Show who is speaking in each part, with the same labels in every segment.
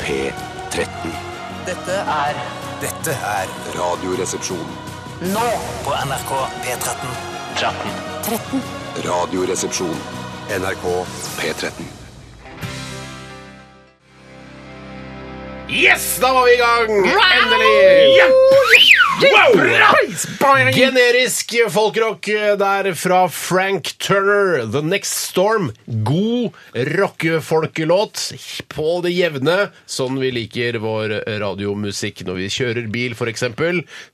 Speaker 1: P13.
Speaker 2: Dette er
Speaker 1: Dette er Radioresepsjon.
Speaker 2: nå
Speaker 3: På NRK P13.
Speaker 1: Radioresepsjon. NRK P13.
Speaker 4: Yes, da var vi i gang! Endelig! Wow! Generisk folkrock eh, der fra Frank Turner, The Next Storm. God rockefolkelåt på det jevne, sånn vi liker vår radiomusikk når vi kjører bil, f.eks.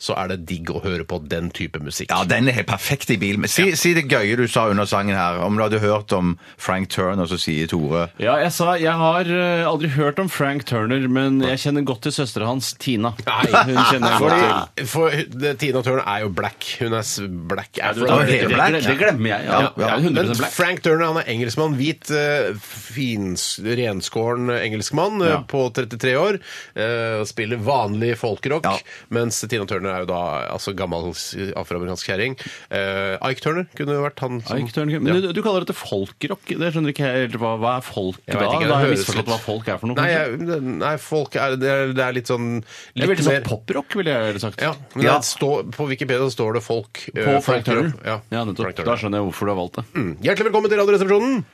Speaker 4: Så er det digg å høre på den type musikk.
Speaker 5: Ja, den er helt perfekt i bilen. Men Si, si det gøye du sa under sangen her, om du hadde hørt om Frank Turner, så sier Tore
Speaker 6: Ja, jeg sa Jeg har eh, aldri hørt om Frank Turner, men jeg kjenner godt til søstera hans, Tina.
Speaker 4: Nei.
Speaker 6: Hun kjenner jeg godt til.
Speaker 4: Fordi, for det, Tina Turner er jo black. Hun er s- black
Speaker 6: Ja, du,
Speaker 4: afro.
Speaker 5: var
Speaker 6: det,
Speaker 5: helt
Speaker 6: det,
Speaker 5: black,
Speaker 6: det, det glemmer jeg. Ja,
Speaker 5: Ja, ja.
Speaker 6: Jeg er 100
Speaker 4: Men
Speaker 6: black.
Speaker 4: Frank Turner han er engelskmann. Hvit, eh, fins, renskåren engelskmann eh,
Speaker 6: Ja.
Speaker 4: på 33 år. eh, Spiller vanlig folkerock.
Speaker 5: Ja.
Speaker 4: Mens Tina Turner er jo da altså, gammel s- afroamerikansk kjerring. Eh, Ike Turner kunne jo vært han som
Speaker 6: Ike Turner, Men du, du kaller dette folkrock. Det skjønner ikke jeg helt hva, hva er folk
Speaker 4: Jeg
Speaker 6: da?
Speaker 4: vet ikke, det
Speaker 6: da har jeg
Speaker 4: høres
Speaker 6: misforstått
Speaker 4: litt-
Speaker 6: hva folk er for noe.
Speaker 4: Nei,
Speaker 6: kanskje?
Speaker 4: jeg, nei, folk er det, er, det er litt sånn litt
Speaker 6: jeg ville
Speaker 4: mer-
Speaker 6: sagt poprock, ville jeg vel sagt.
Speaker 4: Ja, men
Speaker 5: Ja.
Speaker 4: det står- På Wikipedia står det folk. eh,
Speaker 6: På Frank Turner.
Speaker 4: folkerock.
Speaker 6: Ja,
Speaker 4: Ja,
Speaker 6: nettopp.
Speaker 4: Frank Turner.
Speaker 6: Da skjønner jeg hvorfor du har valgt det.
Speaker 4: Mm. Hjertelig velkommen til Radioresepsjonen!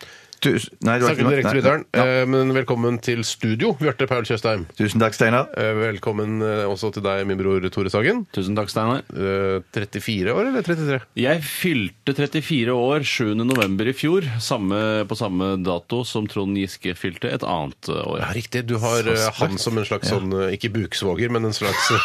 Speaker 5: du, Nei, du
Speaker 4: Snakker
Speaker 5: har ikke
Speaker 4: direkte til
Speaker 5: nei,
Speaker 4: lytteren. eh, Men velkommen til studio, Bjarte Paul Tjøstheim.
Speaker 5: Tusen takk, Steinar.
Speaker 4: Eh, Velkommen eh, også til deg, min bror Tore Sagen.
Speaker 6: Tusen takk, Steinar.
Speaker 4: Eh, 34 år, eller 33?
Speaker 6: Jeg fylte 34 år 7. november i fjor, samme, på samme dato som Trond Giske fylte et annet eh, år.
Speaker 4: Ja, riktig. Du har eh, han som en slags sånn eh, Ikke buksvoger, men en slags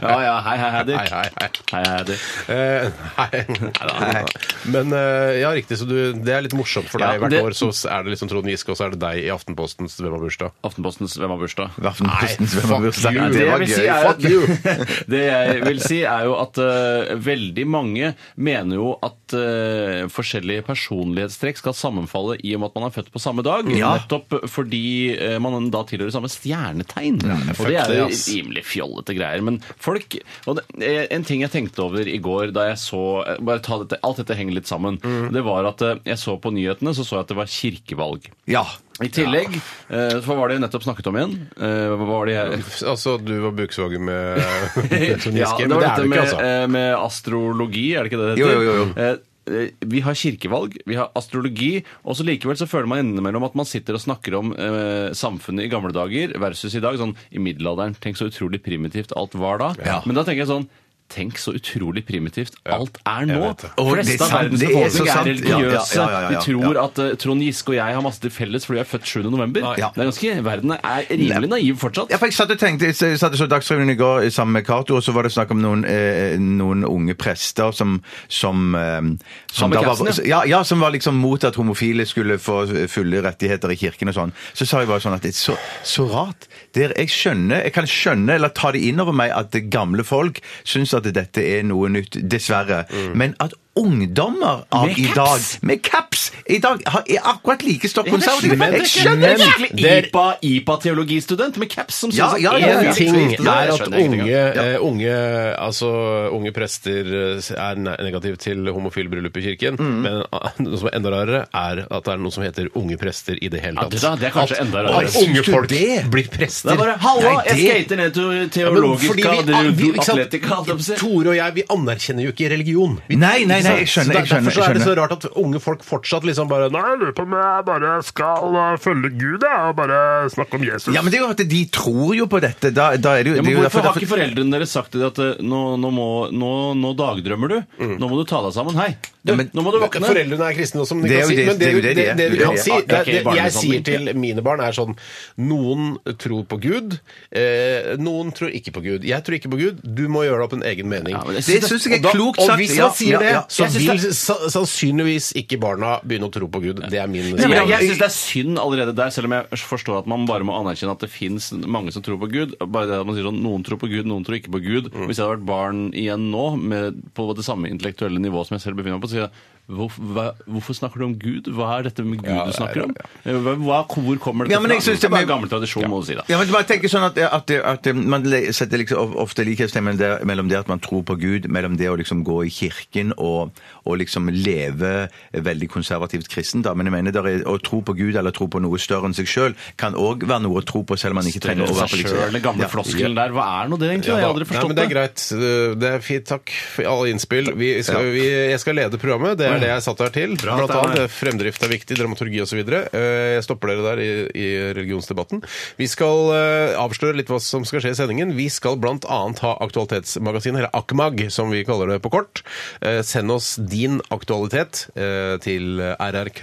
Speaker 6: Ja, ja, hei, hei, hei,
Speaker 4: Hei,
Speaker 6: Dick.
Speaker 4: hei, hei.
Speaker 6: Hei, hei, Dick.
Speaker 4: Eh, Nei. Nei. Men eh, ja, riktig. Så du, det er litt morsomt for deg.
Speaker 6: Ja,
Speaker 4: Hvert
Speaker 6: det-
Speaker 4: år så er det liksom Trond Giske, og så er det deg i Aftenpostens Hvem har bursdag.
Speaker 6: Aftenpostens Hvem har bursdag?
Speaker 5: Aftenpostens Hvem
Speaker 4: fuck
Speaker 5: har bursdag?
Speaker 4: you.
Speaker 5: Ja, Det var
Speaker 6: Det jeg vil
Speaker 5: gøy.
Speaker 6: si er-
Speaker 5: Fuck you!
Speaker 6: Det jeg vil si er jo at eh, veldig mange mener jo at eh, forskjellige personlighetstrekk skal sammenfalle i og med at man er født på samme dag,
Speaker 5: Ja.
Speaker 6: nettopp fordi eh, man da tilhører samme stjernetegn. og
Speaker 4: fuck
Speaker 6: det er
Speaker 4: det,
Speaker 6: jo
Speaker 4: ass.
Speaker 6: rimelig fjollete greier. Men folk og det, eh, En ting jeg tenkte over i går da jeg så eh, bare ta dette, Alt dette henger litt sammen. Det var at eh, jeg så på nyhetene så så jeg at det var kirkevalg.
Speaker 5: Ja.
Speaker 6: I tillegg, eh, hva var det jeg nettopp snakket om igjen? Eh, Hva var det jeg
Speaker 4: Altså, du var buksvoger med Trond Giske,
Speaker 6: ja, det
Speaker 4: men
Speaker 6: var
Speaker 4: det er
Speaker 6: dette
Speaker 4: du
Speaker 6: med,
Speaker 4: ikke, altså.
Speaker 6: eh, med astrologi, er det ikke det det
Speaker 5: Jo,
Speaker 6: heter?
Speaker 5: jo, jo, jo.
Speaker 6: Eh, eh, Vi har kirkevalg, vi har astrologi, og så likevel så føler man innimellom at man sitter og snakker om eh, samfunnet i gamle dager versus i dag. Sånn i middelalderen. Tenk så utrolig primitivt alt var da.
Speaker 5: Ja.
Speaker 6: Men da tenker jeg sånn Tenk så utrolig primitivt alt er nå!
Speaker 4: vet det.
Speaker 6: De
Speaker 5: Og det er
Speaker 6: fleste av
Speaker 5: sant,
Speaker 6: verdens
Speaker 5: det er så
Speaker 6: befolkning er,
Speaker 5: sant. Ja, ja,
Speaker 6: religiøse.
Speaker 5: ja, ja, ja, ja.
Speaker 6: Vi tror at eh, Trond Giske og jeg har masse til felles fordi vi er født 7. november.
Speaker 5: Ja.
Speaker 6: Det er ganske, verden er rimelig naiv fortsatt.
Speaker 5: Ja, for jeg satt og tenkte, jeg satt og så Dagsrevyen i går eh, sammen med Cato, og så var det snakk om noen, eh, noen unge prester som som, eh, som
Speaker 6: med
Speaker 5: da var,
Speaker 6: capsen,
Speaker 5: ja, ja, som var liksom mot at homofile skulle få fulle rettigheter i kirken og sånn. Så sa jeg bare sånn at det er så, så rart. Der jeg skjønner, jeg kan skjønne eller ta det inn over meg at gamle folk syns at dette er noe nytt, dessverre.
Speaker 4: Mm.
Speaker 5: Men at ungdommer av
Speaker 6: Med
Speaker 5: i
Speaker 6: caps?
Speaker 5: dag med caps i dag har- er akkurat like stopp konservative.
Speaker 4: Men-
Speaker 5: Jeg skjønner
Speaker 6: en
Speaker 5: ikke!
Speaker 6: skikkelig IPA- IPA-teologistudent med caps som
Speaker 5: Ja,
Speaker 6: synes
Speaker 5: ja, ja,
Speaker 6: at
Speaker 4: En
Speaker 5: ja.
Speaker 6: en
Speaker 4: ting
Speaker 6: ting
Speaker 4: er at unge,
Speaker 6: unge
Speaker 4: eh, unge, altså, unge prester eh, er ne- negativ til homofil bryllup i kirken,
Speaker 6: Mm.
Speaker 4: men ah, noe som er enda rarere, er at det er noe som heter unge prester i det hele
Speaker 6: Ja,
Speaker 4: tatt.
Speaker 6: det da, det er kanskje
Speaker 4: At-
Speaker 6: enda
Speaker 4: at
Speaker 6: rarere.
Speaker 4: unge
Speaker 5: Syns du
Speaker 4: folk
Speaker 5: det?
Speaker 4: blir
Speaker 6: Det
Speaker 4: prester.
Speaker 6: er bare Halla,
Speaker 5: Nei,
Speaker 6: jeg
Speaker 5: det-
Speaker 6: skater ned til
Speaker 4: Ja, men fordi
Speaker 6: teologisk
Speaker 4: vi- ah, vi- ikke sant?
Speaker 6: atletika. holdt jeg på å si.
Speaker 4: Tore og jeg vi anerkjenner jo ikke religion. Vi-
Speaker 5: Nei, nei, nei, jeg
Speaker 4: Så
Speaker 5: skjønner.
Speaker 4: der-
Speaker 5: jeg skjønner,
Speaker 4: Derfor så
Speaker 5: jeg
Speaker 4: er det så
Speaker 5: skjønner.
Speaker 4: rart at unge folk fortsatt liksom bare Nei, jeg lurer på om jeg bare skal eh, følge Gud, jeg, og bare snakke om Jesus.
Speaker 5: Ja, men det er jo at de tror jo på dette. Da, da er det jo, det
Speaker 6: Ja,
Speaker 5: er
Speaker 6: men
Speaker 5: jo
Speaker 6: hvorfor har
Speaker 5: derfor-
Speaker 6: ikke foreldrene deres sagt til deg at eh, nå, nå, må, nå, nå dagdrømmer du? Nå må du ta deg sammen. Hei,
Speaker 5: Mm.
Speaker 6: du,
Speaker 5: Ja, men-
Speaker 6: nå må du
Speaker 4: Men
Speaker 6: våkne.
Speaker 4: Foreldrene er kristne også, men de
Speaker 5: Det er
Speaker 4: kan
Speaker 5: jo
Speaker 4: si
Speaker 5: det-
Speaker 4: Men
Speaker 5: det er jo det de
Speaker 4: det vi
Speaker 5: er. Det er
Speaker 4: kan
Speaker 5: det de
Speaker 4: si
Speaker 5: er.
Speaker 4: det, er-
Speaker 6: Ok,
Speaker 4: det, Jeg sier
Speaker 5: sånn.
Speaker 6: barnesamling.
Speaker 4: til mine barn er sånn Noen tror på Gud, eh, noen tror ikke på Gud. Jeg tror ikke på Gud. Du må gjøre deg opp en egen mening.
Speaker 6: Ja, men jeg
Speaker 5: Det
Speaker 6: synes
Speaker 5: syns jeg
Speaker 4: Og
Speaker 5: er
Speaker 4: da-
Speaker 5: klokt
Speaker 4: og
Speaker 5: sagt.
Speaker 4: hvis
Speaker 5: Ja,
Speaker 4: man sier det,
Speaker 5: ja, ja.
Speaker 4: så
Speaker 6: Jeg synes
Speaker 4: vil sa- sannsynligvis ikke barna begynne å tro på Gud. Det er min
Speaker 6: Nei, men
Speaker 5: men-
Speaker 6: jeg jeg syns det er synd allerede der, selv om jeg forstår at man bare må anerkjenne at det fins mange som tror på Gud. Bare det at man sier sånn, Noen tror på Gud, noen tror
Speaker 5: Mm.
Speaker 6: ikke på Gud. Hvis jeg hadde vært barn igjen nå, med, på det samme intellektuelle nivået som jeg selv befinner meg på, så sier jeg hvorf- hva, hvorfor snakker du om Gud? Hva er dette med Gud
Speaker 5: Ja,
Speaker 6: du
Speaker 5: ja,
Speaker 6: snakker om? Eh,
Speaker 5: ja,
Speaker 6: Hva, hva- hvor kommer dette
Speaker 5: Ja, men jeg
Speaker 6: fra?
Speaker 5: synes det
Speaker 6: er
Speaker 5: er-
Speaker 6: gammel tradisjon, må du si da.
Speaker 5: Ja, men bare tenker sånn at, at, at Man le- setter liksom of- ofte likhetstegn mellom, det- mellom det at man tror på Gud, mellom det å liksom gå i kirken og, og liksom leve veldig konservativt kristen. Da. Men jeg mener der er, å tro på Gud eller tro på noe større enn seg sjøl kan òg være noe å tro på, selv om man ikke trenger å
Speaker 6: Seg
Speaker 5: være på
Speaker 6: selv, den gamle floskelen der, hva er nå det egentlig? jeg har aldri
Speaker 4: Nei, men
Speaker 6: forstått
Speaker 4: det er
Speaker 6: det.
Speaker 4: greit. Det er fint. Takk for alle innspill. Vi skal, vi, jeg skal lede programmet. Det er det jeg satt her til. Blant
Speaker 6: Steinar.
Speaker 4: annet fremdrift er viktig, dramaturgi osv. Eh, Jeg stopper dere der i, i religionsdebatten. Vi skal eh, avsløre litt hva som skal skje i sendingen. Vi skal blant annet ha Aktualitetsmagasinet, eller AKMAG, som vi kaller det på kort. Eh, Send oss din aktualitet eh, til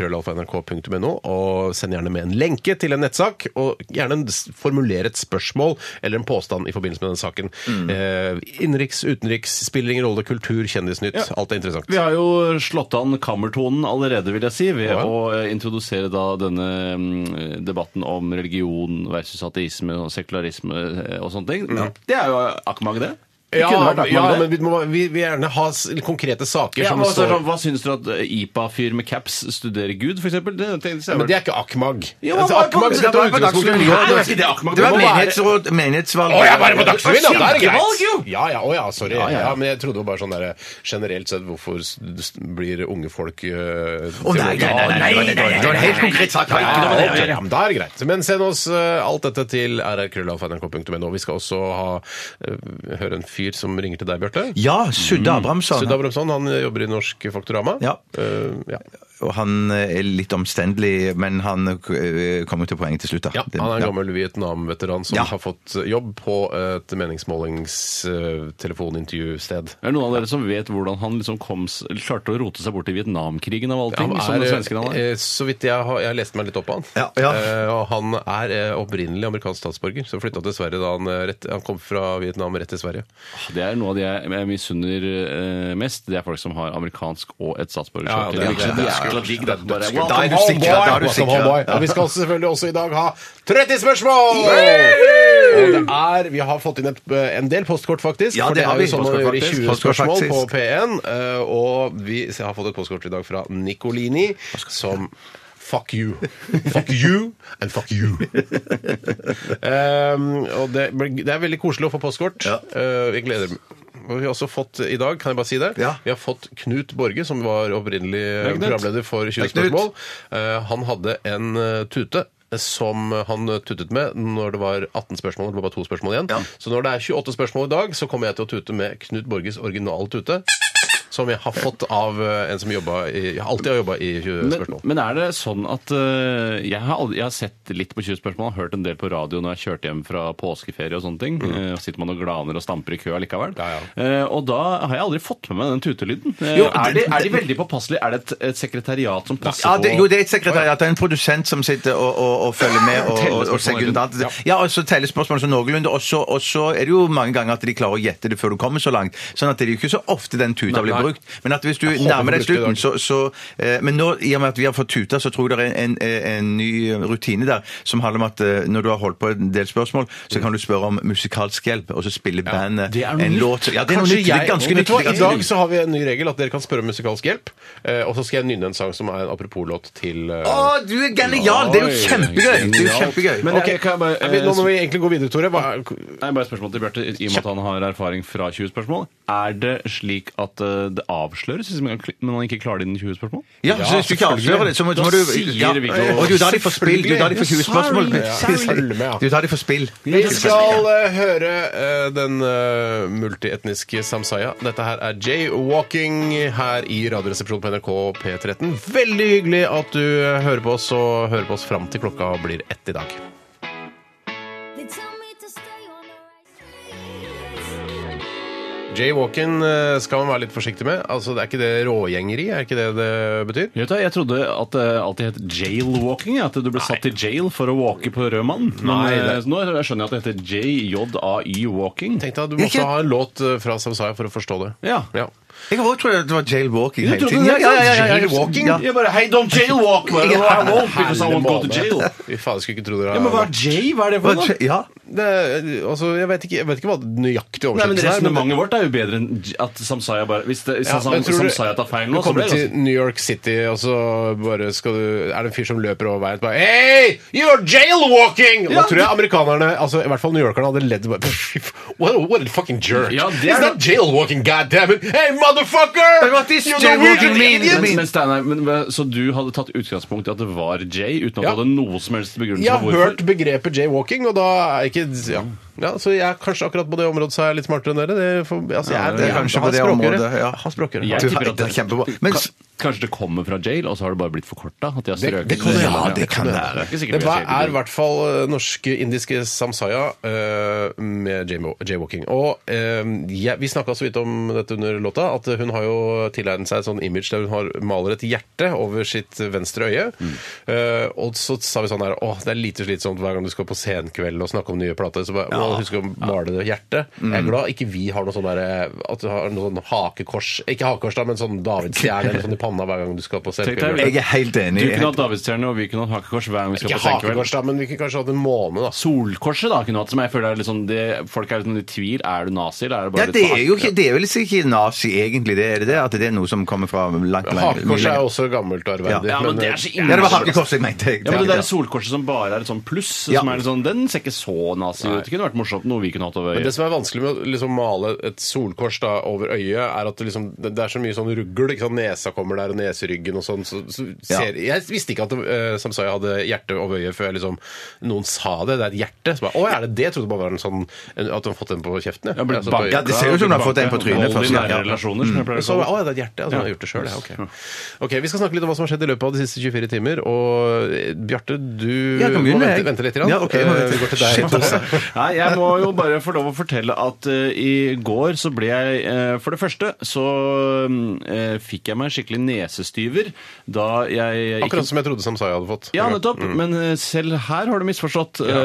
Speaker 4: rrkrøllalfa.nrk.no, og send gjerne med en lenke til en nettsak, og gjerne en s- formulere et spørsmål eller en påstand i forbindelse med den saken.
Speaker 5: Mm.
Speaker 4: Eh, Innenriks, utenriks, spiller ingen rolle, kultur, kjendisnytt, alt er interessant.
Speaker 6: Vi har jo slått an kammertonen allerede, vil jeg si, ved
Speaker 4: Ja.
Speaker 6: å eh, introdusere da denne mm, debatten om religion versus ateisme og sekularisme eh, og sånne ting. Det er jo Akmag, det. Det
Speaker 4: Ja,
Speaker 6: kunne vært Akmag,
Speaker 4: ja,
Speaker 6: det.
Speaker 4: men vi må vi vil gjerne ha s- konkrete saker
Speaker 6: Ja,
Speaker 4: som
Speaker 6: men altså,
Speaker 4: står
Speaker 6: sånn, hva syns dere at IPA-fyr med caps studerer Gud, for eksempel? Det, det, det,
Speaker 4: Men det er ikke AKMAG.
Speaker 6: Ja,
Speaker 4: Altså,
Speaker 6: hva-
Speaker 4: AKMAG skal ta
Speaker 5: Det var på
Speaker 4: utgangspunkt i noe.
Speaker 5: Dagsrevyen. Nei, det var
Speaker 6: ikke det, Ahmed.
Speaker 5: Det var
Speaker 6: Det må være-
Speaker 5: menighetsråd, menighetsvalg.
Speaker 4: Å, jeg er bare på Dagsrevyen, ja! Da er det
Speaker 6: Kirkevalg, jo!
Speaker 4: greit! Ja, ja, å, ja, sorry. Ja,
Speaker 6: Ja, ja.
Speaker 4: men jeg trodde det var bare sånn der generelt sett hvorfor s- s- blir unge folk øh,
Speaker 5: Å, nei, nei, nei, nei, nei, nei, nei, det var en helt konkret sak.
Speaker 4: Ja,
Speaker 5: Ikke noe med det å
Speaker 4: ok,
Speaker 5: gjøre.
Speaker 4: ja, men Da er det greit. Men send oss eh, alt dette til rrkrøllalfa.nrk.no. Vi skal også ha, eh, høre en fyr som ringer til deg, Bjarte.
Speaker 5: Ja, Sudde Abrahamsson.
Speaker 4: Sudda Bromsson, han jobber i Norsk Faktorama.
Speaker 5: Ja.
Speaker 4: Eh, ja.
Speaker 5: Og han eh, er litt omstendelig, men han eh, kommer til poenget til slutt. Da.
Speaker 4: Ja,
Speaker 5: Det-
Speaker 4: han er en gammel Vietnam-veteran som
Speaker 5: Ja.
Speaker 4: har fått jobb på et eh, meningsmålingstelefonintervjusted.
Speaker 6: Er det noen av dere som vet hvordan han liksom kom, s- klarte å rote seg bort i Vietnamkrigen av alle ting?
Speaker 4: Han
Speaker 6: som
Speaker 4: er,
Speaker 6: liksom, den svensken han er?
Speaker 4: eh, Så vidt jeg har Jeg leste meg litt opp på han.
Speaker 5: Ja, ja.
Speaker 4: Eh, og han er eh, opprinnelig amerikansk statsborger, så flytta til Sverige da han, eh, rett, han kom fra Vietnam rett til Sverige.
Speaker 6: Det er noe av det jeg jeg misunner eh, mest. Det er folk som har amerikansk og et statsborgerskap.
Speaker 4: Ja, ja, det er- det er
Speaker 6: jækla digg. det. Bare,
Speaker 5: dødskult.
Speaker 6: wow.
Speaker 5: Da er du
Speaker 4: Welcome
Speaker 5: sikra, da er du
Speaker 4: Welcome
Speaker 5: sikra.
Speaker 4: home, boy.
Speaker 5: Ja.
Speaker 4: Og vi skal også selvfølgelig også i dag ha 30 spørsmål! Og det er, Vi har fått inn et, en del postkort, faktisk.
Speaker 5: Ja,
Speaker 4: for
Speaker 5: det
Speaker 4: det
Speaker 5: har
Speaker 4: er jo
Speaker 5: vi.
Speaker 4: sånn man
Speaker 5: Postkort,
Speaker 4: gjør i
Speaker 5: faktisk.
Speaker 4: 20
Speaker 5: Postkort,
Speaker 4: spørsmål på
Speaker 5: faktisk.
Speaker 4: P1. eh, Og vi har fått et postkort i dag fra Nicolini, som Fuck you. Fuck you and fuck you. Um, og det, ble- det er veldig koselig å få postkort.
Speaker 5: Ja.
Speaker 4: Uh, vi gleder og Vi har også fått i dag, kan jeg bare si det,
Speaker 5: Ja.
Speaker 4: vi har fått Knut Borge, som var opprinnelig eh,
Speaker 6: Knut.
Speaker 4: programleder for 20
Speaker 5: Hei, Knut.
Speaker 4: spørsmål. Eh, han hadde en eh, tute som han tutet med når det var 18 spørsmål. Det var bare to spørsmål igjen.
Speaker 5: Ja.
Speaker 4: Så når det er 28 spørsmål i dag, så kommer jeg til å tute med Knut Borges originale tute. Som jeg har fått av eh, en som jobba i, alltid har jobba i 20
Speaker 6: Men,
Speaker 4: spørsmål.
Speaker 6: men er det sånn at eh, jeg, har aldri, jeg har sett litt på 20 spørsmål, har hørt en del på radio når jeg kjørte hjem fra påskeferie og sånne
Speaker 5: Mm.
Speaker 6: ting. Eh, og sitter man og glaner og stamper i kø allikevel.
Speaker 4: Ja,
Speaker 6: Eh, og da har jeg aldri fått med meg den tutelyden. Eh,
Speaker 5: Jo,
Speaker 6: er, de,
Speaker 5: det-
Speaker 6: er de veldig påpasselige? Er det et, et sekretariat som passer
Speaker 5: Ja, det,
Speaker 6: på
Speaker 5: jo, det er et sekretariat. Det er en produsent som sitter og, og, og følger med. Og, og, og
Speaker 6: Tellespørsmål
Speaker 5: sekundant.
Speaker 6: rundt,
Speaker 5: Ja, og så tellespørsmål sånn noenlunde. Og så, og så er det jo mange ganger at de klarer å gjette det før du kommer så langt. Sånn at det er jo ikke så ofte den tuta
Speaker 6: Nei,
Speaker 5: blir
Speaker 6: nei.
Speaker 5: brukt. Men at hvis du
Speaker 4: håper
Speaker 5: nærmer
Speaker 4: vi
Speaker 5: deg
Speaker 4: brukte
Speaker 5: slutten,
Speaker 4: det i
Speaker 5: så, så eh, Men nå, i og med at vi har fått tuta, så tror jeg det er en, en, en ny eh, rutine der som handler om at eh, når du har holdt på en del spørsmål, så kan du spørre om musikalsk hjelp, og så spiller bandet
Speaker 6: det er noe
Speaker 5: en
Speaker 6: nytt.
Speaker 5: låt. Ja, det er noe
Speaker 4: Kanskje
Speaker 5: nytt. Det er
Speaker 4: jeg-
Speaker 5: ganske
Speaker 4: Vet
Speaker 5: nytt.
Speaker 4: du hva,
Speaker 5: det
Speaker 4: I
Speaker 5: er ganske
Speaker 4: dag
Speaker 5: nytt.
Speaker 4: så har vi en ny regel at dere kan spørre om musikalsk hjelp. eh, Og så skal jeg nynne en sang som er en apropos-låt til eh,
Speaker 5: Å, du er genial! Det er jo
Speaker 6: Oi,
Speaker 5: kjempegøy! Det er jo
Speaker 6: genialt.
Speaker 5: kjempegøy.
Speaker 6: Men
Speaker 4: Ok,
Speaker 6: jeg- kan jeg bare,
Speaker 4: er vi-
Speaker 6: eh,
Speaker 4: Nå må vi egentlig gå videre, Tore. Hva,
Speaker 6: Nei, bare et spørsmål til Bjarte, i og med at han har erfaring fra 20 spørsmål. Er det slik at eh, det avsløres hvis man- men man ikke klarer det innen 20 spørsmål?
Speaker 5: Ja, så hvis du ikke
Speaker 4: selvfølgelig.
Speaker 5: avslører det, så må, så må
Speaker 6: Da
Speaker 5: du
Speaker 6: sier
Speaker 5: ja.
Speaker 6: vi ikke noe.
Speaker 5: Og du da de får spill. Du da de får 20 spørsmål.
Speaker 4: Sorry, sorry.
Speaker 5: Du da de får spill.
Speaker 4: Vi skal eh, høre eh, den eh, multietniske Samsaya. Dette her er Jay Walking her i Radioresepsjonen på NRK P13. Veldig hyggelig at du eh, hører på oss, og hører på oss fram til klokka blir ett i dag.
Speaker 7: They tell me to stay on the right streets.
Speaker 4: Jay Walking eh, skal man være litt forsiktig med. Altså, Det er ikke det rågjengeri, er ikke det det betyr?
Speaker 6: Jeg, vet, da, jeg trodde at det alltid het jailwalking, ja, at du ble satt i jail for å walke på rød mann. Men
Speaker 4: Nei,
Speaker 6: eh,
Speaker 4: det-
Speaker 6: nå skjønner jeg at det heter JJAY walking.
Speaker 4: Tenk deg at du
Speaker 5: Jeg
Speaker 4: måtte
Speaker 5: kan-
Speaker 4: ha en låt eh, fra Samsaya for å forstå det.
Speaker 6: Ja.
Speaker 4: Ja.
Speaker 5: Jeg har også trodd at det var jailwalking hele
Speaker 6: trodde
Speaker 5: tiden.
Speaker 6: det var
Speaker 5: jailwalking? Ja.
Speaker 6: Jeg bare, hey, don't jailwalk, man.
Speaker 5: Ja,
Speaker 6: I won't because I won't go to jail.
Speaker 4: Fy faen, skulle ikke tro dere
Speaker 6: Ja, men hva er J? Hva er det
Speaker 5: Hva-
Speaker 6: for noe?
Speaker 5: Ja.
Speaker 4: det, altså, jeg, vet ikke, jeg vet ikke hva den nøyaktige
Speaker 6: Nei, men
Speaker 4: oversettelsen er. men-
Speaker 6: Resonnementet vårt er jo bedre enn j- at Samsaya bare Hvis, det, hvis
Speaker 4: Ja,
Speaker 6: Sam-
Speaker 4: men tror du-
Speaker 6: Samsaya tar feil
Speaker 4: Du
Speaker 6: nå, så
Speaker 4: kommer
Speaker 6: blir det altså- sånn.
Speaker 4: til New York City, og så bare skal du, er det en fyr som løper over veien og bare Hey, you're jailwalking! Da
Speaker 6: Ja.
Speaker 4: tror jeg amerikanerne, altså i hvert fall newyorkerne, hadde ledd bare What, a- what a fucking jerk.
Speaker 6: Ja, det er
Speaker 4: It's not jailwalking, goddammit! Hey, motherfucker!
Speaker 5: But what is
Speaker 4: You're
Speaker 5: jailwalking
Speaker 4: Norwegian
Speaker 5: mean?
Speaker 4: idiot!
Speaker 6: Men, men Steinar, men, hva- så du hadde tatt utgangspunkt i at det var J, uten at
Speaker 4: Ja.
Speaker 6: du hadde noe som helst begrunnelse
Speaker 4: Jeg har
Speaker 6: for hvorfor?
Speaker 4: hørt begrepet jaywalking, og da er jeg ikke ja. ja, Så jeg er kanskje akkurat på det området så er jeg litt smartere enn dere. Det, får- altså, jeg,
Speaker 5: Ja, det er kanskje
Speaker 4: jeg har
Speaker 5: på det
Speaker 4: språkøre.
Speaker 5: området, ja.
Speaker 4: Jeg Har språkøre.
Speaker 6: Jeg
Speaker 5: Du
Speaker 6: tipper
Speaker 5: har-
Speaker 6: at
Speaker 5: det er kjempebra. Men s-
Speaker 6: Ka- Kanskje det kommer fra jail, og så har det bare blitt forkorta? At de har strøket
Speaker 4: det kan det
Speaker 5: Ja,
Speaker 4: være.
Speaker 5: det kan være.
Speaker 6: Ikke sikkert
Speaker 4: Men hva
Speaker 6: vi har
Speaker 4: er i
Speaker 6: jail.
Speaker 4: hvert fall eh, norske indiske samsaya eh, med jaymo- jaywalking? Og eh, jeg- vi snakka så vidt om dette under låta, at hun har jo tilegnet seg et sånn image der hun har maler et hjerte over sitt venstre øye.
Speaker 6: Mm.
Speaker 4: Eh, og så sa vi sånn her Å, det er lite slitsomt hver gang du skal på senkveld og snakke om nye plater. Så bare, å, husk å male det hjertet.
Speaker 6: Mm.
Speaker 4: Jeg er glad ikke vi har noe sånn derre At du har noe sånn hakekors Ikke hakekors, da, men sånn davidsstjerne eller sånn i panna hver gang du skal på
Speaker 6: deg-
Speaker 4: senkveld.
Speaker 5: Jeg er helt enig.
Speaker 6: Du kunne hatt davidsstjerne, og vi kunne hatt hakekors hver gang vi skal
Speaker 4: Ikke
Speaker 6: på senkveld.
Speaker 4: hakekors, da, men vi kunne kanskje hatt en måne, da.
Speaker 6: Solkorset da kunne hatt, som jeg føler er litt sånn det, Folk er litt sånn i tvil. Er du nazi, eller er det
Speaker 5: Ja,
Speaker 6: bare sånn
Speaker 5: det er jo ikke, det er vel ikke nazi, egentlig. det er det, At det er noe som kommer fra langt langt-
Speaker 4: Hakekors er jo også gammelt og eh, arverdig.
Speaker 6: Ja, men det er så
Speaker 5: Ja, det var hakekors jeg mente. jeg.
Speaker 6: Ja, men Det der solkorset som bare er et sånn pluss,
Speaker 5: Ja.
Speaker 6: som er litt sånn, den ser ikke så nazi ut. Det kunne vært morsomt noe vi kunne hatt over
Speaker 4: Men det som er vanskelig med å liksom male et solkors da, over øyet, er at det, liksom, det det er så mye sånn ruggel. Ikke sant? Nesa kommer der, og neseryggen og sånn. Så, så ser, Jeg visste ikke at eh, Samsaya hadde hjerte over øyet før jeg liksom, noen sa det. Det er et hjerte. Så bare, Å, er det det? Jeg trodde bare var en sånn, en, at hun har fått den på kjeften.
Speaker 6: Ja, blitt
Speaker 4: Altså,
Speaker 6: banka.
Speaker 4: på øyet.
Speaker 5: Ja, det ser ut som du har fått en på trynet
Speaker 6: Vold i
Speaker 5: først. ja.
Speaker 6: nære relasjoner, som jeg pleier å
Speaker 4: Så,
Speaker 6: kalle det.
Speaker 4: å, ja, det er et hjerte. Altså, han har gjort det selv, ja, ok. ok, Vi skal snakke litt om hva som har skjedd i løpet av de siste 24 timer. Og eh, Bjarte, du
Speaker 5: Jeg kan
Speaker 4: må
Speaker 5: begynne,
Speaker 4: vente,
Speaker 5: jeg.
Speaker 4: vente litt. Grann.
Speaker 5: Ja, ok, jeg må
Speaker 4: Eh,
Speaker 5: vente.
Speaker 4: Vi går til deg.
Speaker 5: Shit, altså.
Speaker 6: Nei, jeg må jo bare få lov å fortelle at eh, i går så ble jeg eh, For det første så eh, fikk jeg meg skikkelig nesestyver da jeg
Speaker 4: Akkurat som jeg trodde Samsaya hadde fått.
Speaker 6: Ja, nettopp. Men eh, selv her har du misforstått. Ja.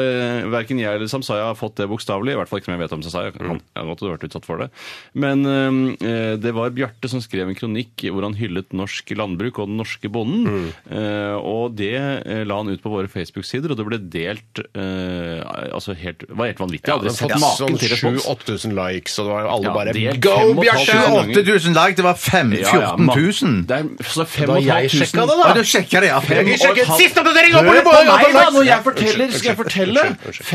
Speaker 6: verken jeg eller Samsaya har fått det bokstavelig. I hvert fall ikke som jeg vet om Samsaya. Jeg kan- Jeg har godt vært utsatt for det. Men eh, det var Bjarte som skrev en kronikk hvor han hyllet norsk landbruk og den norske bonden. Eh, og det eh, la han ut på våre Facebook-sider, og det ble delt eh, altså helt, det var helt vanvittig. Jeg
Speaker 4: Ja,
Speaker 6: hadde
Speaker 4: den
Speaker 6: sett
Speaker 4: har fått
Speaker 6: maken
Speaker 4: sånn
Speaker 6: til respons.
Speaker 4: 7000-8000 likes, og det var jo alle
Speaker 6: Ja,
Speaker 4: bare
Speaker 6: det er
Speaker 4: Go,
Speaker 6: 5 500
Speaker 4: Bjarte!
Speaker 6: ganger.
Speaker 5: 8000 lag, det var fem- 14 000.
Speaker 6: Det er, altså, så
Speaker 4: Da jeg sjekka det, da!
Speaker 5: Ja, du sjekker det, ja.
Speaker 6: Fem
Speaker 4: Jeg
Speaker 6: og et
Speaker 4: sjekket
Speaker 6: halvt-
Speaker 4: siste oppdatering, nå
Speaker 6: Hør
Speaker 4: må du
Speaker 6: på
Speaker 4: bare-
Speaker 6: meg, da! Når
Speaker 4: Ja,
Speaker 6: jeg forteller,
Speaker 4: unnskyld,
Speaker 6: skal jeg
Speaker 4: unnskyld,
Speaker 6: fortelle.
Speaker 4: unnskyld, unnskyld.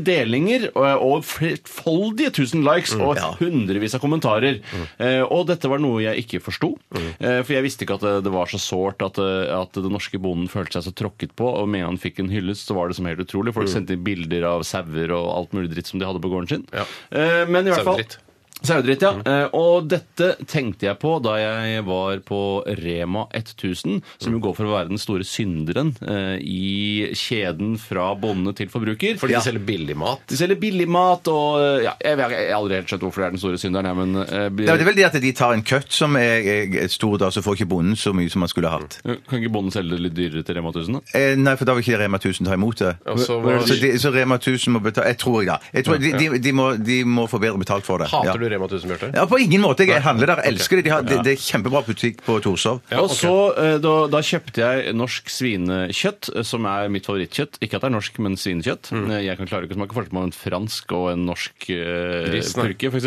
Speaker 6: 5500 delinger og- og flerfoldige tusen likes og hundrevis av kommentarer. Eh, Og dette var noe jeg ikke forsto. Eh, For jeg visste ikke at det- det var så sårt at, eh, at den norske bonden følte seg så tråkket på. Og med han fikk en hyllest, så var det som helt utrolig. Folk sendte inn bilder av sauer og alt mulig dritt som de hadde på gården sin. Eh, Men i hvert fall
Speaker 4: Sauedritt.
Speaker 6: Sauedritt,
Speaker 4: Mm.
Speaker 6: ja. Eh, Og dette tenkte jeg på da jeg var på Rema 1000, som
Speaker 4: Mm.
Speaker 6: jo går for å være den store synderen eh, i kjeden fra bonde til forbruker.
Speaker 4: Fordi de selger billig mat.
Speaker 6: de selger billig mat og eh, ja, Jeg vet- jeg har aldri helt skjønt hvorfor det er den store synderen, jeg, men eh, bi-
Speaker 5: Det er vel det at de tar en køtt som er, er stor, da, så får ikke bonden så mye som han skulle hatt.
Speaker 6: eh, Kan ikke bonden selge det litt dyrere til Rema 1000, da?
Speaker 5: Eh, nei, for da vil ikke Rema 1000 ta imot det.
Speaker 4: Og så-
Speaker 5: så, de, så Rema 1000 må betale Jeg tror jeg, da. Jeg tror de, de, de, må, de må få bedre betalt for det.
Speaker 4: Hater
Speaker 5: ja.
Speaker 4: du Rema 1000, Bjarte?
Speaker 5: Ja, på ingen måte. Jeg handler der. Jeg elsker det. De har, det, det er kjempebra butikk på Torshov.
Speaker 6: Og så eh, da, da kjøpte jeg norsk svinekjøtt, eh, som er mitt favorittkjøtt. Ikke at det er norsk, men svinekjøtt.
Speaker 4: Mm.
Speaker 6: Eh, Jeg kan klare ikke å smake forskjell på en fransk og en norsk eh,
Speaker 4: Gris, nei. Mm.
Speaker 6: purke, f.eks.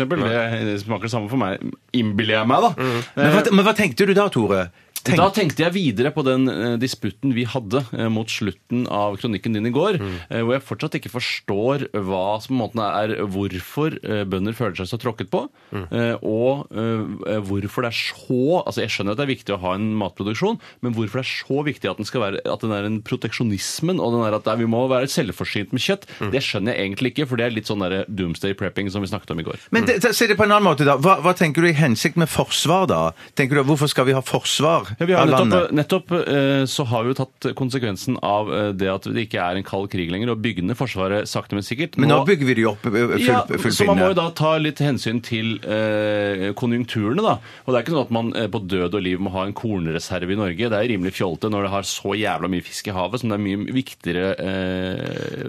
Speaker 6: Det smaker det samme for meg, innbiller jeg meg, da. Eh,
Speaker 5: Men hva, men hva tenkte du da, Tore? Tenk,
Speaker 6: Da tenkte jeg videre på den eh, disputten vi hadde eh, mot slutten av kronikken din i går, eh, hvor jeg fortsatt ikke forstår hva som på en måte er hvorfor eh, bønder føler seg så tråkket på, eh, og eh, hvorfor det er så Altså, jeg skjønner at det er viktig å ha en matproduksjon, men hvorfor det er så viktig at den skal være at den er en proteksjonismen, og den er at nei, vi må være selvforsynt med kjøtt, det skjønner jeg egentlig ikke, for det er litt sånn derre doomsday prepping som vi snakket om i går.
Speaker 5: men det, se det på en annen måte, da. Hva, hva tenker du i hensikt med forsvar, da? Tenker du, Hvorfor skal vi ha forsvar?
Speaker 6: Ja, vi har
Speaker 5: Av
Speaker 6: nettopp,
Speaker 5: landet.
Speaker 6: nettopp eh, så har vi jo tatt konsekvensen av eh, det at det ikke er en kald krig lenger, og bygger ned Forsvaret sakte, men sikkert.
Speaker 5: Men nå
Speaker 6: Nå-
Speaker 5: bygger vi de opp ø, ø, full,
Speaker 6: ja,
Speaker 5: full
Speaker 6: så man må jo
Speaker 5: pinne.
Speaker 6: da ta litt hensyn til eh, konjunkturene, da. Og det er ikke sånn at man eh, på død og liv må ha en kornreserve i Norge. Det er rimelig fjolte når det har så jævla mye fisk i havet, som det er mye viktigere eh,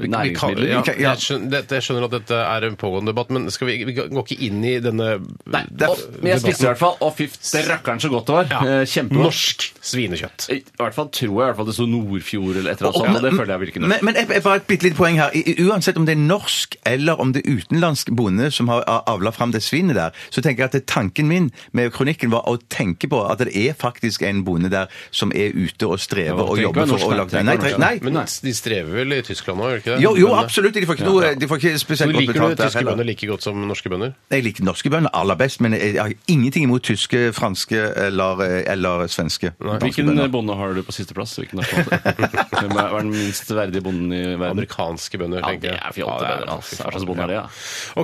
Speaker 6: næringsmidler.
Speaker 5: ja.
Speaker 4: Jeg, skjønner, dette, jeg skjønner at dette er en pågående debatt, men skal vi, vi går ikke inn i denne
Speaker 6: Nei, og, men jeg spiste i hvert fall, og fy rakkeren så godt det var.
Speaker 4: Ja.
Speaker 6: Eh, Kjempegodt.
Speaker 4: Norsk svinekjøtt.
Speaker 6: I hvert fall tror jeg i hvert fall det sto Nordfjord eller et eller annet sånt. og Altså, Det føler jeg vil ikke
Speaker 5: Men, men jeg, jeg, bare et bitte lite poeng her. I, i- uansett om det er norsk eller om det er utenlandsk bonde som har a- avla fram det svinet der, så tenker jeg at det, tanken min med kronikken var å tenke på at det er faktisk en bonde der som er ute og strever
Speaker 6: Ja,
Speaker 5: og
Speaker 6: tenk
Speaker 5: jobber
Speaker 6: hva norsk
Speaker 5: for å
Speaker 6: er,
Speaker 5: lage
Speaker 6: tenk
Speaker 5: Nei,
Speaker 6: hva
Speaker 5: tre-
Speaker 6: norsk er.
Speaker 5: nei.
Speaker 4: Men de strever vel i Tyskland nå, gjør de ikke det?
Speaker 5: Jo, jo,
Speaker 4: Bøndene.
Speaker 5: absolutt. De får ikke, noe, de får ikke
Speaker 4: Så
Speaker 5: spesielt godt
Speaker 4: liker du
Speaker 5: betalt der.
Speaker 4: tyske
Speaker 5: heller.
Speaker 4: bønder like godt som norske bønder?
Speaker 5: Jeg liker norske bønder aller best, men jeg jeg har ingenting imot tyske, franske eller, eller svenske.
Speaker 4: altså,
Speaker 5: danske
Speaker 6: Hvilken
Speaker 5: bønder.
Speaker 6: bonde har du på sisteplass? Hvilken nasjonalitet? Hvem er er den minst verdige bonden i verden?
Speaker 4: Amerikanske bønder,
Speaker 6: Ja,
Speaker 4: tenker
Speaker 6: det
Speaker 4: jeg.
Speaker 6: er fjolte
Speaker 4: Ja, det er-
Speaker 6: bønder, altså.
Speaker 4: fy faen,
Speaker 6: Hva slags bonde er det,
Speaker 4: ja.
Speaker 6: da?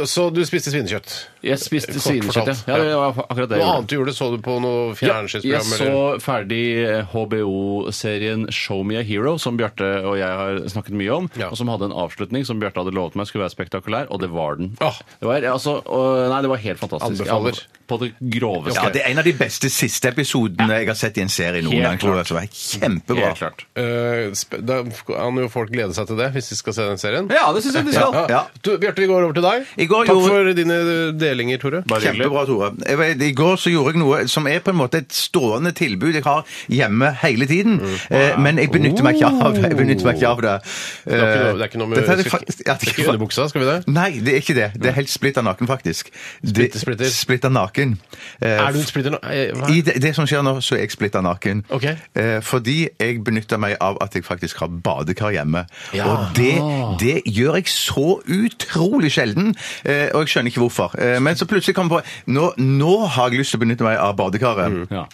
Speaker 4: Ok, Så du spiste svinekjøtt?
Speaker 6: Jeg spiste
Speaker 4: Kort
Speaker 6: svinekjøtt,
Speaker 4: fortalt.
Speaker 6: ja. ja. Det var akkurat det. jeg
Speaker 4: Noe
Speaker 6: gjorde.
Speaker 4: annet du gjorde? Så du på noe
Speaker 6: Ja, jeg
Speaker 4: fjernsynsprogram?
Speaker 6: så
Speaker 4: eller?
Speaker 6: ferdig HBO-serien Show Me a Hero, som Bjarte og jeg har snakket mye om,
Speaker 4: Ja.
Speaker 6: og som hadde en avslutning som Bjarte hadde lovet meg skulle være spektakulær, og det var den.
Speaker 4: Ah.
Speaker 6: Det, var, altså, og, nei, det var helt fantastisk.
Speaker 4: Anbefaler.
Speaker 6: Ja, På det groveste.
Speaker 5: Ja, det er en av de beste siste episodene jeg har sett i en serie noen
Speaker 6: Helt
Speaker 5: gang. tror jeg,
Speaker 6: klart.
Speaker 5: så det er Kjempebra.
Speaker 6: Helt klart.
Speaker 4: Eh, sp- Da kan jo folk glede seg til det, hvis de skal se den serien.
Speaker 6: Ja, det syns jeg de skal.
Speaker 4: Ja.
Speaker 5: Ja.
Speaker 4: Du, Bjarte, vi går over til deg.
Speaker 5: I går
Speaker 4: Takk
Speaker 5: gjorde- Eh,
Speaker 4: for dine eh, delinger, Tore.
Speaker 6: Bare hyggelig.
Speaker 5: Kjempebra, Tore. Jeg vet, I går så gjorde jeg noe som er på en måte et stående tilbud jeg har hjemme hele tiden,
Speaker 4: Mm.
Speaker 5: eh, men jeg benytter meg ikke av, jeg benytter meg ikke av det.
Speaker 4: Oh.
Speaker 5: Eh,
Speaker 4: Det er ikke noe- det er ikke noe med
Speaker 5: Dette er det
Speaker 4: skal-
Speaker 5: faktisk- ja,
Speaker 4: det er ikke under buksa, skal vi det?
Speaker 5: Nei, det er ikke det. Det er helt splitter naken, faktisk. Det-
Speaker 4: splitter.
Speaker 5: Splitter naken. Eh,
Speaker 4: Er du en splitter nå? Eh, hva?
Speaker 5: I det, det som skjer nå, så er jeg splitta naken.
Speaker 4: Ok.
Speaker 5: Eh, fordi jeg benytter meg av at jeg faktisk har badekar hjemme.
Speaker 4: Ja.
Speaker 5: Og det, det gjør jeg så utrolig sjelden, eh, og jeg skjønner ikke hvorfor. Eh, men så plutselig kom jeg på nå, nå har jeg lyst til å benytte meg av badekaret.
Speaker 4: Mm.
Speaker 6: Ja.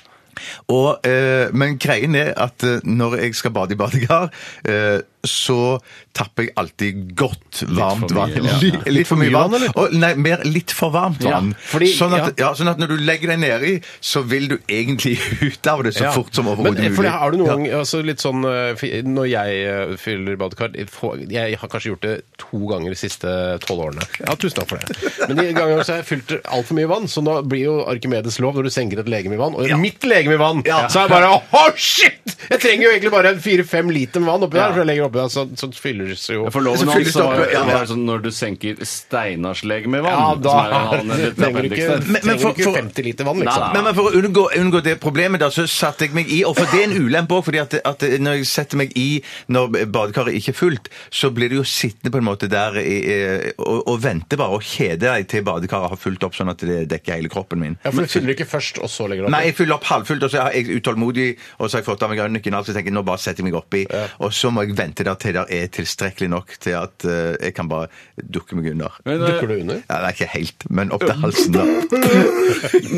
Speaker 5: Og, eh, men greien er at eh, når jeg skal bade i badekar, eh, så tapper jeg alltid godt varmt
Speaker 6: for
Speaker 5: vann.
Speaker 6: mye, ja.
Speaker 5: Li- Litt for mye vann,
Speaker 4: eller?
Speaker 5: og, nei, mer litt for varmt vann.
Speaker 4: Ja, fordi-
Speaker 5: sånn, at, ja. sånn at når du legger deg nedi, så vil du egentlig ut av det så
Speaker 4: Ja.
Speaker 5: fort som
Speaker 4: Men,
Speaker 5: overhodet
Speaker 4: eh, for det
Speaker 5: mulig.
Speaker 4: Har du noen gang altså litt sånn eh, fi- Når jeg eh, fyller badekar jeg får- Jeg har kanskje gjort det to ganger de siste tolv årene. Ja, tusen takk for det. Men de gangene så har jeg fylt altfor mye vann, så da blir jo Arkimedes lov når du senker et legeme i vann. Og mitt legeme i vann! Så er jeg bare Oh, shit! Jeg trenger jo egentlig bare fire-fem liter med vann oppi der, for jeg legger oppi der, så, så fylles jo
Speaker 6: For loven
Speaker 5: Så
Speaker 6: hans
Speaker 5: fylles det
Speaker 6: så var,
Speaker 5: opp, ja.
Speaker 6: var sånn når du senker Steinars legg med vann
Speaker 4: Ja, da
Speaker 6: som er han litt
Speaker 4: trenger du ikke,
Speaker 5: Men-
Speaker 6: appendiksen.
Speaker 5: men
Speaker 4: trenger du
Speaker 5: for-
Speaker 4: ikke
Speaker 5: for-
Speaker 4: 50 liter vann, liksom.
Speaker 6: Nei,
Speaker 5: Men, men for å unngå, unngå det problemet, da, så satte jeg meg i Og for det er en ulempe òg, fordi at, at når jeg setter meg i når badekaret ikke er fullt, så blir du jo sittende på en måte der i, eh, og, og vente bare og kjede deg til badekaret har fullt opp, sånn at det dekker hele kroppen min.
Speaker 4: Ja, for du fyller ikke først, og så legger du oppi.
Speaker 5: Nei, jeg fyller opp halvfullt, og så er jeg utålmodig, og så har jeg fått av meg nøkkelen, så tenker jeg nå bare setter jeg meg oppi, og så må jeg vente der til det er tilstrekkelig nok til at eh, jeg kan bare dukke meg under.
Speaker 6: Men, eh,
Speaker 4: Dukker du under?
Speaker 5: Ja, det er ikke helt, men opp til halsen da.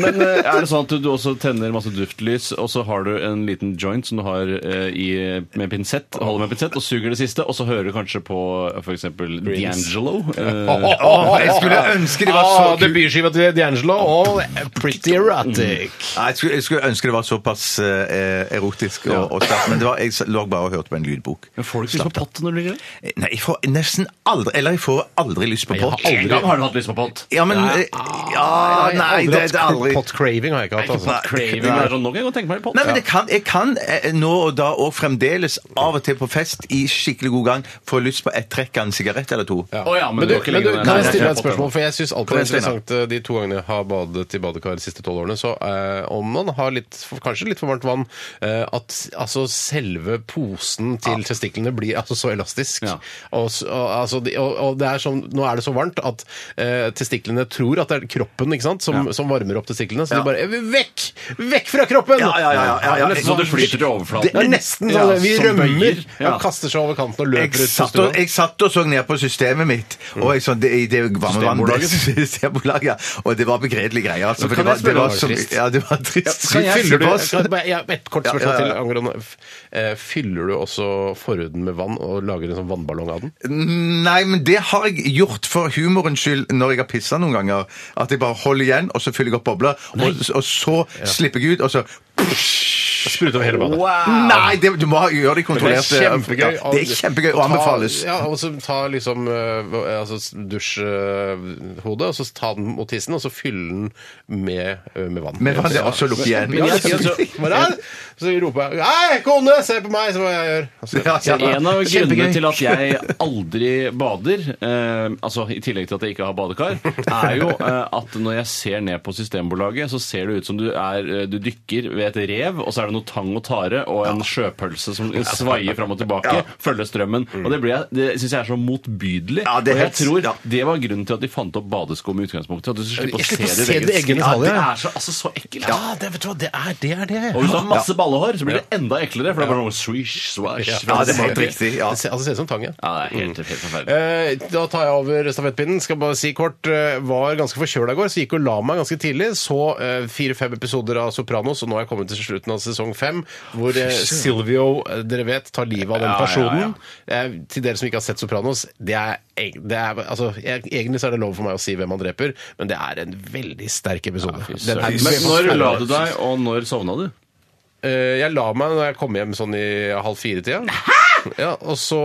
Speaker 6: Men eh, er det sånn at du også tenner masse duftlys, og så har du en liten joint som du har eh, i, med pinsett, holder med pinsett, og suger det siste, og så hører du kanskje på f.eks. D'Angelo? eh,
Speaker 4: Åh,
Speaker 5: jeg skulle ønske det var så
Speaker 4: Åh,
Speaker 5: kult.
Speaker 4: Debutskiva til D'Angelo og Pretty
Speaker 6: Mm.
Speaker 4: Erotic.
Speaker 5: Nei, jeg skulle, jeg skulle ønske det var såpass eh, erotisk og, og sterkt, men det var, jeg s- lå bare og hørte på en lydbok.
Speaker 6: Men får du ikke lyst på pott når du ligger der?
Speaker 5: Eh, Nei, jeg får nesten aldri, eller jeg får aldri lyst på pott.
Speaker 6: En gang har du hatt lyst på pott!
Speaker 5: Ja, men, eh, ja, Ah, nei, det det er aldri.
Speaker 4: Pot craving har jeg ikke hatt, altså.
Speaker 5: Nei.
Speaker 6: Craving er sånn, nå kan jeg godt tenke meg litt pott.
Speaker 5: Nei, men jeg kan, jeg kan eh, nå og da og fremdeles av og til på fest i skikkelig god gang få lyst på et trekk av en sigarett eller to.
Speaker 6: Å ja, men
Speaker 4: Men du,
Speaker 6: det var ikke
Speaker 4: men
Speaker 6: lenge
Speaker 4: du,
Speaker 6: unna.
Speaker 4: kan jeg
Speaker 6: Nei,
Speaker 4: stille deg
Speaker 6: jeg
Speaker 4: et
Speaker 6: har fått
Speaker 4: spørsmål? For jeg syns alltid
Speaker 5: Kom
Speaker 4: det er
Speaker 5: igjen, Steinar.
Speaker 4: interessant eh, de to gangene jeg har badet i badekar de siste tolv årene, så eh, om man har litt, kanskje litt for varmt vann, eh, at altså selve posen til testiklene blir altså så elastisk.
Speaker 6: Ja.
Speaker 4: Og, s- og, altså, de, og, og det er som, nå er det så varmt at eh, testiklene tror at det er kroppen ikke sant, som,
Speaker 6: Ja.
Speaker 4: som varmer opp testiklene, så
Speaker 5: Ja.
Speaker 4: de bare eh, Vekk! Vekk fra kroppen!
Speaker 5: Ja, ja, ja, ja, ja, ja.
Speaker 4: Det er
Speaker 6: Så
Speaker 4: nesten
Speaker 6: du flyter til
Speaker 4: Det
Speaker 6: overflaten?
Speaker 4: er nesten
Speaker 6: Ja,
Speaker 4: sånn. vi
Speaker 6: som
Speaker 4: rømmer
Speaker 6: bøyer. Ja.
Speaker 4: og kaster seg over kanten og
Speaker 5: Jeg
Speaker 4: løper ut på
Speaker 5: satt, og,
Speaker 4: stua.
Speaker 5: jeg satt og så ned på systemet mitt, og jeg, sånn, det, i det varme vannet
Speaker 6: Systembolaget?
Speaker 5: Systembolaget, ja. Og det var begredelige greier. Altså, for
Speaker 4: kan
Speaker 5: det var,
Speaker 4: jeg spørre
Speaker 5: det var
Speaker 4: om-
Speaker 5: så,
Speaker 4: Trist.
Speaker 5: ja, det var trist.
Speaker 4: Fyller Fyller du,
Speaker 5: Såpass.
Speaker 4: jeg kan bare- jeg har et kort
Speaker 5: Ja,
Speaker 4: spørsmål
Speaker 5: ja,
Speaker 4: til
Speaker 5: ja.
Speaker 4: angående f- eh, Fyller du også forhuden med vann og lager en sånn vannballong av den?
Speaker 5: Nei, men det har jeg gjort for humorens skyld når jeg har pissa noen ganger. At jeg bare holder igjen, og så fyller jeg opp bobla, og, og så slipper jeg ut, og så
Speaker 4: Sprut over hele badet.
Speaker 5: Nei, det, du må ha- gjøre det
Speaker 4: Det er
Speaker 5: kontrollert.
Speaker 4: kjempegøy.
Speaker 5: Ja, Det er kjempegøy og
Speaker 4: Ta-
Speaker 5: anbefales.
Speaker 4: Ja, og så ta liksom eh, altså dusjhodet, og så ta den mot tissen, og så fylle den med, eh, med vann.
Speaker 5: Men vann, det er også å lukke igjen.
Speaker 4: Ja, så, så, så, så roper jeg 'Hei, kone, se på meg!' Så hva jeg gjør. Og så-
Speaker 5: Ja, ja.
Speaker 6: En av grunnene
Speaker 5: Kjempegøy.
Speaker 6: til at jeg aldri bader, eh, altså i tillegg til at jeg ikke har badekar, er jo eh, at når jeg ser ned på Systembolaget, så ser det ut som du, er, eh, du dykker ved et rev, og så er det noe tang og tare og en sjøpølse som svaier fram og tilbake, følger strømmen. Og det, blir jeg- det syns jeg er så motbydelig.
Speaker 5: Mm. Ja, det er
Speaker 6: og jeg
Speaker 5: helt-
Speaker 6: tror
Speaker 5: ja.
Speaker 6: det var grunnen til at de fant opp badesko med utgangspunktet. At du skulle slippe
Speaker 4: Jeg
Speaker 6: å
Speaker 4: slipper
Speaker 6: se ditt eget skritt.
Speaker 4: detaljer.
Speaker 6: Det er så, altså, så ekkelt.
Speaker 4: Ja, det, vet du hva, det er det. Er det.
Speaker 6: Og hvis du har masse ballehår, så blir det enda eklere, for det er bare noe swish, swash.
Speaker 5: Ja, det er helt
Speaker 4: Det
Speaker 5: riktig. Ja.
Speaker 4: ser altså, det ser ut som tang, ja.
Speaker 6: Ja, det er helt, helt forferdelig.
Speaker 4: Eh, Da tar jeg over stafettpinnen. Skal bare si kort. eh, Var ganske forkjøla i går, så gikk og la meg ganske tidlig. Så eh, fire-fem episoder av Sopranos, og nå er jeg kommet til slutten av sesong fem, hvor eh, Silvio, eh, dere vet, tar livet av den
Speaker 6: Ja, ja, ja.
Speaker 4: personen. Eh, Til dere som ikke har sett Sopranos, det er, eg- det er altså, jeg, Egentlig så er det lov for meg å si hvem han dreper, men det er en veldig sterk episode. Den er
Speaker 6: Men
Speaker 4: veldig-
Speaker 6: når la du deg, og når sovna du?
Speaker 4: Eh, Jeg la meg når jeg kom hjem sånn i halv fire-tida. Ja, og så,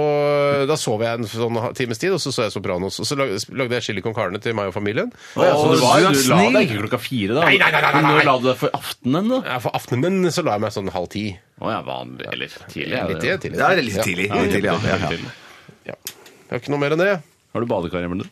Speaker 4: Da sov jeg en sånn times tid, og så så jeg Sopranos. Og så lag- lagde jeg chili con carne til meg og familien.
Speaker 6: Å, ja, så du,
Speaker 5: du
Speaker 6: var,
Speaker 5: er
Speaker 6: du la
Speaker 5: snill.
Speaker 6: deg ikke klokka fire, da?
Speaker 4: Nei, nei, nei, nei, nei,
Speaker 6: Men
Speaker 4: nei.
Speaker 6: Når la du deg for aftenen, da?
Speaker 4: Ja, For aftenen så la jeg meg sånn halv ti.
Speaker 6: Å ja, vanlig. Eller tidlig. er
Speaker 4: Litt
Speaker 6: det jo.
Speaker 4: tidlig. tidlig.
Speaker 5: Ja, det er litt tidlig. Litt tidlig ja, ja, ja.
Speaker 4: Ja. Jeg har ikke noe mer enn det.
Speaker 6: Har du badekar hjemme? du?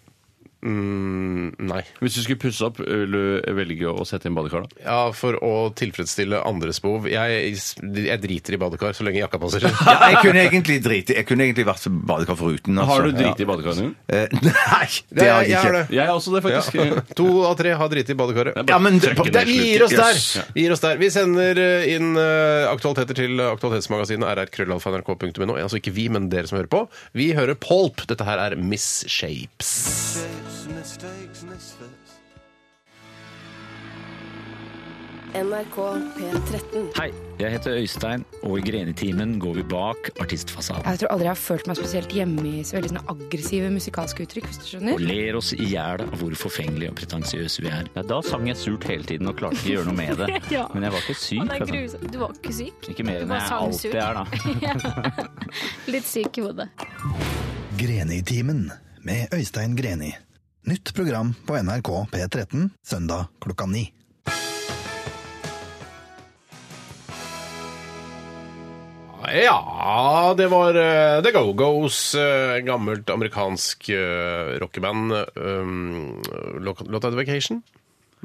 Speaker 4: Mm, nei.
Speaker 6: Hvis du skulle pusse opp, vil du velge å sette inn badekar da?
Speaker 4: Ja, For å tilfredsstille andres behov. Jeg, jeg driter i badekar så lenge jakka passer.
Speaker 5: Ja, jeg kunne egentlig driti Jeg kunne egentlig vært badekar foruten. Altså.
Speaker 6: Har du driti i badekaren din?
Speaker 5: Eh, Nei, det har jeg ikke.
Speaker 6: Jeg har også det, faktisk.
Speaker 4: Ja. To av tre har driti i badekaret.
Speaker 5: Ja, men det,
Speaker 6: Trekker
Speaker 4: Der,
Speaker 5: det,
Speaker 4: vi, gir oss der.
Speaker 5: Yes.
Speaker 4: vi gir oss der. Vi sender eh, inn eh, aktualiteter til aktualitetsmagasinet rrkrøllalfa.nrk.no. Altså ikke vi, men dere som hører på. Vi hører Polp. Dette her er Miss Shapes.
Speaker 8: NRK P13.
Speaker 9: Hei, jeg heter Øystein, og i Grenetimen går vi bak artistfasaden
Speaker 10: Jeg tror aldri jeg har følt meg spesielt hjemme i så veldig sånne aggressive musikalske uttrykk. hvis du
Speaker 9: og
Speaker 10: skjønner.
Speaker 9: ler oss i hjel av hvor forfengelige og pretensiøse vi er. da sang jeg surt hele tiden og klarte ikke å gjøre noe med det.
Speaker 11: Ja.
Speaker 9: Men jeg var ikke syk.
Speaker 11: det er
Speaker 9: altså.
Speaker 11: grusomt. Du var ikke syk.
Speaker 9: Ikke mer
Speaker 11: Du
Speaker 9: enn
Speaker 11: bare
Speaker 9: jeg
Speaker 11: sang
Speaker 9: alltid
Speaker 11: surt.
Speaker 9: er, da.
Speaker 11: Litt syk i hodet.
Speaker 3: Greni-timen med Øystein Greni. Nytt program på NRK P13 søndag klokka ni.
Speaker 4: Ja, det var eh, The Go-Go's, eh, gammelt amerikansk eh, rockeband. Um, Låta The Vacation.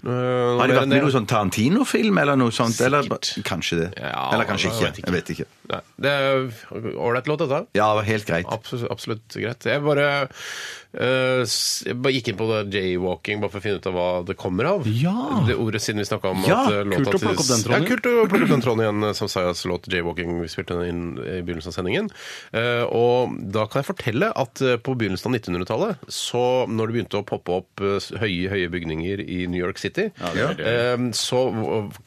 Speaker 4: Eh,
Speaker 5: Har
Speaker 4: mer
Speaker 5: det vært
Speaker 4: enn
Speaker 5: med noe sånn Tarantino-film eller noe sånt? Eller
Speaker 4: Sikkert.
Speaker 5: kanskje det.
Speaker 4: Ja,
Speaker 5: eller
Speaker 4: jeg
Speaker 5: kanskje ikke.
Speaker 4: vet ikke.
Speaker 5: Jeg vet ikke.
Speaker 4: Nei, det er eh, ålreit låt, dette.
Speaker 5: Ja, det var helt greit.
Speaker 4: Absolutt, absolutt greit. Jeg bare, eh, s- jeg bare gikk inn på det jaywalking bare for å finne ut av hva det kommer av.
Speaker 6: Ja.
Speaker 4: Det ordet siden vi snakka om
Speaker 5: Ja,
Speaker 4: at eh,
Speaker 6: kult å
Speaker 4: til-
Speaker 6: plukke opp den tråden
Speaker 4: Ja, kult å plukke opp den tråden igjen, eh, som Sayas låt 'Jaywalking' vi spilte den inn i begynnelsen av sendingen. Eh, og da kan jeg fortelle at eh, på begynnelsen av 1900-tallet, så når det begynte å poppe opp eh, s- høye, høye bygninger i New York City,
Speaker 6: Ja, det er det.
Speaker 4: eh, så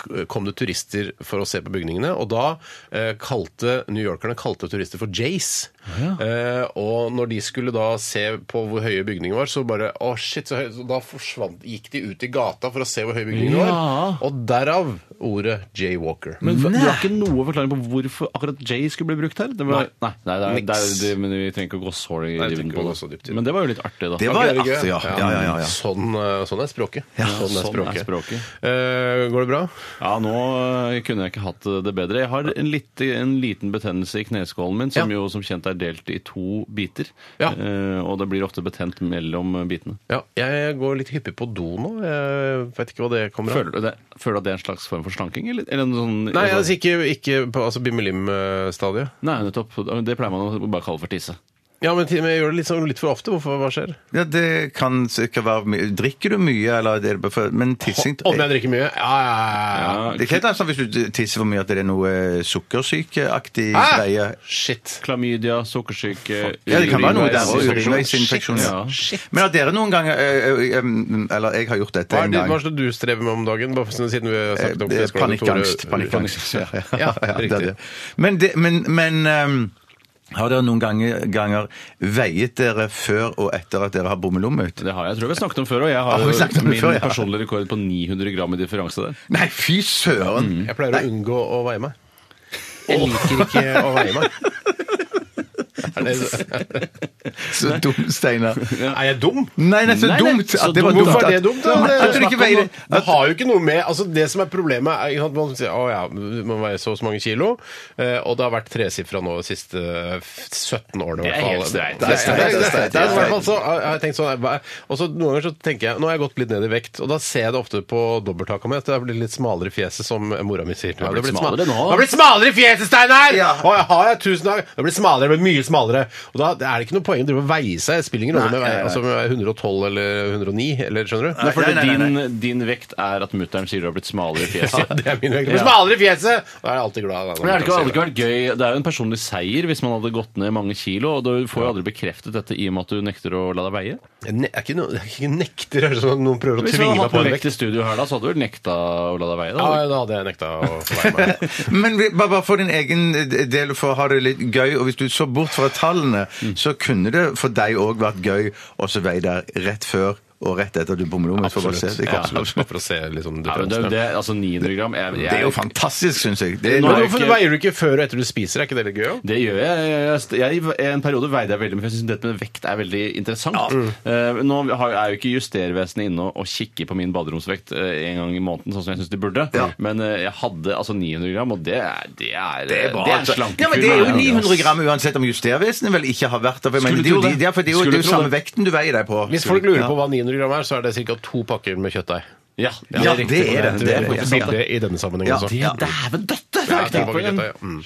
Speaker 4: v- kom det turister for å se på bygningene, og da eh, kalte New Yorkerne kalte turister for Jays. Eh, og når de skulle da se på hvor høye bygningene var, så bare Å, shit, så høy. Så da forsvant, gikk de ut i gata for å se hvor høye bygningene
Speaker 5: Ah.
Speaker 6: Ja.
Speaker 4: var. Og derav ordet jaywalker.
Speaker 6: Men for, du har ikke noe forklaring på hvorfor akkurat Jay skulle bli brukt her? Det var, nei, nei, det er, det er,
Speaker 4: Niks.
Speaker 6: det, men vi trenger ikke å gå så i
Speaker 4: Nei, vi trenger
Speaker 6: dybden
Speaker 4: ikke
Speaker 6: på
Speaker 4: å gå så dypt i
Speaker 6: det.
Speaker 4: det.
Speaker 6: Men det var jo litt artig, da.
Speaker 5: Det var
Speaker 4: Er det gøy?
Speaker 5: artig, ja. Ja, ja, ja, ja.
Speaker 4: Sånn, eh, sånn er språket. sånn er
Speaker 6: sånn
Speaker 4: språket.
Speaker 6: er språket.
Speaker 4: Eh, går det bra?
Speaker 6: Ja, nå eh, kunne jeg ikke hatt det bedre. Jeg har en, litt, en liten betennelse i kneskålen min, som
Speaker 4: Ja.
Speaker 6: jo som kjent er delt i to biter.
Speaker 4: Ja.
Speaker 6: Eh, og det blir ofte betent mellom eh, bitene.
Speaker 4: Ja, jeg går litt hyppig på do nå. Jeg vet ikke hva det kommer av.
Speaker 6: Føler du, det, føler du at det er en slags form for slanking? Eller, eller en sånn,
Speaker 4: Nei,
Speaker 6: altså-
Speaker 4: altså ikke, ikke på altså, bimmelim-stadiet.
Speaker 6: Nei, nettopp. Det pleier man å bare kalle for tisse.
Speaker 4: Ja, men til og med gjør det litt, sånn, litt for ofte. Hvorfor? Hva skjer?
Speaker 5: Ja, det kan sikkert være mye. Drikker du mye, eller er det bare for Men tissing Eh,
Speaker 4: Om jeg drikker mye? Ja, ja, ja. ja.
Speaker 5: Det er ikke helt annet som hvis du tisser for mye at det er noe eh, sukkersykeaktig
Speaker 4: Hæ?
Speaker 5: greie.
Speaker 4: Shit.
Speaker 6: Klamydia, sukkersyke
Speaker 5: Ja, det kan være noe der også.
Speaker 6: urinveisinfeksjon.
Speaker 5: Urinveisinfeksjon. Ja. Men har dere noen eh, ganger ø, ø, ø, Eller jeg har gjort dette
Speaker 4: Hva er
Speaker 5: en
Speaker 4: det,
Speaker 5: gang.
Speaker 4: hva er det du strever med om dagen? Bare for- sånn, siden vi har snakket om
Speaker 5: Eh,
Speaker 4: Flesk og Tore-
Speaker 5: Panikkangst. Panikkangst. Ja, ja,
Speaker 4: Ja,
Speaker 5: ja, det er
Speaker 4: riktig.
Speaker 5: det. Men, det, men, men ehm, har dere noen ganger, ganger veiet dere før og etter at dere har bommelomme ut?
Speaker 6: Det har jeg. Jeg tror vi har snakket om før, og jeg har
Speaker 5: Ja, vi snakket om det
Speaker 6: min
Speaker 5: før, ja.
Speaker 6: personlige rekord på 900 gram i differanse der.
Speaker 5: Nei, fy søren!
Speaker 4: Jeg pleier å unngå å veie meg. Jeg liker ikke å veie meg. Er det,
Speaker 5: Så dum, Steinar.
Speaker 4: er jeg dum?
Speaker 5: Nei, nei, så
Speaker 6: Nei, nei,
Speaker 5: dumt!
Speaker 6: så
Speaker 5: At det var
Speaker 6: dumt.
Speaker 5: dumt.
Speaker 4: Hvorfor er
Speaker 5: at-
Speaker 4: det dumt? da?
Speaker 5: Nei,
Speaker 4: Det,
Speaker 5: At du
Speaker 4: snakk
Speaker 5: ikke
Speaker 4: om
Speaker 5: veier
Speaker 4: noe- det har jo ikke noe med altså Det som er problemet, er ikke sant, man sier å ja, du må veie så og så mange kilo, eh, og det har vært tresifra nå de siste eh, 17 årene. i
Speaker 6: Det er
Speaker 4: hvert fall.
Speaker 6: helt streit.
Speaker 4: Det er streit, det er
Speaker 5: Det
Speaker 4: streit.
Speaker 5: er streit,
Speaker 4: Det er i
Speaker 5: det er
Speaker 4: hvert fall så- jeg har tenkt sånn, hva- Og så noen ganger så tenker jeg Nå har jeg gått litt ned i vekt, og da ser jeg det ofte på dobbelttaket mitt. Det har blitt litt smalere i fjeset, som mora mi sier. til meg.
Speaker 6: Det har blitt
Speaker 4: smal-
Speaker 6: smalere nå.
Speaker 4: Det har blitt smalere i fjeset, Steinar!
Speaker 5: Ja.
Speaker 4: Å, jeg har jeg tusen dag. Det blir smalere, det blir mye smalere. Og da er det ikke noe poeng å drive og veie seg. Det spiller ingen rolle om jeg
Speaker 5: Nei,
Speaker 4: veier-
Speaker 5: nei, nei.
Speaker 4: altså, om jeg er 112 eller 109, eller skjønner du?
Speaker 6: Nei, for
Speaker 5: Nei, nei, nei,
Speaker 6: din, din vekt er at mutter'n sier du har blitt smalere i fjeset.
Speaker 4: Det er min vekt. Det blir
Speaker 6: Ja.
Speaker 4: smalere i fjeset! Da er jeg alltid glad. da, når
Speaker 6: Men det, er
Speaker 4: jeg
Speaker 6: ikke, hadde
Speaker 4: sier
Speaker 6: ikke vært gøy. det er jo en personlig seier hvis man hadde gått ned mange kilo. og Du får jo aldri bekreftet dette i og med at du nekter å la deg veie.
Speaker 4: Jeg ne- er ikke noe- jeg er ikke nekter, er det sånn at noen prøver å
Speaker 6: Hvis vi hadde
Speaker 4: tvinge meg
Speaker 6: hatt
Speaker 4: på en
Speaker 6: med vekt
Speaker 4: vekt.
Speaker 6: i studio her da, så hadde du vel nekta å la deg veie?
Speaker 4: Ja,
Speaker 6: da?
Speaker 4: da hadde jeg nekta å veie meg.
Speaker 5: Men vi- bare bare for din egen del, for å ha det litt gøy, og hvis du så bort fra tallene, så kunne det for deg òg vært gøy å så veie deg rett før og rett etter du bommelommet. for å se. Det,
Speaker 4: Ja,
Speaker 5: kan-
Speaker 4: absolutt. For å se litt sånn
Speaker 6: Ja, men det, er jo
Speaker 4: differansen.
Speaker 6: det, altså 900 gram jeg, jeg,
Speaker 5: det er jo fantastisk, syns jeg. Det er
Speaker 6: Nå
Speaker 4: Men
Speaker 6: er
Speaker 5: noe-
Speaker 4: Hvorfor
Speaker 6: ikke-
Speaker 4: veier du ikke før og etter du spiser? Er ikke det litt gøy? da?
Speaker 6: Det gjør jeg. Jeg, jeg, jeg En periode veide jeg veldig, men jeg syns dette med vekt er veldig interessant.
Speaker 5: Mm.
Speaker 6: Eh, nå har, er jo ikke justervesenet inne og, og kikker på min baderomsvekt eh, en gang i måneden, sånn som jeg syns de burde, men eh, jeg hadde altså 900 gram, og det er Det er,
Speaker 5: Det er, bra,
Speaker 6: det er en
Speaker 5: altså.
Speaker 6: slankekur.
Speaker 5: ja, men det er jo
Speaker 6: Ja, ja.
Speaker 5: 900 gram uansett om justervesenet vel ikke har vært der. for jeg mener, Det er jo,
Speaker 6: Skulle tro det.
Speaker 5: de, ja, for det er jo, det er
Speaker 6: Skulle
Speaker 5: jo
Speaker 6: tro
Speaker 5: samme
Speaker 6: det.
Speaker 5: vekten du veier deg på.
Speaker 4: Hvis folk lurer
Speaker 5: Ja.
Speaker 4: på hva 900 gram er, så er det ca. to pakker med kjøttdeig.
Speaker 6: Ja,
Speaker 5: Ja, det er det. det, er det.
Speaker 4: Det er i denne sammenhengen
Speaker 5: Ja,
Speaker 4: også.
Speaker 5: det-
Speaker 6: Dæven døtte!
Speaker 4: Ja, to pakker kjøttdeig, ja. Mm.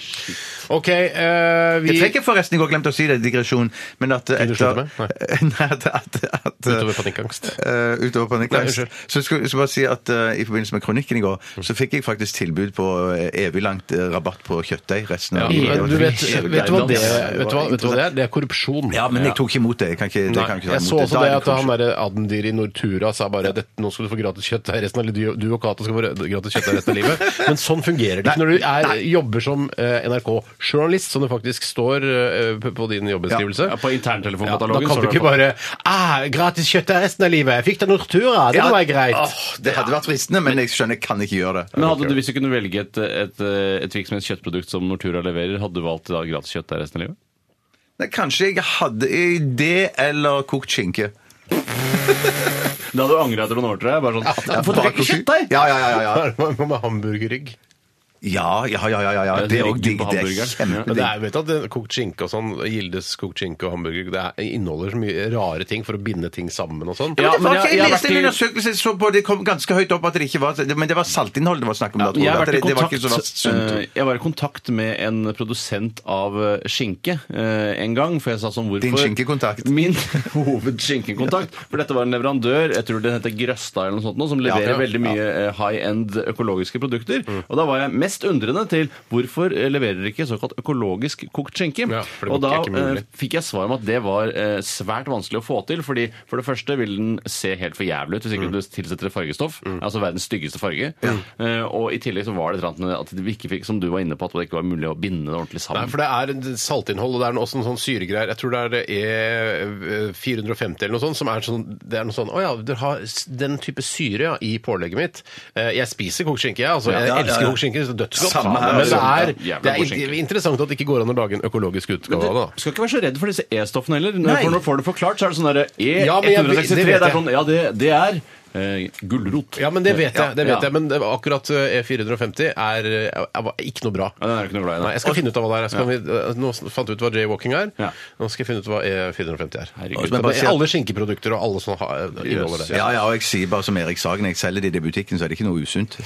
Speaker 4: OK, eh, vi
Speaker 5: Jeg tenker forresten, jeg har glemt å si det, digresjon, men at
Speaker 4: du
Speaker 5: etter
Speaker 4: slutte
Speaker 5: Nei, at, at, at
Speaker 4: Utover panikkangst.
Speaker 5: Eh, utover panikkangst.
Speaker 4: Nei, unnskyld.
Speaker 5: så skal jeg bare si at eh, i forbindelse med kronikken i går, så fikk jeg faktisk tilbud på eh, evig langt eh, rabatt på kjøttdeig resten av
Speaker 4: Ja, men du vet,
Speaker 5: Evig
Speaker 4: vet, du hva
Speaker 5: langt.
Speaker 4: det, vet, du hva, vet du hva det er? Det er korrupsjon.
Speaker 5: Ja, men jeg tok ikke imot det. Jeg kan ikke, det
Speaker 4: Nei,
Speaker 5: kan jeg ikke ta
Speaker 4: jeg så
Speaker 5: imot
Speaker 4: også
Speaker 5: Da er
Speaker 4: det at han
Speaker 5: korrupsjon.
Speaker 4: der Adendir i Nortura sa bare at nå skal du få gratis kjøtt her resten av livet. Du og Cato skal få gratis kjøtt her resten av livet. Men sånn fungerer det ikke når du er, jobber som eh, NRK-journalist, som det faktisk står eh, på- på din jobbeskrivelse.
Speaker 6: Ja, på
Speaker 4: Ja, da kan du
Speaker 6: interntelefonkatalogen står det
Speaker 4: ikke
Speaker 6: på.
Speaker 4: bare ah, 'Gratis kjøtt her resten av livet'. Jeg fikk da Nortura, det
Speaker 5: Ja,
Speaker 4: var greit.
Speaker 5: åh, det hadde vært fristende, men jeg skjønner jeg kan ikke gjøre det.
Speaker 6: Men hadde du, Hvis du kunne velge et, et, et virksomhetskjøttprodukt som Nortura leverer, hadde du valgt da gratis kjøtt der resten av livet?
Speaker 5: Nei, kanskje jeg hadde i det eller kokt skinke.
Speaker 6: Da hadde du angra etter noen år, tror jeg. Bare sånn,
Speaker 5: Ja,
Speaker 6: Hvorfor
Speaker 5: bak-
Speaker 6: ikke kjøttdeig?
Speaker 5: Ja, ja, ja. ja, ja.
Speaker 4: Hva med- hva med hamburgerrygg?
Speaker 5: Ja, ja, ja, ja, ja, ja. Det er òg
Speaker 6: Ryggen
Speaker 5: digg.
Speaker 6: på
Speaker 5: Det er
Speaker 6: hamburgeren.
Speaker 4: Men det
Speaker 5: kjempedigg.
Speaker 4: er, vet du at det- Kokt skinke og sånn, Gildes kokt skinke og hamburger, det er, inneholder så mye rare ting for å binde ting sammen og sånn.
Speaker 6: Ja,
Speaker 5: Men det var
Speaker 6: men jeg-
Speaker 5: ikke-
Speaker 6: jeg har
Speaker 5: jeg leste en
Speaker 6: vært i-
Speaker 5: undersøkelse jeg så på, det kom ganske høyt opp at det ikke var Men det var saltinnhold det var snakk om da. tror
Speaker 6: jeg
Speaker 5: jeg.
Speaker 6: har
Speaker 5: At
Speaker 6: vært i
Speaker 5: det, det var
Speaker 6: kontakt,
Speaker 5: ikke så verst sunt.
Speaker 6: eh, jeg var i kontakt med en produsent av eh, skinke eh, en gang. For jeg sa sånn, hvorfor
Speaker 5: Din skinkekontakt.
Speaker 6: Min hovedskinkekontakt. For dette var en leverandør, jeg tror den heter Grøstad eller noe sånt, nå, som leverer
Speaker 5: ja. Mm.
Speaker 6: veldig mye eh, high-end økologiske produkter. Og da var jeg mest undrende til hvorfor eh, leverer dere ikke såkalt økologisk kokt skinke?
Speaker 4: Ja, for det
Speaker 6: og da
Speaker 4: er ikke mulig.
Speaker 6: eh, fikk jeg svar om at det var eh, svært vanskelig å få til, fordi for det første vil den se helt for jævlig ut hvis ikke du tilsetter et fargestoff, altså verdens styggeste farge. Eh, og i tillegg så var det et eller annet med at vi ikke fikk, som du var inne på, at det ikke var mulig å binde det ordentlig sammen.
Speaker 4: Nei, for det er en saltinnhold, og det er også en sånn syregreier. Jeg tror det eh, er E450 eller noe sånt, som er sånn Det er noe sånn Å ja, dere har s- den type syre ja, i pålegget mitt. Eh, Jeg spiser kokt skinke, jeg. Altså, jeg
Speaker 5: ja, ja.
Speaker 4: elsker kokt skinke. det er Dødsgodt.
Speaker 5: Samme her,
Speaker 4: Men det
Speaker 6: altså.
Speaker 4: er,
Speaker 6: Ja, jævla
Speaker 4: det er
Speaker 6: god
Speaker 4: in-
Speaker 6: skinke.
Speaker 4: interessant at det ikke går an å lage en økologisk utgave av det. da.
Speaker 6: Du skal ikke være så redd for disse E-stoffene heller. Når-
Speaker 5: Nei.
Speaker 6: For når du får det forklart, så er det sånn derre
Speaker 4: Ja, men jeg- det
Speaker 6: E163. det,
Speaker 4: vet
Speaker 6: er
Speaker 4: jeg.
Speaker 6: sånn, ja, det, det er eh, gulrot.
Speaker 4: Ja, men det vet jeg. det vet
Speaker 6: Ja.
Speaker 4: jeg, Men det var akkurat eh, E450 er, eh, er ikke noe bra.
Speaker 6: Ja, den er jeg ikke noe glad i, nei.
Speaker 4: Nei, jeg skal finne ut av hva det er. Så kan vi, eh, nå fant vi ut hva jaywalking er.
Speaker 6: Ja.
Speaker 4: Nå skal jeg finne ut hva E450 er.
Speaker 6: Herregud.
Speaker 4: Men
Speaker 5: Men bare si at-
Speaker 4: alle skinkeprodukter og alle sånne ha- inneholder det.
Speaker 5: Ja, ja, og jeg sier bare som Erik Sagen, jeg selger det i det butikken, så er det ikke noe usunt.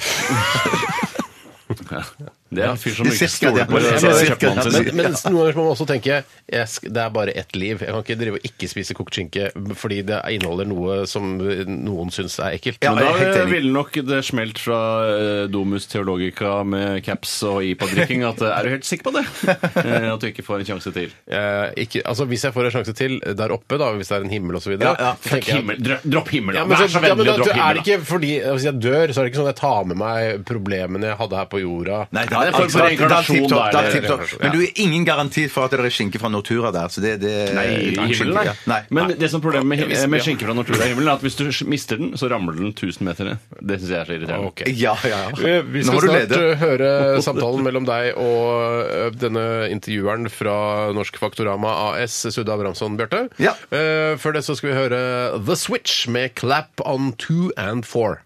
Speaker 6: Det er en fyr som ikke
Speaker 5: Cirka,
Speaker 6: stoler
Speaker 5: ja.
Speaker 6: på
Speaker 5: Ja,
Speaker 6: kjøpmannen
Speaker 5: cirka.
Speaker 4: Men,
Speaker 6: sin.
Speaker 4: men noen ganger må man også tenke jeg sk- det er bare ett liv. Jeg kan ikke drive og ikke spise kokt skinke fordi det inneholder noe som noen syns er ekkelt.
Speaker 6: Men
Speaker 4: Men da-
Speaker 6: da ville nok det smelt fra eh, Domus Theologica med caps og IPA-drikking at eh, er du helt sikker på det? Eh, At du ikke får en sjanse til.
Speaker 4: Eh, ikke, altså Hvis jeg får en sjanse til der oppe, da, hvis det er en himmel osv.
Speaker 6: Ja, ja. Fuck himmel. Dro- Dropp himmelen, da. Vær så vennlig å droppe
Speaker 4: Er det
Speaker 6: himmelen. da.
Speaker 4: ikke fordi Hvis jeg dør, så er det ikke sånn at jeg tar med meg problemene jeg hadde her på jorda.
Speaker 5: Nei,
Speaker 6: Ja, det er en form
Speaker 5: alt-
Speaker 6: for
Speaker 5: alt- alt
Speaker 6: reinkarnasjon,
Speaker 5: tipp-topp,
Speaker 6: da,
Speaker 5: alt
Speaker 6: eller-
Speaker 5: tipp-topp. Men du er ingen garanti for at det er skinke fra Nortura der. Så det, det,
Speaker 6: Nei, i himmelen,
Speaker 5: Ja,
Speaker 6: nei.
Speaker 5: nei.
Speaker 6: Men det som er problemet med,
Speaker 4: visste-
Speaker 6: med
Speaker 4: ja.
Speaker 6: skinke fra Nortura i himmelen, er at hvis du mister den, så ramler den 1000 meter ned. Det syns jeg er så irriterende.
Speaker 4: Ok.
Speaker 5: ja, ja, ja.
Speaker 4: Eh, Vi
Speaker 5: Nå
Speaker 4: skal
Speaker 5: må du
Speaker 4: snart
Speaker 5: lede.
Speaker 4: eh, høre samtalen mellom deg og eh, denne intervjueren fra Norsk Faktorama AS, Sudda Abramsson, Bjarte.
Speaker 5: Ja.
Speaker 4: Eh, Før det så skal vi høre The Switch med Clap on two and four.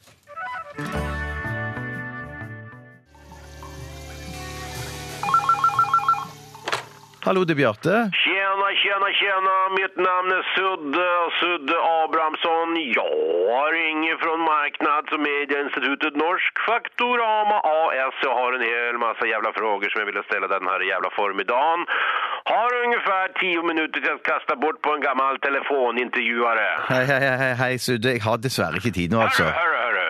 Speaker 5: Hallo, det er Bjarte.
Speaker 12: Tjena, tjena, tjena! Mitt namn är Sudde, Sudde Abrahamsson. Jag har ingen från marknad som institutet Norsk Faktorama AS. Jag har en hel massa jävla frågor som jag ville ställa den här jävla förmiddagen. Har ungefär tio minuter till att kasta bort på en gammal telefonintervjuare.
Speaker 5: Hei, hei, hei, hei, hei, Sudde. Jeg har dessverre ikke tid nå, altså.
Speaker 12: Hörru, hörru.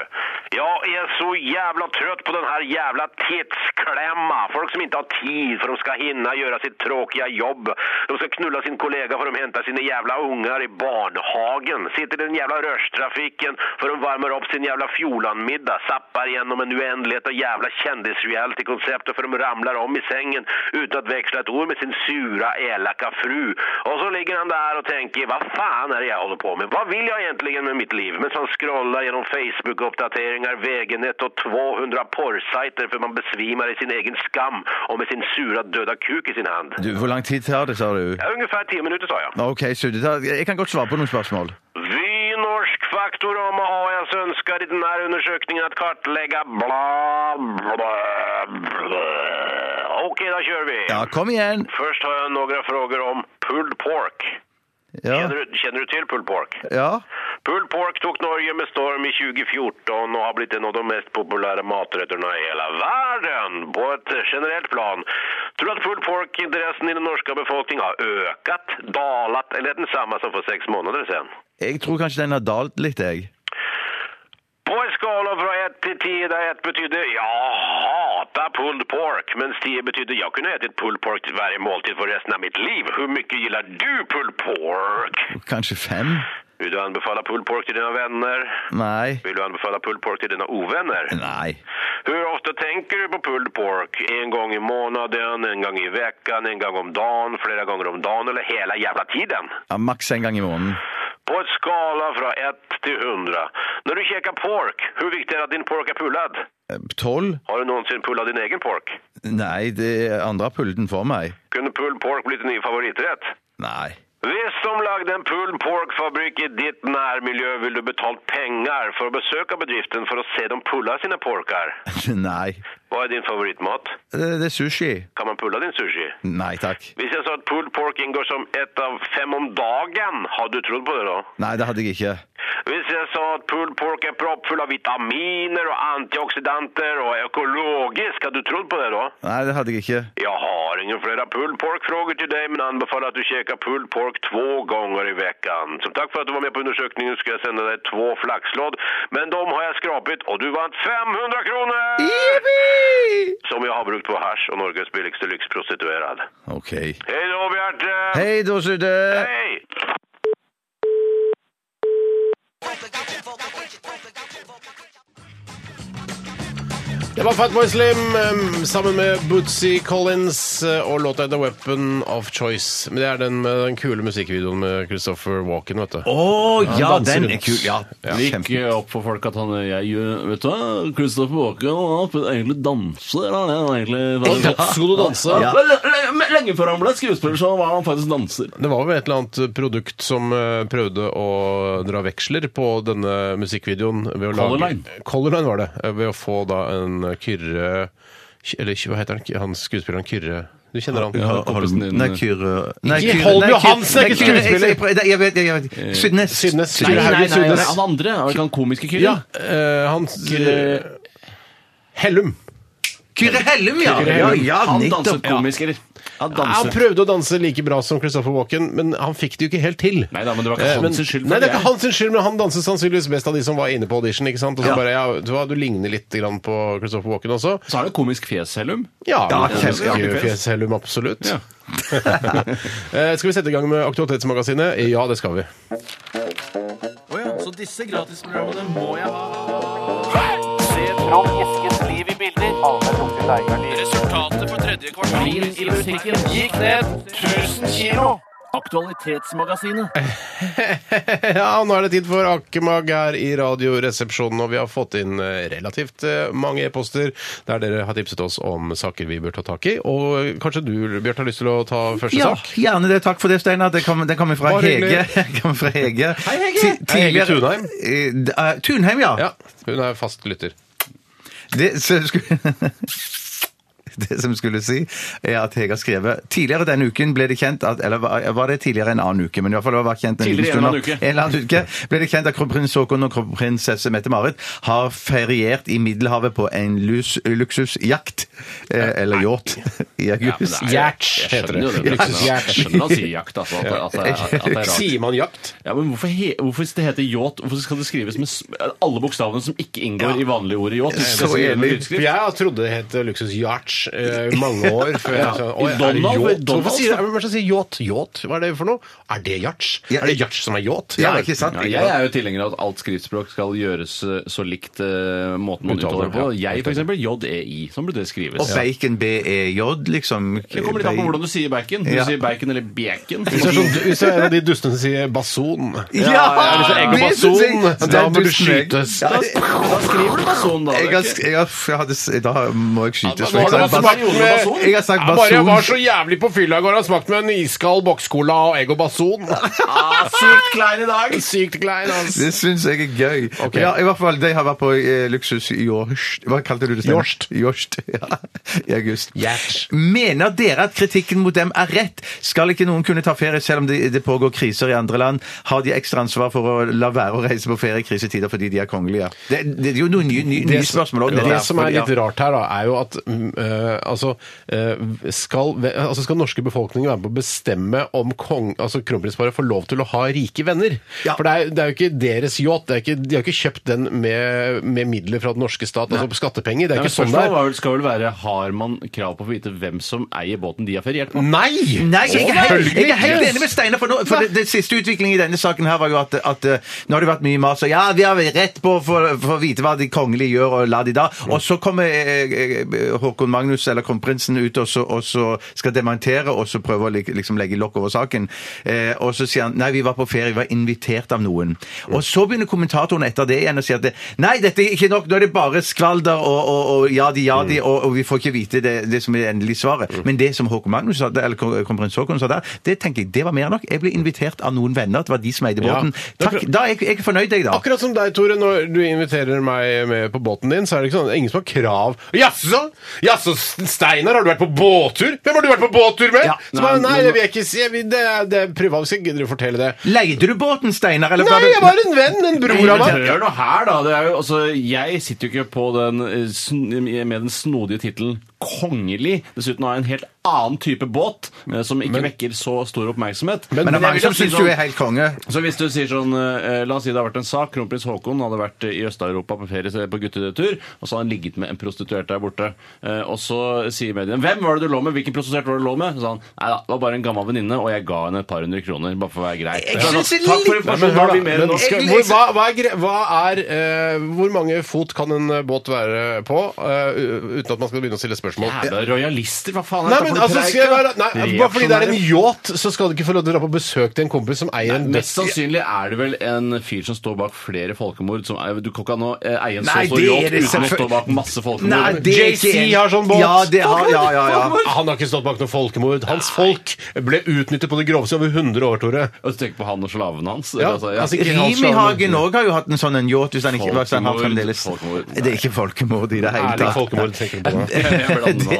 Speaker 12: Jag är så jävla trött på den här jävla tidsklämma. Folk som inte har tid för de ska hinna göra sitt tråkiga jobb. De ska knulla sin kollega för de hämtar sina jävla ungar i barnhagen. Sitter i den jävla rörstrafiken för de värmer upp sin jävla fjolanmiddag. Zappar igenom en oändlighet av jävla kändisrealitykoncepter för de ramlar om i sängen utan att växla ett ord med sin sura, elaka fru. Och så ligger han där och tänker, vad fan är det jag håller på med? Vad vill jag egentligen med mitt liv? Men så han scrollar genom Facebook-uppdateringar, vägenet och 200 porrsajter för man besvimar i sin egen skam och med sin sura döda kuk i sin hand.
Speaker 5: Du, hvor lang tid tar det, sa du?
Speaker 12: Ja, ungefär 10 minuter sa jag.
Speaker 5: OK, Sudde. da- Jeg kan godt svare på noen spørsmål.
Speaker 12: Vi Norsk Faktorama AS önskar i den här undersökningen att kartlägga bla bla bla. Okej, då kör vi.
Speaker 5: Ja, kom igjen.
Speaker 12: Först har jag några frågor om pulled pork.
Speaker 5: Ja.
Speaker 12: Känner, du, känner du till pulled pork?
Speaker 5: ja.
Speaker 12: Pulled pork tog Norge med storm i 2014 och har blivit en av de mest populära maträtterna i hela världen på ett generellt plan. Tror du att pulled pork-intressen i den norska befolkningen har ökat, dalat eller är densamma som för sex månader sedan?
Speaker 5: Jeg tror kanskje den har dalt litt, jeg.
Speaker 12: På en skala från 1 till 10 där 1 betyder jag hatar pulled pork men 10 betyder jag kunde ha ätit pulled pork till varje måltid för resten av mitt liv. Hur mycket gillar du pulled pork?
Speaker 5: Kanskje fem?
Speaker 12: Vill du anbefalla pulled pork till dina vänner?
Speaker 5: Nei.
Speaker 12: Vill du anbefalla pulled pork till dina ovänner?
Speaker 5: Nei.
Speaker 12: Hur ofta tänker du på pulled pork? En gång i månaden, en gång i veckan, en gång om dagen, flera gånger om dagen eller hela jävla tiden?
Speaker 5: Ja, maks en gang i måneden.
Speaker 12: På ett skala från 1 till 100. När du käkar pork, hur viktigt är det att din pork är pullad?
Speaker 5: Eh, Tolv?
Speaker 12: Har du någonsin pullat din egen pork?
Speaker 5: Nei, det andre har pullet den for meg.
Speaker 12: Kunde pulled pork bli din nya favoriträtt?
Speaker 5: Nei.
Speaker 12: Visst som lagde en pulled pork-fabrik i ditt närmiljö vill du betalt pengar för att besöka bedriften för att se dem pulla sina porkar.
Speaker 5: Nei.
Speaker 12: Vad är din favoritmat?
Speaker 5: Det, det er sushi.
Speaker 12: Kan man pulla din sushi?
Speaker 5: Nei takk.
Speaker 12: Hvis jag sa att pulled pork ingår som ett av fem om dagen, har du trott på det då?
Speaker 5: Nei, det hadde jeg ikke.
Speaker 12: Hvis jeg sa at pulled pork er proppfull av vitaminer og antioxidanter og er økologisk, hadde du trodd på det da?
Speaker 5: Nei, det hadde jeg ikke.
Speaker 12: Jeg har ingen flere pulled pork-frågor til deg, men anbefaler at du käkar pulled pork två gånger i veckan. Som tack för att du var med på undersökningen ska jag sända dig två flaxlåd, men de har jag skrapit och du vann 500 kronor! Som jag har brukt på hash och Norges billigaste lyxprostituerad.
Speaker 5: OK.
Speaker 12: Hej då, Bjarte!
Speaker 5: Hei da, Sudde.
Speaker 12: Hej!
Speaker 4: Det var Fatboy Slim eh, sammen med Bootsy Collins eh, og låta The Weapon of Choice. Men Det er den med den kule musikkvideoen med Christopher Walken, vet du.
Speaker 5: Å ja,
Speaker 4: danser
Speaker 5: den
Speaker 4: rundt.
Speaker 5: er kul. Ja, eh,
Speaker 6: Ja,
Speaker 5: kjempe.
Speaker 6: Gikk eh, opp for folk at han jeg, gjør- Vet du hva, Christopher Walken han er egentlig danser. Han er egentlig
Speaker 4: Ja, godt skulle du danse.
Speaker 6: Ja. Men le- le- Lenge før han ble skuespiller, så var han faktisk danser.
Speaker 4: Det var vel et eller annet produkt som eh, prøvde å dra veksler på denne musikkvideoen. Ved å
Speaker 6: Color
Speaker 4: lage-
Speaker 6: Line.
Speaker 4: Color Line var det. eh, Ved å få da en Kyrre Eller hva heter han? Han skuespilleren Kyrre Du kjenner han?
Speaker 5: Ja,
Speaker 6: kompisen
Speaker 5: Holm-
Speaker 6: din-
Speaker 5: Nei, Kyrre eh, Nei,
Speaker 4: Ikke
Speaker 5: Kyrre-
Speaker 4: Holm
Speaker 5: nei, Kyrre-
Speaker 4: Johansen, er ikke
Speaker 5: nei, Kyrre- jeg-
Speaker 4: skuespiller.
Speaker 5: jeg- jeg- Jeg vet, jeg vet. Sydnes.
Speaker 4: Sydnes.
Speaker 5: Nei,
Speaker 4: Kyrre Haugen Sydnes.
Speaker 6: Han andre, er det ikke han komiske
Speaker 4: Ja,
Speaker 6: kyrre?
Speaker 4: eh, han
Speaker 6: Kyrre-
Speaker 4: Hellum.
Speaker 5: Kyrre Hellum, ja!
Speaker 4: Kyrre
Speaker 5: ja,
Speaker 4: Hellum.
Speaker 5: ja
Speaker 4: Han danset
Speaker 5: nettopp. Ja.
Speaker 6: Komisker. Han
Speaker 4: Ja, Han
Speaker 6: danset.
Speaker 4: prøvde å danse like bra som Christopher Walken, men han fikk det jo ikke helt til.
Speaker 6: Nei da, men det var ikke
Speaker 4: Eh,
Speaker 6: hans skyld.
Speaker 4: Nei, det er
Speaker 6: jeg-
Speaker 4: ikke hans skyld, men han danset sannsynligvis best av de som var inne på audition. ikke sant? Og så
Speaker 6: Ja.
Speaker 4: bare, ja, du, hva, du ligner litt grann på Christopher Walken også.
Speaker 6: Så har du komisk fjes, Hellum.
Speaker 4: Ja,
Speaker 6: Da,
Speaker 4: men-
Speaker 6: kjempeartig
Speaker 4: fjes, Hellum, absolutt.
Speaker 6: Ja.
Speaker 4: Eh, skal vi sette i gang med Aktualitetsmagasinet? Ja, det skal vi.
Speaker 6: Å ja, så disse gratisprogrammene må jeg ha.
Speaker 13: Se Trond Eskens liv i bilder. Resultatet på tredje kvartal i musikken gikk ned 1000 kilo. Aktualitetsmagasinet.
Speaker 4: ja, nå er det tid for Akkemag her i Radioresepsjonen, og vi har fått inn eh, relativt eh, mange e-poster der dere har tipset oss om saker vi bør ta tak i. Og kanskje du, Bjørt, har lyst til å ta første
Speaker 5: Ja,
Speaker 4: sak?
Speaker 5: gjerne det. Takk for det, Steinar. Den kommer kom fra
Speaker 4: Bare
Speaker 5: Hege.
Speaker 4: hyggelig.
Speaker 5: Kommer fra Hege.
Speaker 4: Hei, Hege.
Speaker 5: Ti-
Speaker 4: Hei, Hege
Speaker 5: tidligere-
Speaker 4: Tunheim.
Speaker 5: Eh, eh, Tunheim, ja.
Speaker 4: Ja, hun er fast lytter.
Speaker 5: Det, så skulle... Det som skulle si, er at Hege har skrevet Tidligere denne uken ble det kjent at Eller var var det tidligere en annen uke, men i hvert fall det var kjent en liten
Speaker 6: Tidligere en
Speaker 5: stund. nå.
Speaker 6: annen uke.
Speaker 5: En eller annen uke ble det kjent at kronprins Haakon og kronprinsesse Mette-Marit har feriert i Middelhavet på en lus, luksusjakt. Eh, eller yacht. I august.
Speaker 4: Yacht heter det. Luksusjakt.
Speaker 6: liksom. Jeg skjønner han sier jakt, altså. At, at, at, at, at det er rart.
Speaker 4: Sier man jakt?
Speaker 6: Ja, men hvorfor, he, hvorfor hvis det heter yacht? Hvorfor skal det skrives med s- alle bokstavene som ikke inngår i vanlige ord i yacht? Det skal skrives med
Speaker 4: For
Speaker 6: lydskrift.
Speaker 4: Jeg trodde det het luksus-yacht eh, i mange år. Før jeg
Speaker 6: Ja.
Speaker 4: sa,
Speaker 6: I
Speaker 4: «Oi, er det
Speaker 6: Donald-
Speaker 4: yacht?»
Speaker 6: Donald-
Speaker 4: Hvorfor sier jeg- Hva er det som sier yacht? Yacht? Hva er det for noe? Er det yacht? Er det yacht som er yacht?
Speaker 5: Ja, ikke sant?
Speaker 6: Ja, jeg er jo tilhenger av at alt skriftspråk skal gjøres eh, så likt eh, måten man
Speaker 4: Uttaler,
Speaker 6: uttaler det på.
Speaker 4: ja.
Speaker 6: Jeg, for eksempel, JEI. Sånn burde det skrives.
Speaker 5: Og bacon BEJ, liksom.
Speaker 6: Det kommer litt an på hvordan du sier bacon. Du
Speaker 5: Ja.
Speaker 6: sier bacon eller bacon.
Speaker 4: Hvis det er sånn- hvis det er en av de dustene som sier bason
Speaker 5: Ja,
Speaker 4: eller så egg og
Speaker 5: det synes jeg-
Speaker 4: bason,
Speaker 5: det er
Speaker 4: da må du
Speaker 5: dusten egg.
Speaker 4: skytes.
Speaker 5: Ja,
Speaker 6: Da, da skriver du bason, da.
Speaker 5: Jeg har,
Speaker 6: Det er ikke-
Speaker 5: sk- jeg har, jeg hadde, s- da må jeg skytes.
Speaker 4: Nå
Speaker 5: for
Speaker 4: har
Speaker 5: jeg
Speaker 4: han
Speaker 5: sa
Speaker 4: smakt
Speaker 5: bas-
Speaker 4: med-
Speaker 5: Jeg har sagt
Speaker 4: Ja, Bare jeg var så
Speaker 5: bason.
Speaker 4: jævlig på fylla i går, han smakt med en iskald bokscola og egg og bason.
Speaker 6: Ah, Sykt klein i dag!
Speaker 4: Sykt klein, altså.
Speaker 5: Det syns jeg er gøy.
Speaker 4: Ok.
Speaker 5: Ja, i hvert fall, De har vært på eh, luksus Jorst Hva kalte du det? Steinar?
Speaker 4: Jorst.
Speaker 5: Jorst, ja. I august.
Speaker 4: Yacht.
Speaker 5: Mener dere at kritikken mot dem er rett? Skal ikke noen kunne ta ferie selv om det, det pågår kriser i andre land? Har de ekstra ansvar for å la være å reise på ferie i krisetider fordi de er kongelige? Det, det er jo noen nye, nye, nye spørsmål om
Speaker 4: det,
Speaker 5: dette her,
Speaker 4: som er
Speaker 5: fordi-
Speaker 4: litt rart her, da, er jo at mm, eh, altså, eh, skal, ve- altså skal norske befolkningen være med på å bestemme om kong, altså kronprinsparet får lov til å ha rike venner?
Speaker 5: Ja.
Speaker 4: For det er, det er jo ikke deres yacht. Det er ikke, de har ikke kjøpt den med, med midler fra den norske stat, altså på skattepenger. Det er
Speaker 6: Ja, men
Speaker 4: ikke sånn det
Speaker 6: Spørsmålet
Speaker 4: er.
Speaker 6: var vel- skal vel være har man krav på å få vite hvem som eier båten de har feriert på?
Speaker 4: Nei!
Speaker 5: Nei, jeg er, helt, jeg er helt
Speaker 4: Selvfølgelig.
Speaker 5: enig med Steinar. For, nå, for det, det siste utviklingen i denne saken her var jo at, at eh, nå har det vært mye mas og ja, vi har vel rett på å få- få vite hva de kongelige gjør, og la de da. Og så kommer eh, eh, Håkon Magnus, eller kronprinsen, ut og så, og så skal dementere og så prøve å lik- liksom legge lokk over saken. Eh, og så sier han nei, vi var på ferie, vi var invitert av noen. Og så begynner kommentatoren etter det igjen å si at det, nei, dette er ikke nok, nå er det bare skvalder og, og, og ja de, ja de, og, og vi får ikke vite det, det som er endelig svaret. Men det som Håkon Magnus sa, eller kron- kronprins Håkon sa der, det tenker jeg, det var mer enn nok. Jeg ble invitert av noen venner, det var de som eide
Speaker 4: Ja.
Speaker 5: båten. Takk, da er jeg, jeg er fornøyd, jeg da.
Speaker 4: Akkurat som deg, Tore. Når du inviterer meg med på båten din, så er det ikke sånn ingen som har krav Jaså, jaså, Steinar, har du vært på båttur? Hvem har du vært på båttur med?
Speaker 5: Ja.
Speaker 4: så bare,
Speaker 6: Nei,
Speaker 4: nei,
Speaker 6: men-
Speaker 4: det vil jeg ikke si. Jeg vil- Det er, det er privat, så jeg gidder å fortelle det.
Speaker 5: Leide du båten, Steinar? eller
Speaker 4: Nei,
Speaker 5: du-
Speaker 4: jeg var en venn, en bror av
Speaker 6: Men
Speaker 4: meg.
Speaker 6: Hør nå her, da. Det er jo, altså, jeg sitter jo ikke på den, eh, sn- med den snodige tittelen kongelig. Dessuten har jeg en helt annen type båt eh, som ikke vekker så stor oppmerksomhet.
Speaker 4: Men-
Speaker 5: Men det er
Speaker 6: jeg
Speaker 5: mange
Speaker 6: vil
Speaker 5: som
Speaker 6: jo si
Speaker 5: syns du
Speaker 6: sånn-
Speaker 5: er helt konge.
Speaker 6: Så hvis du sier sånn, eh, La oss si det har vært en sak. Kronprins Haakon hadde vært eh, i Øst-Europa på ferie på guttetur, og så har han ligget med en prostituert der borte. Eh, Og så sier mediene 'Hvem var det du lå med? Hvilken prostituert var det du lå med?' Så sa han 'Nei da, det var bare en gammel venninne, og jeg ga henne et par hundre kroner, bare for å være grei'.
Speaker 5: Jeg
Speaker 6: Så er det
Speaker 5: synes det er
Speaker 6: sånn, Takk for
Speaker 5: litt-
Speaker 4: Nei, men hør
Speaker 6: informasjonen. Da
Speaker 4: da,
Speaker 6: har vi mer enn
Speaker 4: men
Speaker 6: nok.
Speaker 4: skal, hvor, hva, hva er, gre- hva er eh, Hvor mange fot kan en eh, båt være på eh, u- uten at man skal begynne å stille spørsmål?
Speaker 6: Jævla rojalister, hva faen
Speaker 4: eh, Nei,
Speaker 6: er
Speaker 4: men
Speaker 6: dette for
Speaker 4: altså,
Speaker 6: noe
Speaker 4: skal jeg være,
Speaker 6: preik, da?
Speaker 4: nei, Bare fordi det er en
Speaker 6: Reaksjonære.
Speaker 4: yacht, så skal du ikke få lov til å dra på besøk til en kompis som eier en
Speaker 6: Mest
Speaker 4: best
Speaker 6: sannsynlig er det vel en fyr som står bak flere folkemord. Som er, du kan ikke nå eie en så
Speaker 5: Nei,
Speaker 6: stor
Speaker 5: det er
Speaker 6: yacht
Speaker 5: det
Speaker 6: uten å
Speaker 5: selvfø-
Speaker 6: stå bak masse folkemord.
Speaker 5: Nei, det er ikke
Speaker 4: JC
Speaker 5: en-
Speaker 4: har sånn båt.
Speaker 5: Ja, det har, ja, ja, ja.
Speaker 4: Han har ikke stått bak noe folkemord. Hans folk ble utnyttet på det groveste over 100 år, Tore.
Speaker 6: Og så tenker på han og slaven hans.
Speaker 4: Ja,
Speaker 6: altså, ja.
Speaker 4: altså, ikke-
Speaker 5: Rimi Hagen òg har jo hatt en sånn en yacht, hvis han ikke hvis han har
Speaker 6: Folkemord,
Speaker 5: fremdeles
Speaker 6: folkemord.
Speaker 5: Det er ikke folkemord i det hele
Speaker 4: Ærlig
Speaker 5: tatt.
Speaker 4: folkemord, tenker du på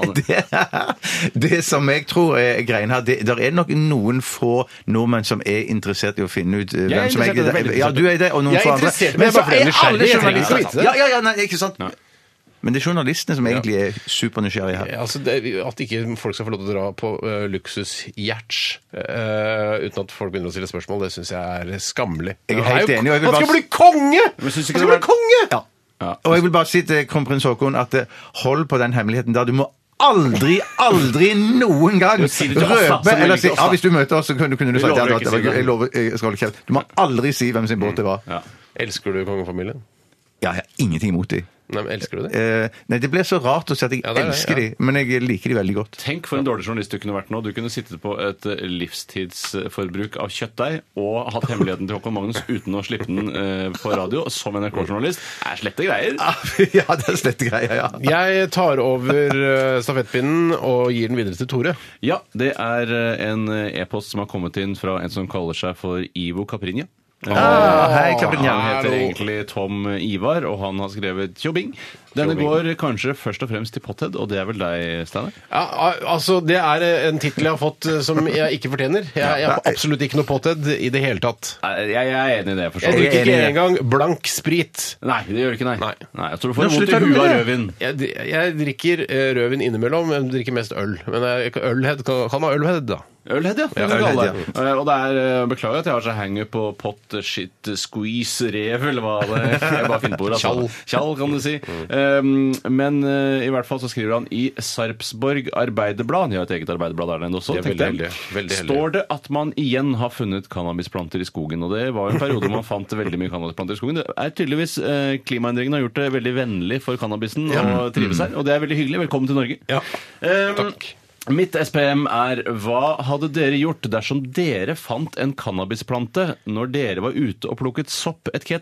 Speaker 4: nå?
Speaker 5: det, det, det som jeg tror er greien her det, Der er nok noen få nordmenn som er interessert i å finne ut eh,
Speaker 6: Jeg er
Speaker 5: hvem som
Speaker 6: interessert i det,
Speaker 5: er
Speaker 6: veldig
Speaker 5: Ja, du er det, og noen
Speaker 4: Jeg er
Speaker 5: få andre.
Speaker 4: interessert, men jeg
Speaker 5: så
Speaker 4: bare ble
Speaker 5: er alle
Speaker 4: nysgjerrig, jeg trenger ikke
Speaker 5: journalister-
Speaker 4: vite det.
Speaker 5: Ja, ja, ja, nei, ikke sant. Men det er journalistene som egentlig er supernysgjerrige her.
Speaker 4: Altså, det, at ikke folk skal få lov til å dra på uh, luksusjerts eh, uten at folk begynner å stille spørsmål, det syns jeg er skammelig.
Speaker 5: Jeg er
Speaker 4: Han
Speaker 5: helt
Speaker 4: jo-
Speaker 5: enig, og jeg vil
Speaker 4: Han skal
Speaker 5: bare-
Speaker 4: bli konge! Han
Speaker 5: synes
Speaker 4: skal
Speaker 5: ikke det
Speaker 4: bli konge!
Speaker 5: Og jeg vil bare si til kronprins Haakon at eh, hold på den hemmeligheten der. Du må aldri, aldri noen gang
Speaker 6: Du sier det til oss, da,
Speaker 5: røpe
Speaker 6: så det er
Speaker 5: eller
Speaker 6: ikke
Speaker 5: si
Speaker 6: oss, da.
Speaker 5: Ja, hvis du møter oss, så kunne, kunne du
Speaker 6: Vi
Speaker 5: sagt ja.
Speaker 6: lover
Speaker 5: da,
Speaker 6: å ikke
Speaker 5: det var
Speaker 6: si det. Mm.
Speaker 5: gøy. Jeg lover, jeg skal holde kjeft. Du må aldri si hvem sin båt det var.
Speaker 4: Elsker du kongefamilien?
Speaker 5: Ja, jeg har ingenting imot de.
Speaker 4: Nei, men elsker du det?
Speaker 5: Eh, Nei, det ble så rart å si at jeg
Speaker 6: det er det,
Speaker 5: elsker
Speaker 6: ja.
Speaker 5: de, men jeg liker de veldig godt.
Speaker 6: Tenk for en dårlig journalist du kunne vært nå. Du kunne sittet på et eh, livstidsforbruk av kjøttdeig og hatt hemmeligheten til Håkon Magnus uten å slippe den eh, på radio som NRK-journalist. Det er slette greier.
Speaker 5: ja, det er slette greier, ja.
Speaker 4: Jeg tar over eh, stafettpinnen og gir den videre til Tore.
Speaker 6: Ja, det er eh, en eh, e-post som har kommet inn fra en som kaller seg for Ivo Caprinja.
Speaker 5: Ah,
Speaker 6: Eh,
Speaker 5: hei, Caprinja.
Speaker 6: Han heter
Speaker 5: Hallo.
Speaker 6: egentlig Tom Ivar, og han har skrevet Tjobbing. Denne går kanskje først og fremst til Potthead, og det er vel deg, Steinar?
Speaker 4: Ja, al- altså, Det er eh, en tittel jeg har fått eh, som jeg ikke fortjener. Jeg, jeg har absolutt ikke noe påtedd i det hele tatt.
Speaker 6: Eh, Jeg, jeg er enig i det. for så
Speaker 4: Jeg
Speaker 6: vidt.
Speaker 4: drikker ikke engang blank sprit.
Speaker 6: Nei, det gjør du ikke, nei. nei. jeg tror du får
Speaker 4: Nå
Speaker 6: vondt i
Speaker 4: slutter du
Speaker 6: huet av
Speaker 4: med det.
Speaker 6: rødvin.
Speaker 4: Jeg, dri- jeg drikker eh, rødvin innimellom, men drikker mest øl. Men jeg, ølhead kan, kan ha ølhead, da.
Speaker 6: Ølhead, ja. Det er
Speaker 4: ølhead,
Speaker 6: alle.
Speaker 4: ja.
Speaker 6: Eh, Og det er, eh, beklager at jeg har så hanger på pot, shit, squeeze, rev, eller hva det jeg bare finner på. ordet, Altså.
Speaker 4: Tjall. Mm.
Speaker 6: Tjall, kan du si. Eh, men eh, i hvert fall så skriver han i Sarpsborg Arbeiderblad, de har et eget arbeiderblad der nede også,
Speaker 4: De er
Speaker 6: tenkte jeg.
Speaker 4: veldig heldige, veldig heldige.
Speaker 6: står det at man igjen har funnet cannabisplanter i skogen. Og det var jo en periode man fant veldig mye cannabisplanter i skogen. Det er tydeligvis eh, Klimaendringene har gjort det veldig vennlig for cannabisen å trives
Speaker 4: Mm.
Speaker 6: her, og det er veldig hyggelig. Velkommen til Norge. Eh, Mitt SPM er hva hadde dere gjort dersom dere fant en cannabisplante når dere var ute og plukket sopp etc.?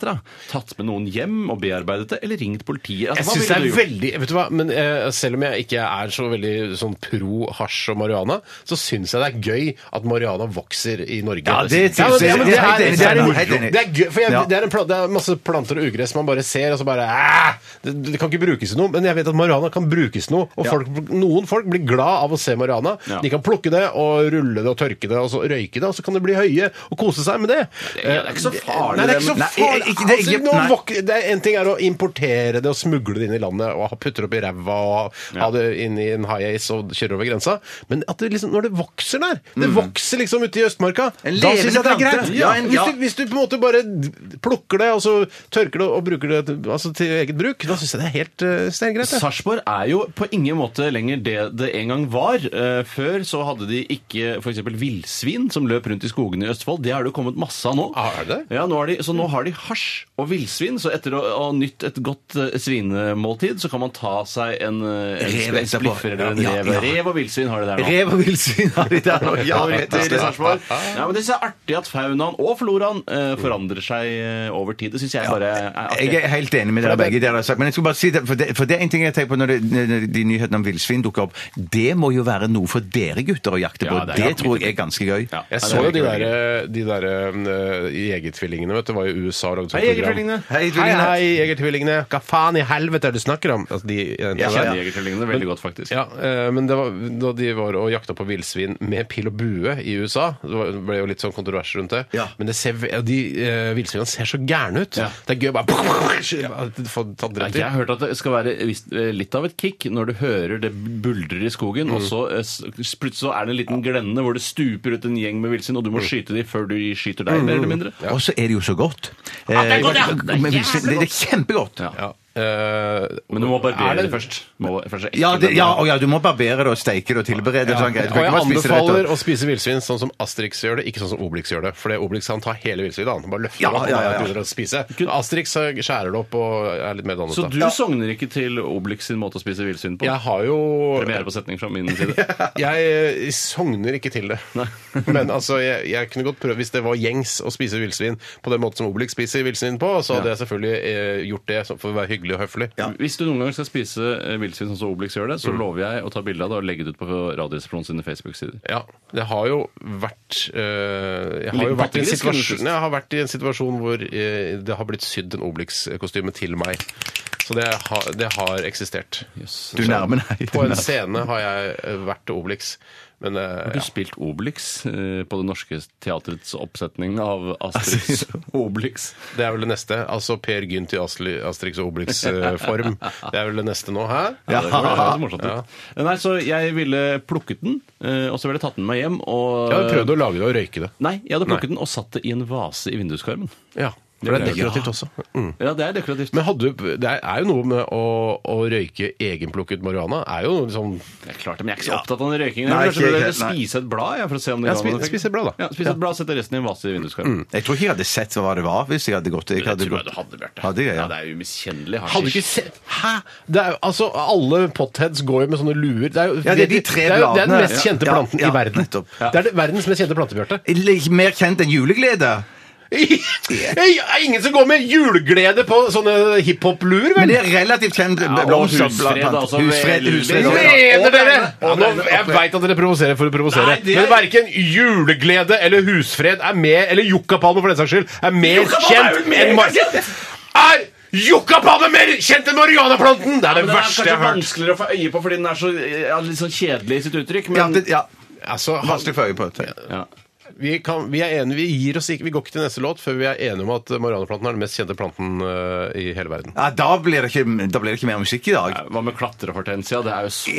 Speaker 6: Tatt med noen hjem og bearbeidet det, eller ringt politiet? Altså,
Speaker 4: Jeg
Speaker 6: hva
Speaker 4: synes det
Speaker 6: ville
Speaker 4: er
Speaker 6: du gjort?
Speaker 4: veldig, vet du hva, men eh, Selv om jeg ikke er så veldig sånn pro hasj og marihuana, så syns jeg det er gøy at marihuana vokser i Norge.
Speaker 5: Ja, det synes
Speaker 4: men-
Speaker 5: jeg-
Speaker 4: men
Speaker 5: det er
Speaker 4: er-
Speaker 5: helt enig,
Speaker 4: det er
Speaker 5: det er
Speaker 4: moro.
Speaker 5: helt enig.
Speaker 4: Det er gøy, for jeg,
Speaker 5: Ja.
Speaker 4: det, er en plan, det er masse planter og ugress man bare ser, og så bare "Æ, det, det kan ikke brukes til noe. Men jeg vet at marihuana kan brukes til noe. Og
Speaker 6: Ja.
Speaker 4: folk, noen folk blir glad av å se marihuana.
Speaker 6: Ja.
Speaker 4: De kan plukke det og rulle det og tørke det og så røyke det, og så kan de bli høye og kose seg med det.
Speaker 6: Det er- det er ikke så farlig,
Speaker 4: Nei, det er ikke
Speaker 6: det,
Speaker 4: så
Speaker 6: men-
Speaker 4: farlig.
Speaker 6: Nei,
Speaker 5: eh,
Speaker 6: ikke- det er
Speaker 4: Altså,
Speaker 6: ikke-
Speaker 4: nå
Speaker 6: nei.
Speaker 4: vok- det er En ting er å importere det og smugle det inn i landet og ha putter opp i ræva og ha det inn i en high-ace og kjøre over grensa, men at det liksom, når det vokser der Det vokser liksom ute i Østmarka.
Speaker 5: Mm. En
Speaker 4: Da
Speaker 5: levende
Speaker 4: syns jeg det er
Speaker 5: plante.
Speaker 4: greit.
Speaker 5: Ja, en-
Speaker 4: Hvis,
Speaker 5: ja.
Speaker 4: du, hvis du på en måte bare d- plukker det, og så tørker det og bruker det til- altså, til eget bruk, da syns jeg det er helt uh, steingreit. det.
Speaker 6: Sarpsborg er jo på ingen måte lenger det det en gang var. Eh, Før så hadde de ikke f.eks. villsvin som løp rundt i skogene i Østfold. Det har det jo kommet masse av nå.
Speaker 5: Ah,
Speaker 4: Er det?
Speaker 6: Ja, nå har de, Så nå har de hasj og villsvin. Så etter å ha nytt et godt eh, svinemåltid, så kan man ta seg en, eh, en
Speaker 5: Rev
Speaker 6: sp- en
Speaker 5: etterpå.
Speaker 6: spliffer eller en
Speaker 5: Ja,
Speaker 6: rev.
Speaker 5: ja.
Speaker 6: Rev og villsvin har de der nå.
Speaker 5: Rev og villsvin har de der nå. Ja,
Speaker 6: Ja,
Speaker 5: rett og
Speaker 6: til
Speaker 5: slett.
Speaker 6: Sarpsborg. ja, men det synes jeg er artig at faunaen og floraen eh, forandrer seg eh, over tid. Det syns jeg bare er artig.
Speaker 5: Jeg er helt enig med dere begge. dere har sagt, Men jeg skulle bare si det, for det, for det er en ting jeg tenker på når, det, når de nyhetene om villsvin dukker opp. Det må jo være noe for dere gutter å jakte på.
Speaker 6: Ja, det
Speaker 5: det
Speaker 6: er-
Speaker 5: tror jeg er ganske gøy.
Speaker 4: Jeg så jo de der, de der eh, jegertvillingene, vet du. Det var jo USA lagde sånt
Speaker 6: Hei,
Speaker 4: program.
Speaker 6: Jegertvillingene.
Speaker 4: Hei, hei, jegertvillingene. Hva faen i helvete er det du snakker om? Altså, de,
Speaker 6: Jeg kjenner Jegertvillingene veldig godt, faktisk.
Speaker 4: Ja, eh, men det var, da de var og jakta på villsvin med pil og bue i USA, det var- det ble jo litt sånn kontrovers rundt det,
Speaker 5: Ja.
Speaker 4: men det ser, ve- de eh, villsvinene ser så gærne ut. Det er gøy å bare få tatt
Speaker 6: Ja,
Speaker 4: rett
Speaker 6: Jeg
Speaker 4: i.
Speaker 6: har hørt at det skal være visst, eh, litt av et kick når du hører det buldrer i skogen,
Speaker 5: Mm.
Speaker 6: og så eh, s- plutselig så er det en liten glenne hvor det stuper ut en gjeng med villsvin, og du
Speaker 5: Mm.
Speaker 6: må skyte dem før de skyter deg, mer eller mindre.
Speaker 5: Og så er det jo så godt.
Speaker 6: Ja, det er godt, ja.
Speaker 5: Eh, men villsvin- det, det er kjempegodt.
Speaker 6: Ja.
Speaker 4: Eh,
Speaker 6: Men du må barbere
Speaker 4: er
Speaker 6: det,
Speaker 4: det-
Speaker 6: først. Må, først
Speaker 5: Ja, det, ja, og ja, du må barbere det og steike det og tilberede det.
Speaker 4: Ja, og
Speaker 5: Sånn, greit.
Speaker 4: jeg
Speaker 5: Du kan ikke bare spise det rett
Speaker 4: anbefaler
Speaker 5: opp.
Speaker 4: å spise villsvin sånn som Asterix gjør det, ikke sånn som Obelix gjør det. For det Obelix han tar hele villsvinet, han bare løfter
Speaker 5: Ja,
Speaker 4: det opp og
Speaker 5: ja, ja,
Speaker 4: bare
Speaker 5: ja.
Speaker 4: begynner å spise. Asterix eh, skjærer det opp og er litt mer dannet.
Speaker 6: Så
Speaker 4: da.
Speaker 6: du sogner ikke til Obelix sin måte å spise villsvin på?
Speaker 4: Jeg har jo
Speaker 6: Premiere på setning fra min side.
Speaker 4: Jeg eh, sogner ikke til det. Men altså, jeg, jeg kunne godt prøve, hvis det var gjengs å spise villsvin på den måten som Obelix spiser villsvin på, så hadde jeg selvfølgelig eh, gjort det så- for å være hyggelig og høflig.
Speaker 6: Hvis du noen gang skal spise eh, villsvin sånn som Obelix gjør det,
Speaker 5: Mm.
Speaker 6: så lover jeg å ta bilde av det og legge det ut på Radioresepsjonen sine Facebook-sider.
Speaker 4: Ja, det har jo vært eh, Jeg har jo
Speaker 6: Liten
Speaker 4: vært i, en
Speaker 6: patrulje, skulle du
Speaker 4: situasjon,
Speaker 6: si.
Speaker 4: jeg har vært i en situasjon hvor eh, det har blitt sydd en Obelix-kostyme til meg. Så Så det har, det har eksistert.
Speaker 5: Du nærmer deg.
Speaker 4: På en scene har jeg eh, vært Obelix. Men eh,
Speaker 6: Har du spilt Obelix eh, på det norske teatrets oppsetning av
Speaker 5: Altså,
Speaker 6: Asterix Obelix?
Speaker 4: Det er vel det neste. Altså Per Gynt i Asli- Asterix og Obelix-form. Det er vel det neste nå, hæ?
Speaker 6: Ja, det høres veldig morsomt ut. Nei, så jeg ville plukket den, eh, og så ville jeg tatt den med meg hjem. Og...
Speaker 4: Jeg hadde prøvd å lage det og røyke det.
Speaker 6: Nei, jeg hadde plukket den og satt det i en vase i vinduskarmen.
Speaker 4: Ja, for det er dekorativt også. Mm.
Speaker 6: Ja, det er dekorativt.
Speaker 4: Men hadde, du- det er jo noe med å, å røyke egenplukket marihuana. er jo liksom
Speaker 6: Det er klart, men jeg er ikke så opptatt av den røykingen.
Speaker 4: Nei,
Speaker 6: Jeg
Speaker 4: ikke
Speaker 6: vil kanskje
Speaker 4: helt,
Speaker 6: heller
Speaker 4: nei.
Speaker 6: spise et blad, jeg, for å se om det
Speaker 4: Ja,
Speaker 6: ga noen
Speaker 4: spi-
Speaker 6: effekt.
Speaker 4: spis et blad, da. Mm.
Speaker 6: Ja, spise et blad, sette resten i en vase i vinduskarmen.
Speaker 5: Jeg tror ikke jeg hadde sett hva det var hvis jeg hadde gått. Jeg hadde
Speaker 6: tror jeg
Speaker 5: gått.
Speaker 6: du hadde, Bjarte.
Speaker 5: Hadde jeg, ja.
Speaker 6: Ja, det er jo miskjennelig
Speaker 4: Hadde du ikke sett Hæ?! Det er, jo- altså, alle potheads går jo med sånne luer. Det er jo,
Speaker 5: Ja, det er de tre
Speaker 4: det er jo- Det er den
Speaker 5: bladene.
Speaker 4: mest kjente
Speaker 5: Ja,
Speaker 4: planten
Speaker 5: ja,
Speaker 4: i verden.
Speaker 5: nettopp.
Speaker 4: Det er det, verdens mest kjente plante, Bjarte.
Speaker 5: Litt Mer kjent enn juleglede.
Speaker 4: Det er ingen som går med juleglede på sånne hiphop-luer, vel?
Speaker 5: Men det er relativt kjent
Speaker 6: og husfred, altså, veldig.
Speaker 4: Mener dere?
Speaker 5: Ja,
Speaker 4: nå,
Speaker 5: men-
Speaker 4: jeg veit at dere provoserer for å provosere,
Speaker 6: Nei, det er-
Speaker 4: men verken juleglede eller husfred er mer, eller Jokkapalme for den saks skyld, er mer
Speaker 6: Yucca Palmer er jo
Speaker 4: kjent
Speaker 6: mer
Speaker 4: enn Mar... Er Jokkapalme mer kjent enn marihuanaplanten?! Det er det
Speaker 6: Men
Speaker 4: verste jeg
Speaker 6: kanskje
Speaker 4: har hørt.
Speaker 6: vanskeligere å få øye på fordi den er så ja, litt sånn kjedelig i sitt uttrykk. Men
Speaker 5: Ja, det, ja.
Speaker 4: Altså, han-
Speaker 5: Vanskelig å få øye på. tror jeg.
Speaker 6: Ja.
Speaker 4: vi, kan, vi er enige, vi gir oss ikke, vi går ikke til neste låt før vi er enige om at marihuanaplanten er den mest kjente planten øh, i hele verden.
Speaker 5: Ja, da, blir det ikke, da blir det ikke mer musikk i dag.
Speaker 6: Hva med klatrefortensia? Det er jo så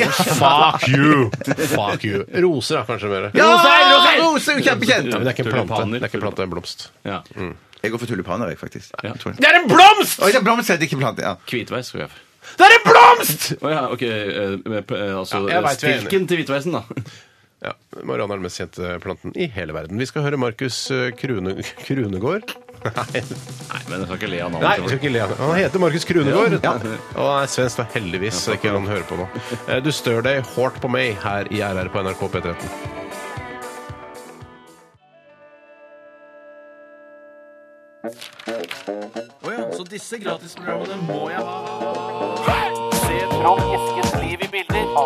Speaker 4: Fuck you! Fuck you. Roser er kanskje mer.
Speaker 5: Ja,
Speaker 6: Rosein, rosein!
Speaker 5: Rose er jo kjempekjent!
Speaker 4: Ja, men det er ikke en plante,
Speaker 6: Tulipaner.
Speaker 4: det er ikke en plante, Mm. det er en blomst.
Speaker 6: ja.
Speaker 5: Jeg går for tulipaner, jeg, faktisk.
Speaker 6: Ja.
Speaker 5: Tror jeg.
Speaker 4: Det er en blomst!
Speaker 5: Oi, det er blomst, det er ikke plante. Ja.
Speaker 6: Hvitveis skal vi ha.
Speaker 4: Det er en blomst!
Speaker 6: Å ja, ok. eh, med p- eh, Altså
Speaker 4: Ja, jeg vet vi er
Speaker 6: stilken til hvitveisen, da.
Speaker 4: Ja, Marianne er den mest kjente planten i hele verden. Vi skal høre Markus eh, Krune, Krunegård. Nei,
Speaker 6: Nei, men jeg skal ikke le av
Speaker 4: nei, vi
Speaker 6: navnet.
Speaker 4: skal ikke le av det. Han heter Markus Krunegård.
Speaker 6: Ja.
Speaker 4: Og han er svensk, da, heldigvis. så ikke han hører på nå. Eh, Du stør deg hårdt på meg her i RR på NRK P13.
Speaker 13: Så disse gratisprogrammene må jeg ha. Se Trond Eskens liv i bilder.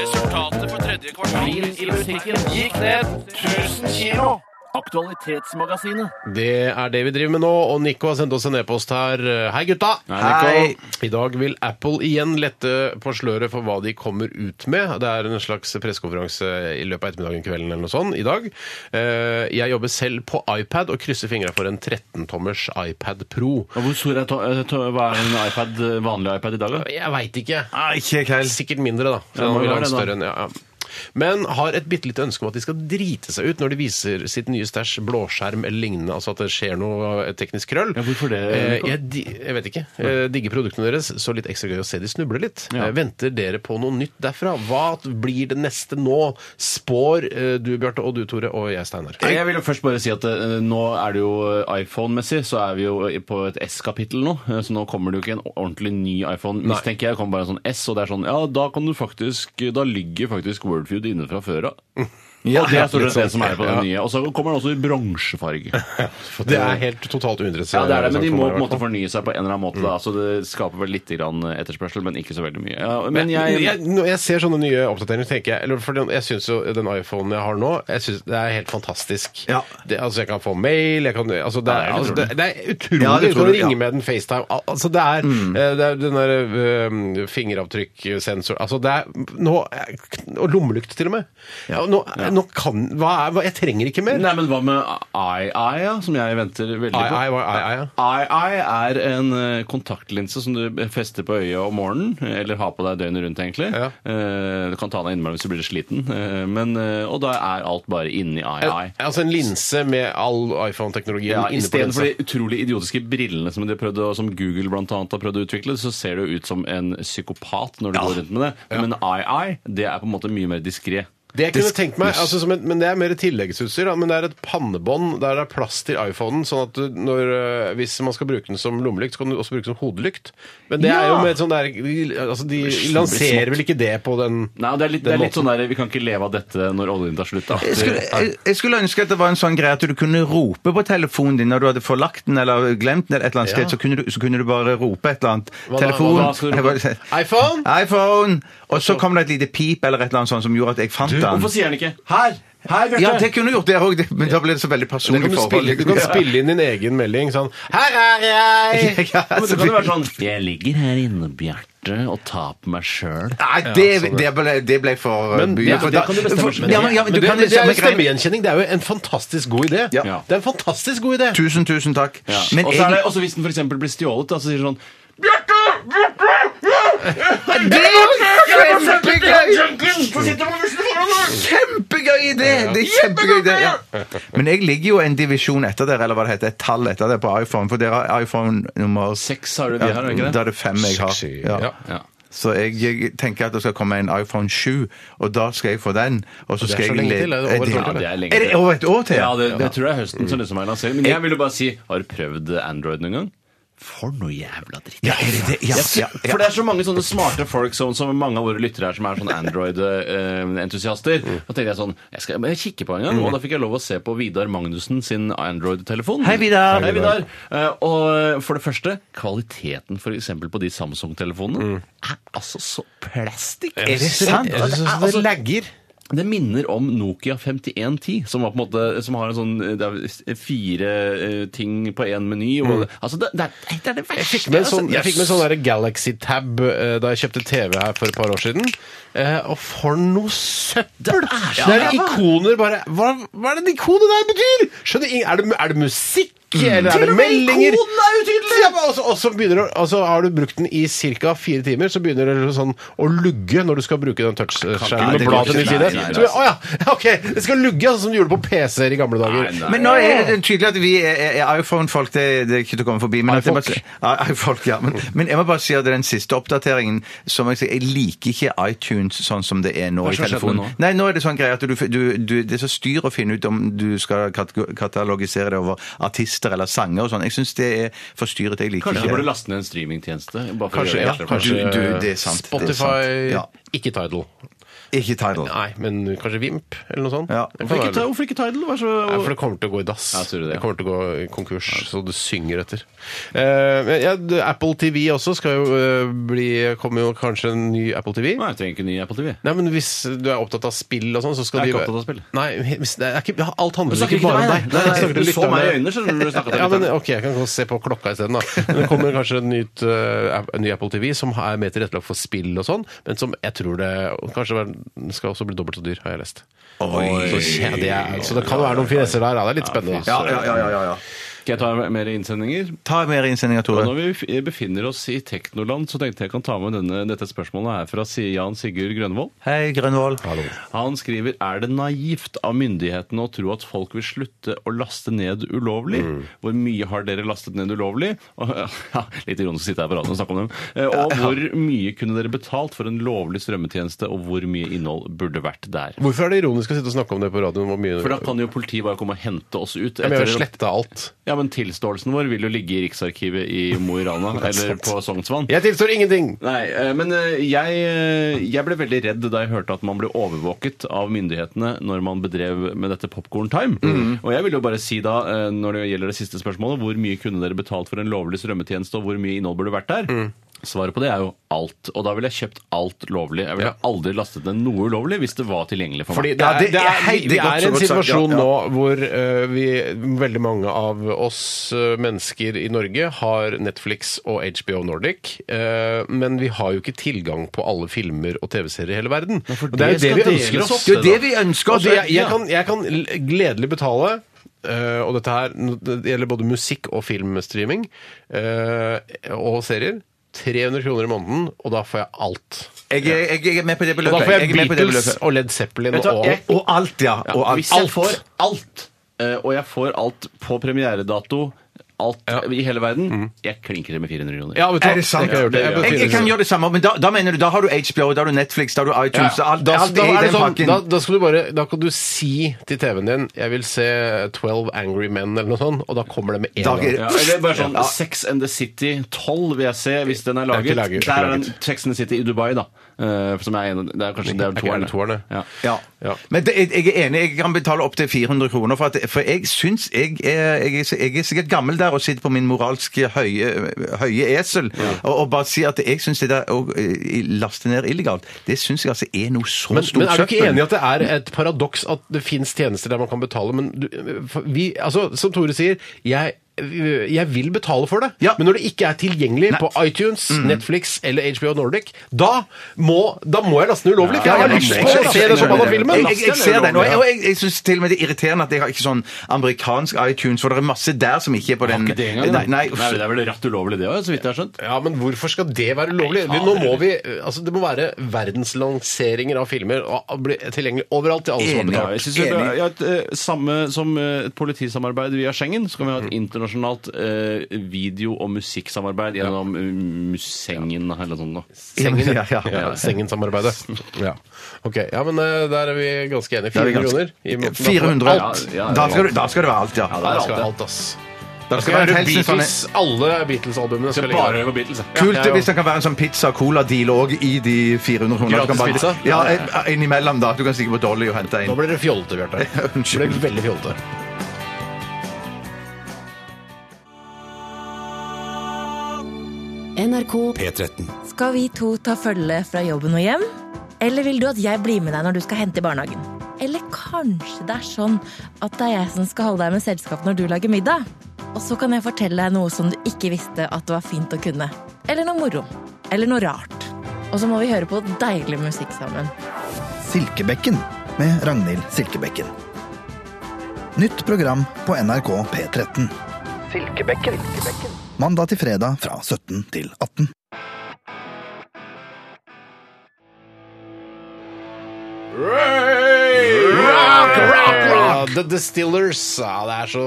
Speaker 13: Resultatet for tredje kvartal i musikken gikk ned 1000 kilo. Aktualitetsmagasinet.
Speaker 4: Det er det vi driver med nå, og Nico har sendt oss en e-post her. Hei, gutta!
Speaker 5: Hei.
Speaker 4: I dag vil Apple igjen lette på sløret for hva de kommer ut med. Det er en slags pressekonferanse i løpet av ettermiddagen kvelden eller noe sånt i dag. Eh, Jeg jobber selv på iPad og krysser fingra for en 13-tommers iPad Pro.
Speaker 6: Og Hvor stor er, to, eh, to, hva er en iPad, eh, vanlig iPad i dag, da?
Speaker 4: Jeg veit ikke.
Speaker 5: Nei, ikke jeg heller.
Speaker 4: Sikkert mindre, da.
Speaker 6: Ja,
Speaker 4: Så den
Speaker 6: det
Speaker 4: var
Speaker 6: var
Speaker 4: langt
Speaker 6: det, da.
Speaker 4: større enn, ja, ja. Men har et bitte lite ønske om at de skal drite seg ut når de viser sitt nye stæsj, blåskjerm eller lignende. Altså at det skjer noe eh, teknisk krøll.
Speaker 6: Ja, hvorfor det,
Speaker 4: Eh,
Speaker 6: Nico?
Speaker 4: Jeg, di- jeg vet ikke. Eh, Digger produktene deres, så litt ekstra gøy å se de snuble litt.
Speaker 6: Ja.
Speaker 4: Eh, Venter dere på noe nytt derfra? Hva blir det neste nå? Spår eh, du, Bjarte, og du, Tore, og jeg, Steinar.
Speaker 6: Nei, Jeg vil jo først bare si at eh, nå er det jo eh, iPhone-messig, så er vi jo i- på et S-kapittel nå. eh, Så nå kommer det jo ikke en ordentlig ny iPhone, mistenker jeg. Det kommer bare en sånn S, og det er sånn Ja, da kan du faktisk eh, Da ligger faktisk Wordfeud inne fra før av. og det er stort sett det som er på den nye. Og så kommer den også i bronsefarge.
Speaker 4: Det er helt totalt uinteressant. eh,
Speaker 6: Ja, det er det, men de
Speaker 4: for
Speaker 6: må
Speaker 4: meg,
Speaker 6: på
Speaker 4: Sånn
Speaker 6: en måte
Speaker 4: i hvert fall. Mm.
Speaker 6: fornye seg på en eller annen måte. Da. Så det skaper vel litt grann etterspørsel, men ikke så veldig mye. Ja, men jeg,
Speaker 4: jeg, når jeg ser sånne nye oppdateringer, så tenker jeg eller for den- Jeg syns jo den iPhonen jeg har nå, jeg synes det er helt fantastisk.
Speaker 5: Ja.
Speaker 4: Det, altså, jeg kan få mail, jeg kan altså, det,
Speaker 6: det
Speaker 4: er,
Speaker 6: er
Speaker 4: altså, det, det er utrolig.
Speaker 5: Ja, det er
Speaker 4: du kan
Speaker 5: utrolig,
Speaker 4: ringe
Speaker 5: ja.
Speaker 4: med den FaceTime Al- altså, det, er, eh, det er den der eh, fingeravtrykkssensor altså, det er, nå, er- Og lommelykt, til og med. Ja. Nå, nå kan Hva er hva, Jeg trenger ikke mer.
Speaker 6: Nei, men hva med II, ja, som jeg venter veldig på?
Speaker 4: Ai, ai, ai, ai, ja.
Speaker 6: II er en eh, kontaktlinse som du fester på øyet om morgenen, eller har på deg døgnet rundt, egentlig.
Speaker 4: Ja.
Speaker 6: Eh, Du kan ta den av innimellom hvis du blir sliten, eh, men, eh, og da er alt bare inni II.
Speaker 4: Altså en linse med all iPhone-teknologien
Speaker 6: Ja,
Speaker 4: inne på
Speaker 6: Istedenfor
Speaker 4: linsa.
Speaker 6: de utrolig idiotiske brillene som, de prøvde, å- som Google blant annet har prøvd å utvikle, så ser du ut som en psykopat når du går rundt med det. Men II, det er på en måte mye mer diskré.
Speaker 4: Det jeg kunne tenkt meg, altså, som et, men det er mer et tilleggsutstyr, da, men det er et pannebånd der det er plass til iPhonen, sånn at du, når, øh, hvis man skal bruke den som lommelykt, så kan du også bruke den som hodelykt. Men det er jo
Speaker 6: Ja!
Speaker 4: med et sånn der, altså, de lanserer vel ikke det på den...
Speaker 6: Nei, det er litt, det
Speaker 4: Den
Speaker 6: er litt
Speaker 4: måten.
Speaker 6: sånn der, Vi kan ikke leve av dette når oljen tar slutt. Da.
Speaker 5: Jeg skulle, jeg, jeg skulle ønske at det var en sånn greie at du kunne rope på telefonen din når du hadde forlagt den eller glemt den, eller et eller annet
Speaker 4: Ja.
Speaker 5: sted, så, kunne du, så kunne du bare rope et eller annet.
Speaker 4: da?
Speaker 5: Telefon
Speaker 6: Hva da? Skal du
Speaker 5: Jeg
Speaker 6: rope?
Speaker 5: bare-
Speaker 4: iPhone?
Speaker 5: iPhone! Og så kom det et lite pip eller et eller annet sånt som gjorde at jeg fant den.
Speaker 6: Hvorfor sier han ikke 'her'?
Speaker 4: Hei, Bjarte.
Speaker 5: Ja, det kunne du gjort, dere òg, men da ble det så
Speaker 4: Du
Speaker 5: veldig
Speaker 4: kan,
Speaker 5: personlig
Speaker 4: du
Speaker 5: forhold.
Speaker 4: spille, du kan spille inn din egen melding sånn Her er jeg!
Speaker 5: Ja, altså.
Speaker 6: Men det kan jo være sånn
Speaker 9: Jeg ligger her inne, Bjarte, og tar på meg sjøl.
Speaker 5: Nei, det, det, ble, det ble for
Speaker 4: Men
Speaker 5: mye.
Speaker 4: det-
Speaker 5: for
Speaker 4: det
Speaker 5: da-
Speaker 4: kan du bestemme selv.
Speaker 5: for- ja, men, ja, men,
Speaker 4: Men
Speaker 5: du
Speaker 4: det-
Speaker 5: kan
Speaker 4: men det er jo
Speaker 5: samme greie-
Speaker 4: stemmegjenkjenning. Det er jo en fantastisk god idé.
Speaker 5: Ja.
Speaker 4: Det er en fantastisk god idé.
Speaker 5: Tusen, tusen takk.
Speaker 6: Ja.
Speaker 5: Men
Speaker 6: Og så er
Speaker 5: jeg-
Speaker 6: det- og så hvis den f.eks. blir stjålet, da, så sier den sånn
Speaker 5: Det er jo kjempegøy! Kjempegøy idé! Det er kjempegøy idé, ja. Men jeg ligger jo en divisjon etter dere, eller hva det heter, et tall etter dere på iPhone, for dere har iPhone nummer
Speaker 6: Seks har du vi har, er det ikke det?
Speaker 5: Da er det fem jeg har.
Speaker 4: Seks,
Speaker 5: Ja.
Speaker 4: ja.
Speaker 6: Ja.
Speaker 5: Så jeg, jeg tenker at det skal komme en iPhone 7, og da skal jeg få den. Og så
Speaker 4: det er
Speaker 5: skal
Speaker 4: så
Speaker 5: jeg
Speaker 4: lenge
Speaker 5: le-
Speaker 4: til, er det over et år til?
Speaker 5: Ja,
Speaker 6: Det
Speaker 5: Er det over et år til?
Speaker 6: er lenge til. Ja, det, det tror jeg er høsten som liksom er lansering. Men
Speaker 5: Mm.
Speaker 6: jeg ville bare si Har du prøvd Android noen gang? For noe jævla dritt.
Speaker 5: Ja, er det det? Ja, ja, ja.
Speaker 6: For det er så mange sånne smarte folk som, som mange av våre lyttere er, som er sånn sånne Android-entusiaster.
Speaker 5: Mm.
Speaker 6: Da tenkte jeg sånn Jeg skal jeg kikke på en gang. Og da fikk jeg lov å se på Vidar Magnussen sin Android-telefon.
Speaker 5: Hei, Vidar.
Speaker 6: Hei, Vidar. Eh, Og for det første, kvaliteten for eksempel på de Samsung-telefonene er altså så plastikk.
Speaker 5: Mm. Er det sant?
Speaker 6: Ja, det er
Speaker 4: Det
Speaker 6: altså
Speaker 4: lagger.
Speaker 6: det minner om Nokia 5110, som, var på en måte, som har en sånn det er fire eh, ting på én meny. Og, altså, det, det, er, det er det
Speaker 4: Mm.
Speaker 6: verste.
Speaker 4: Jeg fikk med en sånn,
Speaker 6: altså.
Speaker 4: jeg fikk med en sånn der Galaxy Tab eh, da jeg kjøpte TV her for et par år siden. Eh, og for noe søppel!
Speaker 6: er
Speaker 4: Det
Speaker 6: så
Speaker 4: er
Speaker 6: ræva.
Speaker 4: ikoner bare Hva, hva er det de ikonene der betyr?! Skjønner ingen- Er det, er det musikk? Eller er det meldinger? Ja, men også- Og så begynner det- og så har du brukt den i ca. fire timer, så begynner det sånn å lugge når du skal bruke den touchskjermen
Speaker 5: Nei,
Speaker 4: og
Speaker 5: det
Speaker 4: bla
Speaker 5: går
Speaker 4: til ny
Speaker 5: ikke.
Speaker 4: side.
Speaker 5: Nei, nei,
Speaker 4: Så, Å ja, ok! Det skal lugge, altså, som du gjorde på PC-er i gamle dager.
Speaker 6: Nei, nei.
Speaker 5: Men nå er det tydelig at vi er, er- er iPhone-folk. Det, det er ikke til å komme forbi. Men, at jeg bare,
Speaker 4: iFolk.
Speaker 5: Ja, iFolk, ja, men, men jeg må bare si at den siste oppdateringen som Jeg sier, jeg liker ikke iTunes sånn som det er nå. i
Speaker 6: Hva som skjedde
Speaker 5: telefonen.
Speaker 6: nå?
Speaker 5: Nei, nå er Det sånn greie at du, du, du, det er så styr å finne ut om du skal kat- katalogisere det over artister eller sanger og sånn. Jeg syns det er forstyrret. Jeg liker
Speaker 6: Kanskje du
Speaker 5: ikke
Speaker 6: burde
Speaker 5: det.
Speaker 6: laste ned en streamingtjeneste? bare for å
Speaker 4: Kanskje,
Speaker 6: gjøre
Speaker 4: ja,
Speaker 6: det
Speaker 4: kanskje
Speaker 5: Du- du, det er sant, det er sant.
Speaker 4: Spotify,
Speaker 5: Ja.
Speaker 4: ikke Tidal.
Speaker 5: Ikke Tidal.
Speaker 4: Nei, men kanskje Vimp eller noe sånt.
Speaker 5: Ja.
Speaker 4: Det kan
Speaker 6: Hvorfor ikke,
Speaker 4: være-
Speaker 6: ta- hvorfor ikke Tidal? Vær så
Speaker 4: Nei, for det kommer til å gå i dass.
Speaker 6: Ja, tror du det, ja.
Speaker 4: det kommer til å gå i konkurs, så du synger etter. Eh, ja, d- Apple TV også skal jo eh, bli Kommer jo kanskje en ny Apple TV.
Speaker 6: Nei, jeg trenger ikke ny Apple TV.
Speaker 4: Nei, men Hvis du er opptatt av spill og sånn, så skal
Speaker 6: Jeg er
Speaker 4: de
Speaker 6: ikke opptatt av spill.
Speaker 4: Nei, hvis, det er ikke, alt
Speaker 6: Du
Speaker 4: handler
Speaker 6: snakker
Speaker 4: ikke
Speaker 6: ikke
Speaker 4: bare om
Speaker 6: til
Speaker 4: deg.
Speaker 6: meg, nei.
Speaker 4: Nei, jeg snakker
Speaker 6: Du
Speaker 4: litt
Speaker 6: så
Speaker 4: om
Speaker 6: meg i
Speaker 4: deg.
Speaker 6: øynene, skjønner du, når du snakket til
Speaker 4: ja, men,
Speaker 6: lytterne.
Speaker 4: ok, jeg kan gå og se på klokka isteden, da. Men det kommer kanskje en nytt, eh, app- en ny Apple TV som er mer tilrettelagt for spill og sånn, men som jeg tror det Kanskje den skal også bli dobbelt så dyr, har jeg lest. Så, ja, det er, så det kan være noen finesser der. Ja, det er litt spennende.
Speaker 5: Ja, ja, ja, ja, ja.
Speaker 6: Skal jeg ta mer innsendinger?
Speaker 5: Ta mer innsendinger,
Speaker 6: Og
Speaker 5: Tore.
Speaker 6: når vi f- befinner oss i teknoland, så tenkte jeg kan ta med denne, dette spørsmålet her fra si- Jan Sigurd Grønvold.
Speaker 5: Hei, Grønvoll.
Speaker 6: Han skriver er det naivt av myndighetene å tro at folk vil slutte å laste ned ulovlig.
Speaker 4: Mm.
Speaker 6: Hvor mye har dere lastet ned ulovlig? Og, ja, litt ironisk å sitte her på radioen og snakke om dem. Eh, Og hvor mye kunne dere betalt for en lovlig strømmetjeneste, og hvor mye innhold burde vært der?
Speaker 4: Hvorfor er det ironisk å sitte og snakke om det på radioen? Hvor mye...
Speaker 6: For da kan jo politiet bare komme og hente oss ut.
Speaker 4: Ja, men jeg har
Speaker 6: etter-
Speaker 4: jo sletta alt.
Speaker 6: ja, men tilståelsen vår vil jo ligge i Riksarkivet i Mo i Rana, eller på Sognsvann.
Speaker 4: Jeg tilstår ingenting!
Speaker 6: Nei, eh, men eh, jeg, eh, jeg ble veldig redd da jeg hørte at man ble overvåket av myndighetene når man bedrev med dette Popcorn Time. Og jeg vil jo bare si da, eh, når det gjelder det siste spørsmålet, hvor mye kunne dere betalt for en lovlig strømmetjeneste, og hvor mye innhold burde vært der? Svaret på det er jo alt. Og da ville jeg kjøpt alt lovlig. Jeg ville aldri lastet ned noe ulovlig hvis det var tilgjengelig for
Speaker 4: Fordi
Speaker 6: meg.
Speaker 4: det er,
Speaker 5: Ja, det
Speaker 4: det
Speaker 5: er
Speaker 4: er,
Speaker 5: hei- det
Speaker 4: vi
Speaker 5: er godt
Speaker 4: er i en
Speaker 5: så godt sagt, ja,
Speaker 4: situasjon
Speaker 5: ja.
Speaker 4: nå hvor eh, vi, veldig mange av oss eh, mennesker i Norge har Netflix og HBO Nordic, eh, men vi har jo ikke tilgang på alle filmer og TV-serier i hele verden.
Speaker 6: for
Speaker 4: Og det er jo
Speaker 6: det
Speaker 4: det vi ønsker
Speaker 6: skal deles
Speaker 4: oss.
Speaker 6: opp,
Speaker 5: Det er jo det vi ønsker
Speaker 4: Og
Speaker 5: oss.
Speaker 4: det, jeg, jeg, kan, jeg kan l- gledelig betale eh, og dette her det gjelder både musikk og filmstreaming eh, og serier. 300 kroner i måneden, og da får jeg alt.
Speaker 5: Jeg, jeg, jeg er med på det
Speaker 4: Og da
Speaker 5: beløpet.
Speaker 4: får
Speaker 5: Jeg
Speaker 4: jeg
Speaker 5: er med på det
Speaker 4: Beatles
Speaker 5: beløpet.
Speaker 4: og Led Zeppelin
Speaker 6: Vet du hva,
Speaker 4: og
Speaker 6: jeg-
Speaker 5: Og alt, ja. Og alt.
Speaker 6: Hvis jeg
Speaker 4: alt.
Speaker 6: får alt, eh, og jeg får alt på premieredato, alt i hele verden, jeg klinker det med 400 kroner.
Speaker 4: Ja, vet du hva?
Speaker 5: Er det sant?
Speaker 4: Jeg kan gjøre det. Jeg kan
Speaker 5: Jeg, jeg
Speaker 4: finne
Speaker 5: kan
Speaker 4: det.
Speaker 5: gjøre det samme, men da, da mener du, da har du HBO, da har du Netflix, da har du iTunes,
Speaker 4: Ja,
Speaker 5: alt,
Speaker 4: da,
Speaker 5: alt
Speaker 4: da,
Speaker 5: er
Speaker 4: er
Speaker 5: i
Speaker 4: det
Speaker 5: den
Speaker 4: sånn,
Speaker 5: pakken.
Speaker 4: da, da, skal du bare, da kan du si til TV-en din 'Jeg vil se 12 Angry Men' eller noe sånt, og da kommer det med en
Speaker 5: Da-
Speaker 4: gang.
Speaker 6: Ja, eller bare sånn Sex and the City 12 vil jeg se, hvis den er
Speaker 4: er ikke
Speaker 6: laget.
Speaker 4: laget, ikke
Speaker 6: Der er den
Speaker 4: laget.
Speaker 6: Sex and the City i Dubai, da. eh, som er en, det er kanskje det
Speaker 4: Er
Speaker 6: er
Speaker 4: ikke
Speaker 6: toeren.
Speaker 4: det toeren, det?
Speaker 6: Ja.
Speaker 5: Ja.
Speaker 4: Ja.
Speaker 5: Men det, jeg jeg er enig, jeg kan betale opptil 400 kroner, for, at, for jeg syns jeg er, jeg, er- jeg er sikkert gammel der her og sitter på min moralske høye, høye esel og, og bare sier at jeg syns det der å eh, laste ned illegalt, det syns jeg altså er noe så
Speaker 4: Men,
Speaker 5: stort
Speaker 4: men er du ikke
Speaker 5: søppel.
Speaker 4: enig i at det er et paradoks at det finnes tjenester der man kan betale, men du, for vi, altså, som Tore sier, jeg jeg vil betale for det, men når det ikke er tilgjengelig på iTunes,
Speaker 5: Mm.
Speaker 4: Netflix eller HBO Nordic, da må, da må jeg laste den ulovlig. for jeg har lyst på å se den som av filmen.
Speaker 5: Jeg, jeg, jeg ser den, og jeg, og jeg, jeg syns til og med det er irriterende at jeg har ikke sånn amerikansk iTunes, for det er masse der som ikke er på den
Speaker 6: Ikke det engang.
Speaker 5: Nei,
Speaker 6: da.
Speaker 5: nei,
Speaker 6: Nei, det er vel rett ulovlig det òg, så vidt jeg har skjønt.
Speaker 4: Ja, men hvorfor skal det være ulovlig? Vi- Nå må vi, altså Det må være verdenslanseringer av filmer og bli tilgjengelig overalt til alle som har
Speaker 6: Ja, jeg
Speaker 4: betalt.
Speaker 6: synes vi bør ha et, eh, samme som eh, et politisamarbeid via Schengen, så kan vi ha et
Speaker 4: Mm.
Speaker 6: internasjonalt eh, video- og musikksamarbeid gjennom eh, Musengen eller noe sånt. da.
Speaker 4: Sengen, ja.
Speaker 6: ja.
Speaker 4: ja. Sengen-samarbeidet. Ja. Ok, ja, men eh, der er vi ganske enige.
Speaker 5: Da er vi
Speaker 4: 400
Speaker 5: ganske-
Speaker 4: kroner? i måten.
Speaker 5: 400.
Speaker 4: Da får alt.
Speaker 5: Ja, ja, ja. Da skal du- da skal det være alt, ja.
Speaker 4: da
Speaker 5: Da
Speaker 4: skal
Speaker 5: skal
Speaker 4: det
Speaker 5: det.
Speaker 4: alt, ass.
Speaker 5: Da
Speaker 4: Da skal
Speaker 5: skal det
Speaker 4: jeg
Speaker 5: være
Speaker 4: høre
Speaker 5: en
Speaker 4: Beatles,
Speaker 5: Beatles-
Speaker 4: alle Beatles-albumene. skal
Speaker 5: Skal
Speaker 4: jeg legge
Speaker 5: bare
Speaker 4: her.
Speaker 5: høre Kult
Speaker 4: Ja, jeg
Speaker 5: hvis det kan være en sånn pizza-cola-deal òg i de 400 kronene. Du kan bare-
Speaker 4: Gratispizza?
Speaker 5: Ja, en- innimellom, da. Du kan stikke på Dolly og hente
Speaker 4: Nå
Speaker 5: en.
Speaker 4: ble det fjollete, Bjarte. Det ble veldig fjollete.
Speaker 14: NRK
Speaker 1: P13.
Speaker 15: Skal vi to ta følge fra jobben og hjem? Eller vil du at jeg blir med deg når du skal hente i barnehagen? Eller kanskje det er sånn at det er jeg som skal holde deg med selskap når du lager middag? Og så kan jeg fortelle deg noe som du ikke visste at det var fint å kunne. Eller noe moro. Eller noe rart. Og så må vi høre på deilig musikk sammen.
Speaker 3: Silkebekken med Ragnhild Silkebekken. Nytt program på NRK P13.
Speaker 13: Silkebekken.
Speaker 3: Mandag til fredag fra 17 til 18.
Speaker 4: Rock, rock, rock! The Distillers. Ja, det er så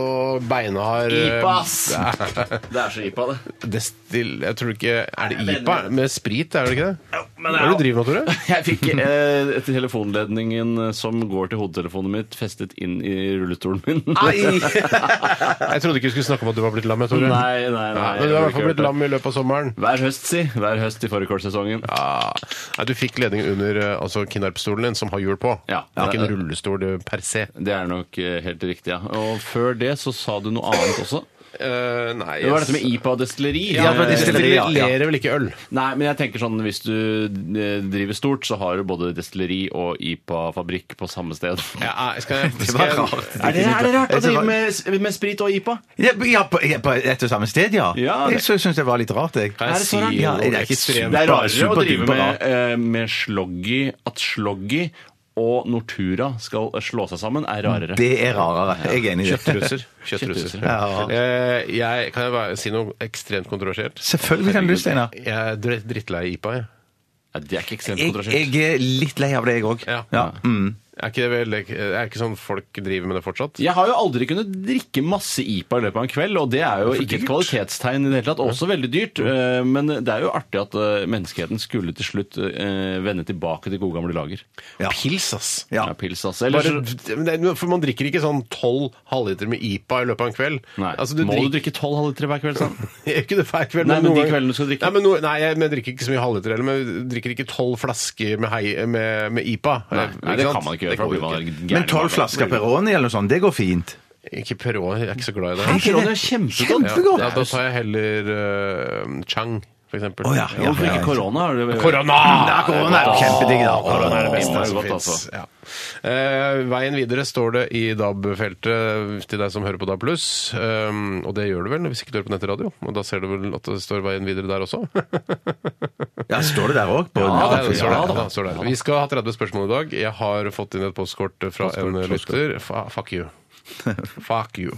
Speaker 4: beinhard eh,
Speaker 6: Ipa, ass.
Speaker 4: Det
Speaker 6: er så ipa, det.
Speaker 4: Destill... Jeg tror ikke Er det
Speaker 6: Jeg
Speaker 4: IPA
Speaker 6: mener-
Speaker 4: med sprit, er det ikke det?
Speaker 6: men
Speaker 4: Hva er det du driver med, Tore?
Speaker 6: Jeg fikk eh, telefonledningen som går til hodetelefonet mitt, festet inn i rullestolen min.
Speaker 4: Jeg trodde ikke vi skulle snakke om at du var blitt lam, jeg, Tore.
Speaker 6: Nei, nei, nei,
Speaker 4: men du
Speaker 6: jeg
Speaker 4: har i hvert fall
Speaker 6: burde ikke hørt
Speaker 4: blitt
Speaker 6: det.
Speaker 4: lam i løpet av sommeren.
Speaker 6: Hver høst, si. Hver høst i fårikålsesongen.
Speaker 4: Ah. Nei, du fikk ledning under eh, altså, Kinnarp-stolen din, som har hjul på. det er ikke en rullestol eh, per se.
Speaker 6: Det er nok eh, helt riktig, ja. Og før det så sa du noe annet også.
Speaker 4: nei,
Speaker 6: Det var
Speaker 4: jeg-
Speaker 6: dette med IPA-destilleri.
Speaker 4: Ja, for destilleri leverer vel ikke øl?
Speaker 6: Nei, men jeg tenker sånn hvis du eh, driver stort, så har du både destilleri og IPA-fabrikk på samme sted.
Speaker 4: Ja, skal jeg,
Speaker 5: skal jeg-
Speaker 6: Er det, er det rart å drive med med sprit og IPA?
Speaker 5: Ja, på- ja, på, ja, på et og samme sted, ja.
Speaker 6: Ja,
Speaker 5: jeg
Speaker 6: det-
Speaker 5: syns det var litt rart, jeg.
Speaker 6: Er det så rart?
Speaker 5: Ja, det er ikke
Speaker 6: Ekstremt.
Speaker 5: super-
Speaker 6: Det er rarere å drive
Speaker 5: superduper rart.
Speaker 6: med, eh, med sloggy At sloggy og Nortura skal slå seg sammen, er rarere.
Speaker 5: Det er rarere. Jeg er enig i det.
Speaker 4: Kjøttruser. Kjøttruser.
Speaker 5: Ja.
Speaker 4: Eh, jeg, kan jeg bare si noe ekstremt kontroversielt?
Speaker 5: Selvfølgelig kan du, Steinar.
Speaker 4: Jeg er dritt- drittlei IPA, jeg.
Speaker 6: det er ikke ekstremt
Speaker 5: Jeg, jeg er litt lei av det, jeg òg.
Speaker 4: Ja.
Speaker 5: Ja. Mm.
Speaker 4: Er ikke det vel, er ikke sånn folk driver med det fortsatt?
Speaker 6: Jeg har jo aldri kunnet drikke masse IPA i løpet av en kveld, og det er jo
Speaker 4: For
Speaker 6: ikke et
Speaker 4: dyrt.
Speaker 6: kvalitetstegn i det hele tatt. Også veldig dyrt. eh, Men det er jo artig at eh, menneskeheten skulle til slutt eh, vende tilbake til gode gamle lager.
Speaker 4: Pils, ass.
Speaker 6: Ja, pils, altså. ass. Ellers,
Speaker 4: Bare, men det- for man drikker ikke sånn tolv halvliter med IPA i løpet av en kveld.
Speaker 6: Nei.
Speaker 4: Altså,
Speaker 6: Må
Speaker 4: drik-
Speaker 6: du drikke tolv halvlitere hver kveld, sånn?
Speaker 4: Ikke det hver kveld,
Speaker 6: Nei, men
Speaker 4: noen
Speaker 6: de
Speaker 4: ganger-
Speaker 6: kveldene du skal drikke.
Speaker 4: Nei, men, no, nei, jeg, men jeg drikker ikke så mye halvliter heller. Men jeg drikker ikke tolv flasker med, hei, med, med IPA. Eh,
Speaker 6: Nei,
Speaker 4: Ikke
Speaker 6: nei, det
Speaker 4: sant?
Speaker 6: kan man ikke gjøre. for da
Speaker 4: går
Speaker 6: blir man
Speaker 4: ikke.
Speaker 6: gæren
Speaker 5: Men tolv
Speaker 6: i magen.
Speaker 5: flasker Peroni eller noe sånt, det går fint.
Speaker 4: Ikke Peroni, jeg er ikke så glad i det.
Speaker 6: Hæ, Peroni er kjempegodt.
Speaker 4: Ja, da, da tar jeg heller eh, Chang, for eksempel.
Speaker 5: Å, ja, ja,
Speaker 6: Hvorfor ikke korona? Er det-
Speaker 4: Korona!
Speaker 6: Nei, korona er jo kjempedigg, da. Korona er det beste
Speaker 4: Korona er
Speaker 6: som
Speaker 4: godt,
Speaker 6: finnes.
Speaker 4: altså. Ja. Eh, veien videre står det i DAB-feltet til deg som hører på DAB+. Um, og det gjør du vel hvis ikke du hører på nettradio? Og da ser du vel at det står veien videre der også?
Speaker 5: Ja, står det der òg?
Speaker 4: Ja,
Speaker 5: ja,
Speaker 4: det står der.
Speaker 5: da.
Speaker 4: Det står der. Vi skal ha 30 spørsmål i dag. Jeg har fått inn et postkort fra en lytter. Fa fuck you. Fuck you.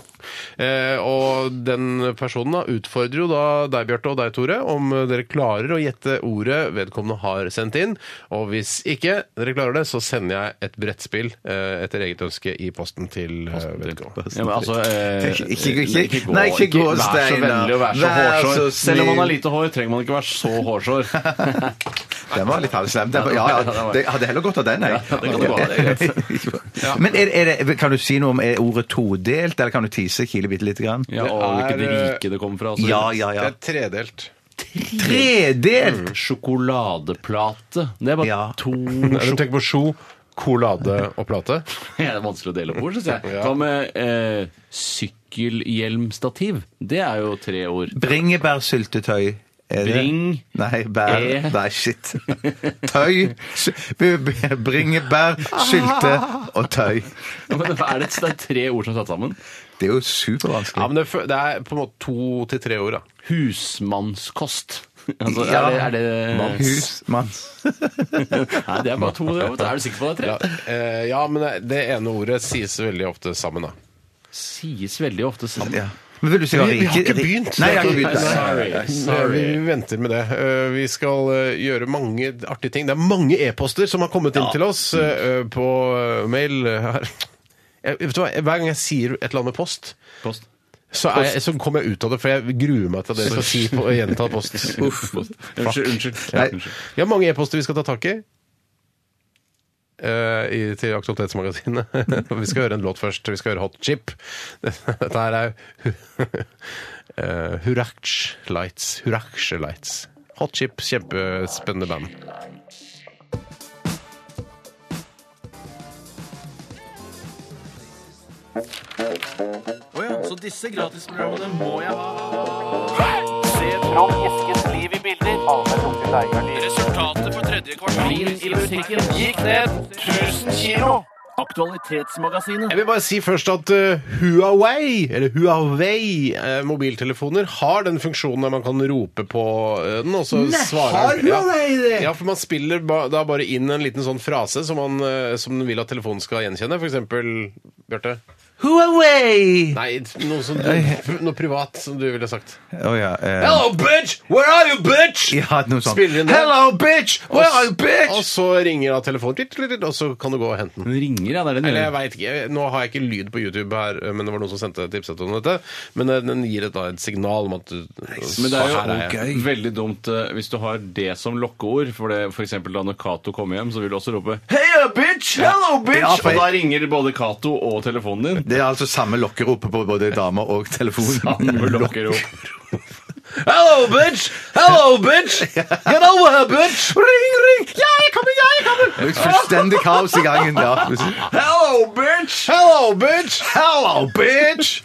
Speaker 4: Eh, og den personen da utfordrer jo da deg, Bjarte, og deg, Tore, om dere klarer å gjette ordet vedkommende har sendt inn. Og hvis ikke dere klarer det, så sender jeg et brettspill eh, etter eget ønske i posten til eh, vedkommende.
Speaker 6: Ja, men altså, eh,
Speaker 5: Ikke- ikke- ikke-
Speaker 6: gå-
Speaker 5: nei, ikke gå,
Speaker 6: Vær så
Speaker 5: Steinar.
Speaker 6: vennlig og vær så
Speaker 5: Vær så
Speaker 6: hårsår. Selv om man har
Speaker 5: snill.
Speaker 6: lite hår, trenger man ikke være så hårsår.
Speaker 5: Den var litt halvslem. Den var- Ja, ja, det- jeg hadde heller godt av den, jeg.
Speaker 6: Ja, det kan du godt ha, det
Speaker 5: Men er, er det, kan du si noe om er ordet todelt, eller kan du tise kile bitte lite grann?
Speaker 6: Ja, og hvilket rike det kommer fra. altså.
Speaker 5: Ja, ja, ja.
Speaker 4: Det er tredelt.
Speaker 5: Tredelt!
Speaker 6: Sjokoladeplate. Det er bare to
Speaker 4: Nei, Du tenker på sjo Kolade og plate?
Speaker 6: Ja, det er vanskelig å dele opp ord, syns jeg. Hva med eh, sykkelhjelmstativ? Det er jo tre ord.
Speaker 5: Bringebærsyltetøy. Er det-
Speaker 6: Bring-
Speaker 5: Nei, bær
Speaker 6: E-
Speaker 5: Nei, shit. Tøy. Sy- b- b- Bringebær, sylte og tøy.
Speaker 6: Ja, men er det, det er tre ord som er satt sammen?
Speaker 5: Det er jo supervanskelig.
Speaker 4: Ja, men det, fø- det er på en måte to til tre ord, da.
Speaker 6: Husmannskost. Altså, er
Speaker 5: Ja.
Speaker 6: det, er det
Speaker 5: Husmanns.
Speaker 6: Nei, det er bare to. det, vet du. Er du sikker på det er
Speaker 4: Ja,
Speaker 6: tre?
Speaker 4: eh, ja, men det- det ene ordet sies veldig ofte sammen, da.
Speaker 6: Sies veldig ofte sammen.
Speaker 5: Ja. Men vil du si hva
Speaker 4: Vi- vi har
Speaker 5: rike-
Speaker 4: ikke begynt.
Speaker 5: Nei, jeg har ikke begynt.
Speaker 6: Sorry,
Speaker 5: Nei.
Speaker 6: sorry.
Speaker 4: Vi, vi venter med det. Eh, Vi skal eh, gjøre mange artige ting. Det er mange e-poster som har kommet inn til oss eh, på eh, mail her. Jeg, vet du hva, Hver gang jeg sier et eller annet med post,
Speaker 6: Post.
Speaker 4: Så, er jeg, så kommer jeg ut av det, for jeg gruer meg til det jeg skal si på å gjenta post.
Speaker 6: Uff, post. Unnskyld, unnskyld.
Speaker 4: Nei.
Speaker 6: Ja, unnskyld.
Speaker 4: Vi har mange e-poster vi skal ta tak i. eh, i, til Aktualitetsmagasinet. vi skal høre en låt først. Vi skal høre Hot Chip. Dette her er uh, Hurach Lights. Hurach Lights. Hot Chip, kjempespennende band.
Speaker 13: Å ja, så disse gratisprogrammene må jeg ha. Se Trond Eskens liv i bilder. Resultatet for tredje kvartal i butikken gikk ned 1000 kilo. Aktualitetsmagasinet.
Speaker 4: Jeg vil bare si først at eh, Huawei, eller Huawei eh, mobiltelefoner har den funksjonen der man kan rope på eh, den, og så
Speaker 13: Nei, har
Speaker 4: svarer den.
Speaker 13: Huawei det?
Speaker 4: Ja, for man spiller ba, da bare inn en liten sånn frase som man, eh, som den vil at telefonen skal gjenkjenne. For eksempel, Bjarte
Speaker 5: Huawei!
Speaker 4: Nei, noe, som du, noe privat som du ville sagt.
Speaker 5: Å ja. eh,
Speaker 4: Hello, bitch! Where are you, bitch?
Speaker 5: Ja, noe sånt.
Speaker 4: Spiller inn det.
Speaker 5: Hello, bitch! Where are you, bitch?
Speaker 4: Og så ringer da telefonen, titt, titt, titt, og så kan du gå og hente den.
Speaker 6: Den ringer, ja. Det er den
Speaker 4: Eller jeg vet ikke, jeg- Nå har jeg ikke lyd på YouTube her, men det var noen som sendte tipset om dette. Men eh, den gir et, da, et signal om at du
Speaker 6: Men det
Speaker 4: her
Speaker 6: er jo
Speaker 4: jeg.
Speaker 6: veldig dumt eh, hvis du har det som lokkeord. For, det, for eksempel da når Cato kommer hjem, så vil du også rope Heia, bitch! Hello, bitch!
Speaker 5: Ja, for-
Speaker 6: Og da ringer både Cato og telefonen din.
Speaker 5: Det er altså samme lokkeropet på både damer og telefon.
Speaker 6: Samme lokkerop.
Speaker 4: Hello, bitch! Hello, bitch! Get over here, bitch! Ring, ring! Ja, jeg kommer, ja, jeg kommer!
Speaker 5: Fullstendig kaos i gangen. Ja.
Speaker 4: Hello, bitch! Hello, bitch! Hello, bitch!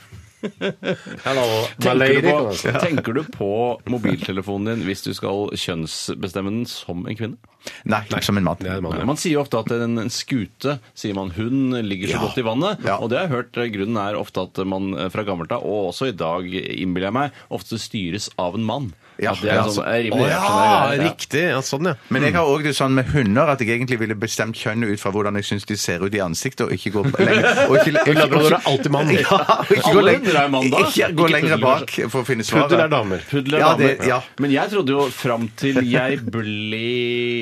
Speaker 4: Hello, my
Speaker 6: Tenker du,
Speaker 4: lady.
Speaker 6: på, tenker du på mobiltelefonen din hvis du skal kjønnsbestemme den som en kvinne?
Speaker 5: Nei, som en mann.
Speaker 6: Nei, Man sier jo ofte at en, en skute sier man hun ligger så
Speaker 5: Ja.
Speaker 6: godt i vannet. Og det har jeg hørt eh, grunnen er ofte at man eh, fra gammelt av, og også i dag innbiller jeg meg, ofte styres av en mann.
Speaker 5: Ja,
Speaker 6: At det er
Speaker 5: ja,
Speaker 6: en sånn,
Speaker 5: så-
Speaker 6: eh, rimelig
Speaker 5: Å, ja,
Speaker 6: reaksjonær greie.
Speaker 4: Riktig. Ja, sånn, ja.
Speaker 5: Men jeg har òg det sånn med hunder at jeg egentlig ville bestemt kjønnet ut fra hvordan jeg syns de ser ut i ansiktet, og ikke gå lenger og ikke, og
Speaker 4: Labrador er alltid mann.
Speaker 5: Ja, og ikke gå
Speaker 6: Alle
Speaker 5: lenger,
Speaker 6: hunder er mann, da.
Speaker 5: ikke gå
Speaker 6: Ikke
Speaker 5: lenger
Speaker 6: puddel,
Speaker 5: bak for å finne svaret.
Speaker 4: Puddel er damer.
Speaker 6: Puddel er
Speaker 5: ja,
Speaker 6: damer.
Speaker 5: Det, ja.
Speaker 6: Men jeg trodde jo fram til jeg ble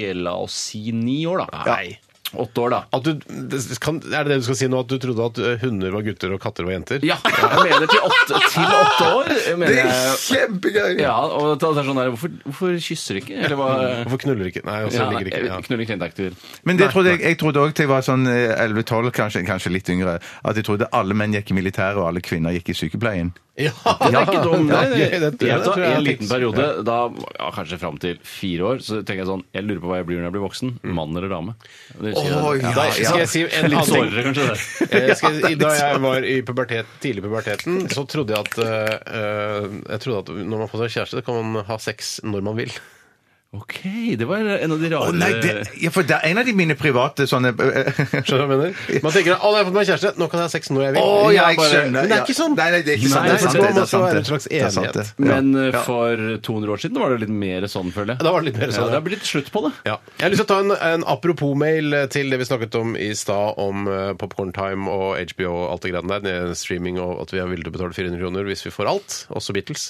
Speaker 6: La oss si ni år, da.
Speaker 4: Nei.
Speaker 6: Åtte år, da.
Speaker 4: At du, det kan, er det det du skal si nå, at du trodde at eh, hunder var gutter og katter var jenter?
Speaker 6: Ja, jeg mener til åtte, til åtte år. jeg Mener
Speaker 5: Det er
Speaker 6: jeg,
Speaker 5: kjempegøy!
Speaker 6: ja, og det er sånn der, hvorfor, hvorfor kysser du ikke? Eller hva?
Speaker 4: Hvorfor knuller ikke? Nei, og så
Speaker 6: Ja,
Speaker 4: ligger ikke ja.
Speaker 6: jeg- Knuller klentakter.
Speaker 5: Men det trodde jeg, jeg trodde òg til jeg var sånn eh, 11-12, kanskje, kanskje litt yngre, at jeg trodde alle menn gikk i militæret, og alle kvinner gikk i sykepleien.
Speaker 6: Det er ikke dum,
Speaker 4: Nei,
Speaker 6: det.
Speaker 4: det- det- det
Speaker 6: Jeg tar
Speaker 4: tror jeg
Speaker 6: en
Speaker 4: er
Speaker 6: liten
Speaker 4: tips.
Speaker 6: periode, da, ja, kanskje fram til fire år, så tenker jeg sånn Jeg lurer på hva jeg blir når jeg blir voksen. Mann eller dame? Det husker jeg.
Speaker 5: Å, ja,
Speaker 4: Da skal jeg si
Speaker 6: Det er
Speaker 4: en
Speaker 6: Litt
Speaker 4: annen ting.
Speaker 6: sårere, kanskje. det
Speaker 4: Eh, Skal jeg, da jeg var i pubertet, tidlig i puberteten, så trodde jeg at eh, eh, Jeg trodde at når man får seg kjæreste, kan man ha sex når man vil.
Speaker 6: Ok, det var en av de rare
Speaker 5: Å, nei, det, ja, for det er en av de mine private sånne
Speaker 4: Skjønner du hva jeg mener? Man tenker at nå har jeg fått meg kjæreste, nå kan jeg ha sex når jeg vil.
Speaker 5: Å, ja, jeg
Speaker 4: Bare-
Speaker 5: skjønner.
Speaker 4: Men det er ikke sånn.
Speaker 5: Nei, nei, det er ikke sant. Det
Speaker 6: Nei,
Speaker 5: er sant,
Speaker 6: det
Speaker 5: det, det
Speaker 4: må
Speaker 5: er sant,
Speaker 4: være
Speaker 5: det.
Speaker 4: en slags
Speaker 5: Det er sant,
Speaker 4: enighet.
Speaker 5: det. Ja.
Speaker 6: Men eh, for 200 år siden var det litt mer sånn, føler jeg.
Speaker 4: Da var det litt mer sånn,
Speaker 6: Ja,
Speaker 4: ja.
Speaker 6: det er blitt slutt på det.
Speaker 4: Ja. Jeg har lyst til å ta en, en apropos-mail til det vi snakket om i stad, om eh, Popcorn Time og HBO og alt det greiene der. det er Streaming og at vi er villige til å betale 400 kroner hvis vi får alt, også Beatles.